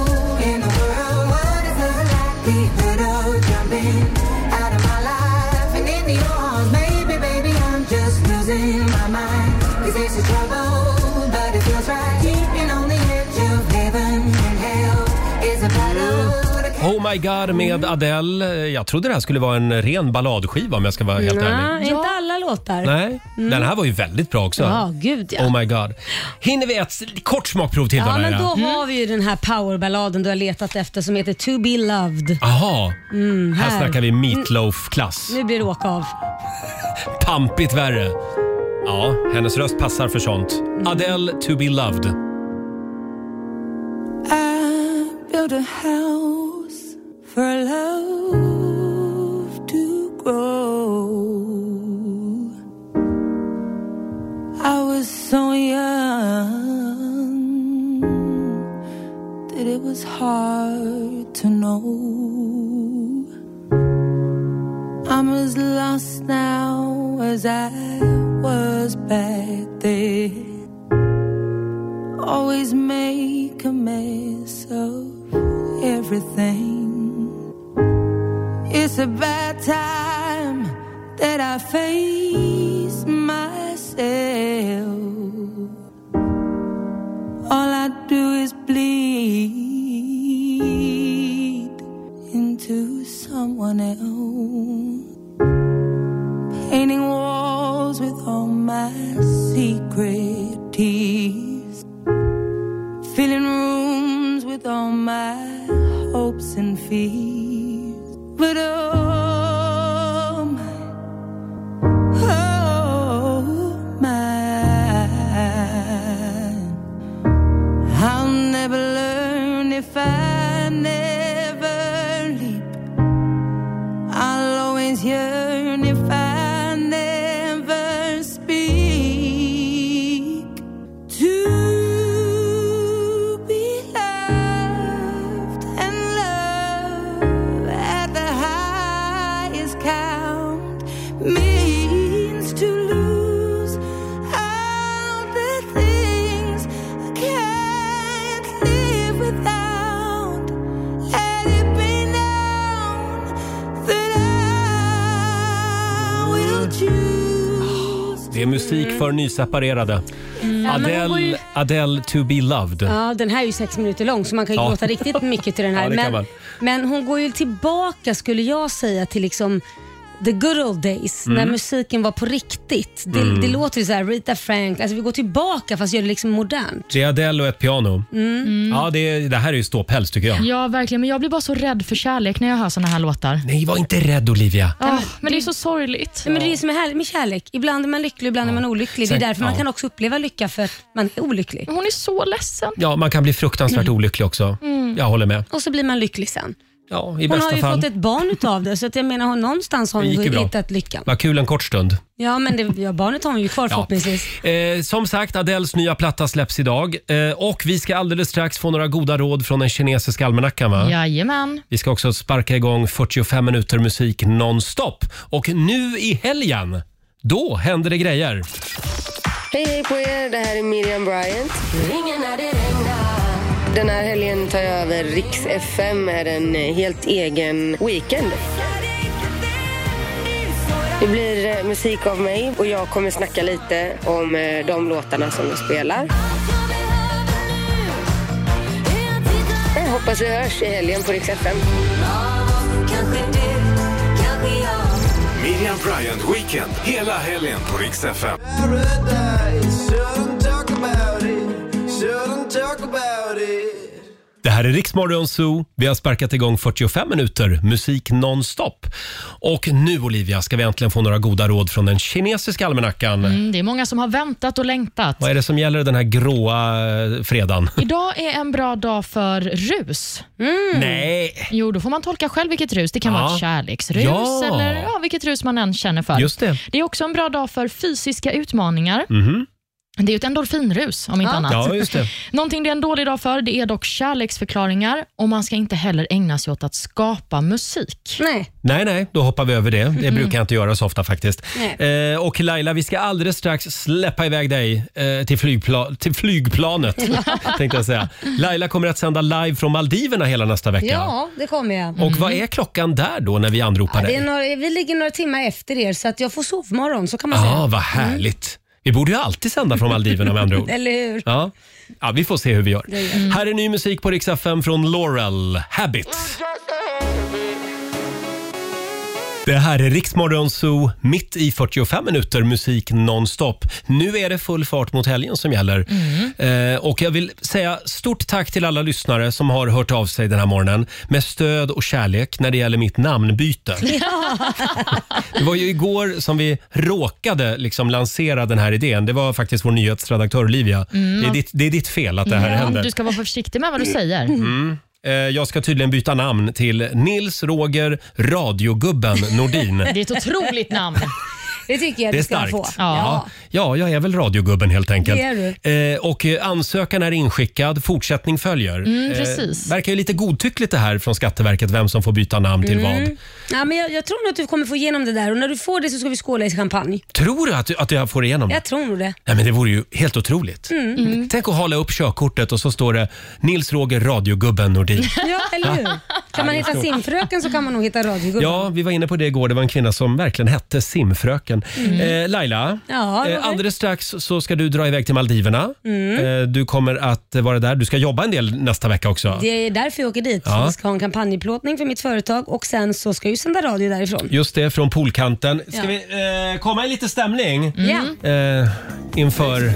Speaker 18: in the world, what is the likelihood of jumping out of my life and into your arms? Maybe, baby, I'm just losing my mind. 'Cause it's a trouble, but it feels right. Keeping on the edge of heaven and hell is a battle.
Speaker 1: Oh my god med Adele. Eh, Jag trodde det här skulle vara en ren balladskiva om jag ska vara helt ärlig.
Speaker 2: Nej, inte alla låtar.
Speaker 1: Nej,
Speaker 2: Mm.
Speaker 1: den här var ju väldigt bra också.
Speaker 2: Ja, gud ja.
Speaker 1: Oh my god. Hinner vi ett s- kort smakprov till
Speaker 2: Ja,
Speaker 1: då,
Speaker 2: men
Speaker 1: Laila?
Speaker 2: då har vi ju den här powerballaden du har letat efter som heter To Be Loved.
Speaker 1: Jaha,
Speaker 2: Mm,
Speaker 1: här.
Speaker 2: här.
Speaker 1: snackar vi meatloaf-klass.
Speaker 2: Nu blir det åka av.
Speaker 1: Pampigt värre. Ja, hennes röst passar för sånt.
Speaker 2: Mm.
Speaker 1: Adele, To Be Loved.
Speaker 18: I built a house for love to grow. I'm as lost now as I was back then. Always make a mess of everything. It's about time that I face myself. All I do is bleed into someone else. Painting walls with all my secret tears. Filling rooms with all my hopes and fears. But oh, my, oh, my. I'll never learn if I never leap. I'll always yearn if I never speak. To be loved and love at the highest count means to lose all the things I can't live without. Let it be known that I will choose.
Speaker 1: Det är musik för nyseparerade.
Speaker 2: Mm. Ja, men hon var ju-
Speaker 1: Adele, Adele to be loved.
Speaker 2: Ja, den här är ju sex minuter lång så man kan ju
Speaker 1: Ja.
Speaker 2: gråta riktigt mycket till den här.
Speaker 1: Ja, det kan
Speaker 2: men,
Speaker 1: man.
Speaker 2: men hon går ju tillbaka skulle jag säga till liksom the good old days
Speaker 20: Mm.
Speaker 2: när musiken var på riktigt. Det,
Speaker 1: Mm.
Speaker 2: det låter ju så här Rita Frank, alltså vi går tillbaka fast gör det liksom modernt.
Speaker 1: Det är Adele och ett piano.
Speaker 2: Mm.
Speaker 1: Ja, det, är- det här är ju ståpäls tycker jag.
Speaker 3: Ja, verkligen. Men jag blir bara så rädd för kärlek när jag hör såna här låtar. Ah,
Speaker 1: Nej, var inte rädd Olivia.
Speaker 3: men, det är så sorgligt.
Speaker 2: Men det är det som är härligt med kärlek. Ibland är man lycklig, ibland är man olycklig. Det är
Speaker 1: Sen-
Speaker 2: därför man
Speaker 1: ja.
Speaker 2: kan också uppleva lycka för att man är olycklig.
Speaker 3: Hon är så ledsen.
Speaker 1: Ja, man kan bli fruktansvärt olycklig också.
Speaker 2: Mm.
Speaker 1: Jag håller med.
Speaker 2: Och så blir man lycklig sen.
Speaker 1: Ja, i
Speaker 2: Hon har
Speaker 1: bästa
Speaker 2: ju
Speaker 1: fall.
Speaker 2: fått ett barn utav det så att jag menar hon, någonstans har
Speaker 1: Det gick ju bra.
Speaker 2: hon hittat lyckan.
Speaker 1: Vad kul en kort stund.
Speaker 2: Ja, men det, ja, barnet har hon ju kvar förhoppningsvis.
Speaker 1: Eh, som sagt, Adels nya platta släpps idag. Eh, och vi ska alldeles strax få några goda råd från den kinesiska almanackan va?
Speaker 3: Jajamän.
Speaker 1: Vi ska också sparka igång 45 minuter musik nonstop. Och nu i helgen, då händer det grejer.
Speaker 20: Hej, hej på er. Det här är Miriam Bryant. Ringen när det regnar. Den här helgen tar jag över Riks FM med en eh, helt egen weekend. Det blir eh, musik av mig och jag kommer snacka lite om eh, de låtarna som jag spelar. Jag hoppas vi hörs i helgen på Riks FM.
Speaker 5: Miriam Bryant Weekend hela helgen på Rix FM.
Speaker 1: Det här är Riksmorgon Zoo. Vi har sparkat igång 45 minuter musik nonstop. Och nu Olivia ska vi äntligen få några goda råd från den kinesiska almanackan.
Speaker 3: Mm, det är många som har väntat och längtat.
Speaker 1: Vad är det som gäller den här gråa eh, fredagen?
Speaker 3: Idag är en bra dag för rus.
Speaker 2: Mm.
Speaker 1: Nej.
Speaker 3: Jo, då får man tolka själv vilket rus. Det kan
Speaker 1: Ja.
Speaker 3: vara ett kärleksrus
Speaker 1: Ja.
Speaker 3: eller ja, vilket rus man än känner för.
Speaker 1: Just det.
Speaker 3: det är också en bra dag för fysiska utmaningar.
Speaker 1: Mhm.
Speaker 3: Det är ju ett endorfinrus om inte
Speaker 1: Ja.
Speaker 3: annat.
Speaker 1: Ja, just det.
Speaker 3: Någonting det är en dålig dag för det är dock kärleksförklaringar och man ska inte heller ägna sig åt att skapa musik.
Speaker 2: Nej.
Speaker 1: Nej, nej, då hoppar vi över det. Det
Speaker 3: Mm.
Speaker 1: brukar jag inte göra så ofta faktiskt.
Speaker 3: Nej.
Speaker 1: Eh, och Laila, vi ska alldeles strax släppa iväg dig eh, till, flygpla- till flygplanet. tänkte jag säga. Laila kommer att sända live från Maldiverna hela nästa vecka.
Speaker 2: Ja, det kommer jag.
Speaker 1: Och vad är klockan där då när vi anropar
Speaker 2: Mm. Ja, det
Speaker 1: dig?
Speaker 2: är några, vi ligger några timmar efter er så att jag får sovmorgon, så kan man
Speaker 1: Ja, ah,
Speaker 2: säga. Mm.
Speaker 1: vad härligt. Vi borde ju alltid sända från Maldiverna med andra ord.
Speaker 2: Eller hur?
Speaker 1: Ja. ja, vi får se hur vi gör.
Speaker 2: Det gör vi.
Speaker 1: Här är ny musik på Rix FM från Laurel, Habit. Det här är Riksmorgon Zoo, mitt i 45 minuter musik nonstop. Nu är det full fart mot helgen som gäller.
Speaker 2: Mm.
Speaker 1: Eh, och jag vill säga stort tack till alla lyssnare som har hört av sig den här morgonen med stöd och kärlek när det gäller mitt namnbyte. Det var ju igår som vi råkade liksom lansera den här idén. Det var faktiskt vår nyhetsredaktör Olivia.
Speaker 3: Mm.
Speaker 1: Det, är ditt, det är ditt fel att det här
Speaker 2: Mm.
Speaker 3: Ja,
Speaker 1: händer.
Speaker 3: Du ska vara försiktig med vad du säger.
Speaker 1: Mm. Eh, Jag ska tydligen byta namn till Nils Roger Radiogubben Nordin.
Speaker 3: Det är ett otroligt namn.
Speaker 2: Det tycker jag
Speaker 1: Det är
Speaker 2: du ska
Speaker 1: starkt.
Speaker 2: få.
Speaker 1: Ja. ja, jag är väl radiogubben helt enkelt.
Speaker 2: Det är
Speaker 1: Eh, och eh, ansökan är inskickad, fortsättning följer.
Speaker 2: Mm,
Speaker 1: Eh,
Speaker 2: precis.
Speaker 1: verkar ju lite godtyckligt det här från Skatteverket, vem som får byta namn till
Speaker 2: Mm.
Speaker 1: vad.
Speaker 2: Ja, men jag, jag tror nog att du kommer få igenom det där och när du får det så ska vi skåla i champagne.
Speaker 1: Tror du att, du- att jag får igenom det?
Speaker 2: Jag tror nog det.
Speaker 1: Nej, men det vore ju helt otroligt.
Speaker 2: Mm. Mm.
Speaker 1: Tänk att hala upp körkortet och så står det Nils Roger radiogubben Nordin.
Speaker 2: Ja, eller hur?
Speaker 1: Ja.
Speaker 2: Kan
Speaker 1: det
Speaker 2: man
Speaker 1: är
Speaker 2: hitta
Speaker 1: stort.
Speaker 2: simfröken så kan man nog hitta radiogubben.
Speaker 1: Ja, vi var inne på det igår. Det var en kvinna som verkligen hette simfröken.
Speaker 2: Mm.
Speaker 1: Eh, Laila,
Speaker 2: Ja, Roger.
Speaker 1: eh, alldeles strax så ska du dra iväg till Maldiverna.
Speaker 2: Mm.
Speaker 1: Eh, du kommer att vara där. Du ska jobba en del nästa vecka också.
Speaker 2: Det är därför jag åker dit.
Speaker 1: Ja.
Speaker 2: Jag ska ha en kampanjplåtning för mitt företag och sen så ska jag ju sända radio därifrån.
Speaker 1: Just det, från poolkanten. Ska
Speaker 2: Ja.
Speaker 1: vi eh, komma i lite stämning
Speaker 2: Mm.
Speaker 1: eh, inför,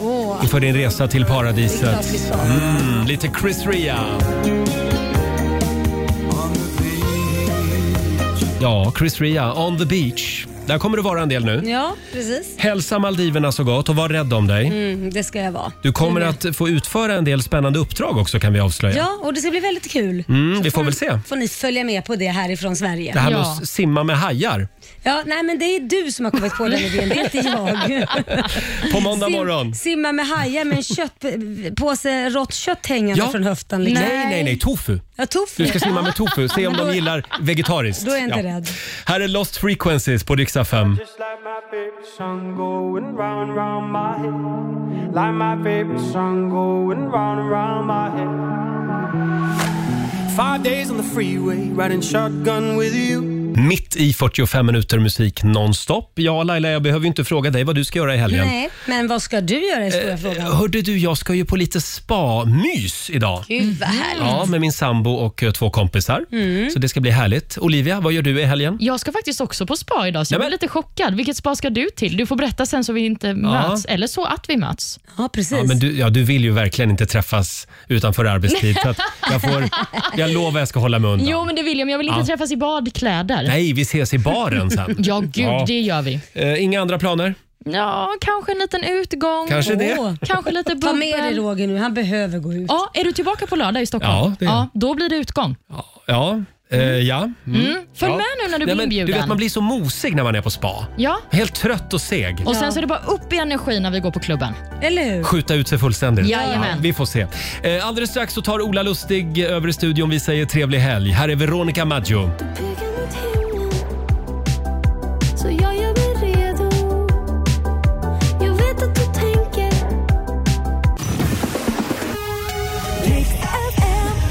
Speaker 2: Åh.
Speaker 1: inför din resa till
Speaker 2: Det är klart vi
Speaker 1: paradiset?
Speaker 2: ska.
Speaker 1: Mm, lite Chris Ria. Ja, Chris Ria, On the beach. Där kommer det vara en del nu.
Speaker 2: Ja, precis.
Speaker 1: Hälsa Maldiverna så gott och var rädd om dig.
Speaker 2: Mm, det ska jag vara. Mm.
Speaker 1: Du kommer att få utföra en del spännande uppdrag också kan vi avslöja.
Speaker 2: Ja, och det ska bli väldigt kul.
Speaker 1: Mm, vi får väl se.
Speaker 2: får ni följa med på det härifrån Sverige.
Speaker 1: Det här med
Speaker 2: ja.
Speaker 1: att simma med hajar.
Speaker 2: ja, nej men det är du som har kommit på den idén, det är inte jag.
Speaker 1: På måndag
Speaker 2: Sim-
Speaker 1: morgon.
Speaker 2: Simma med hajar med en köttpåse rått kött hängande från höften. Liksom.
Speaker 1: Nej, nej, nej. Tofu.
Speaker 2: Ja, tofu.
Speaker 1: Du ska simma med tofu. Se om
Speaker 2: Men då-
Speaker 1: de gillar vegetariskt.
Speaker 2: Då är jag inte
Speaker 1: Ja.
Speaker 2: rädd.
Speaker 1: Här är Lost Frequencies på Dixa 5.
Speaker 18: Just like my favorite song going round and round my head. Like my favorite song going round and round my head. Five days on the freeway, riding shotgun with you.
Speaker 1: Mitt i 45 minuter musik nonstop. Ja, Laila, jag behöver ju inte fråga dig vad du ska göra i helgen.
Speaker 2: Nej, men vad ska du göra i stora frågan?
Speaker 1: Hörde du, jag ska ju på lite spa-mys idag.
Speaker 2: Gud vad härligt.
Speaker 1: Ja, med min sambo och eh, två kompisar.
Speaker 3: Mm.
Speaker 1: Så det ska bli härligt. Olivia, vad gör du i helgen?
Speaker 3: Jag ska faktiskt också på spa idag, så jag
Speaker 1: Nämen.
Speaker 3: blir lite chockad. Vilket spa ska du till? Du får berätta sen så vi inte möts, eller så att vi möts.
Speaker 2: Ja, precis.
Speaker 1: Ja, men du, ja, du vill ju verkligen inte träffas utanför arbetstid. Så att jag, får, jag lovar jag ska hålla mig undan.
Speaker 3: Jo, men det vill jag, men jag vill inte
Speaker 1: Ja.
Speaker 3: träffas i badkläder.
Speaker 1: Nej, vi ses i baren sen.
Speaker 3: Ja, gud, det gör vi.
Speaker 1: Eh, inga andra planer?
Speaker 3: Ja, kanske en liten utgång.
Speaker 1: Kanske det. Åh.
Speaker 3: Kanske lite bubbel.
Speaker 2: Ta med dig Roger nu, han behöver gå ut.
Speaker 3: Ja, är du tillbaka på lördag i Stockholm?
Speaker 1: Ja, det är jag.
Speaker 3: Då blir det utgång.
Speaker 1: Ja. eh, ja.
Speaker 3: Mm. Följ med nu när du blir
Speaker 1: men Du
Speaker 3: inbjuden.
Speaker 1: vet, man blir så mosig när man är på spa.
Speaker 3: Ja.
Speaker 1: Helt trött och seg.
Speaker 3: Och sen så är det bara upp i energi när vi går på klubben.
Speaker 2: Eller hur?
Speaker 1: Skjuta ut sig fullständigt.
Speaker 3: Jajamän.
Speaker 1: vi får se. Eh, alldeles strax så tar Ola Lustig över i studion. Vi säger trevlig helg. Här är Veronica Maggio.
Speaker 18: Så jag gör mig redo. Jag vet att du tänker.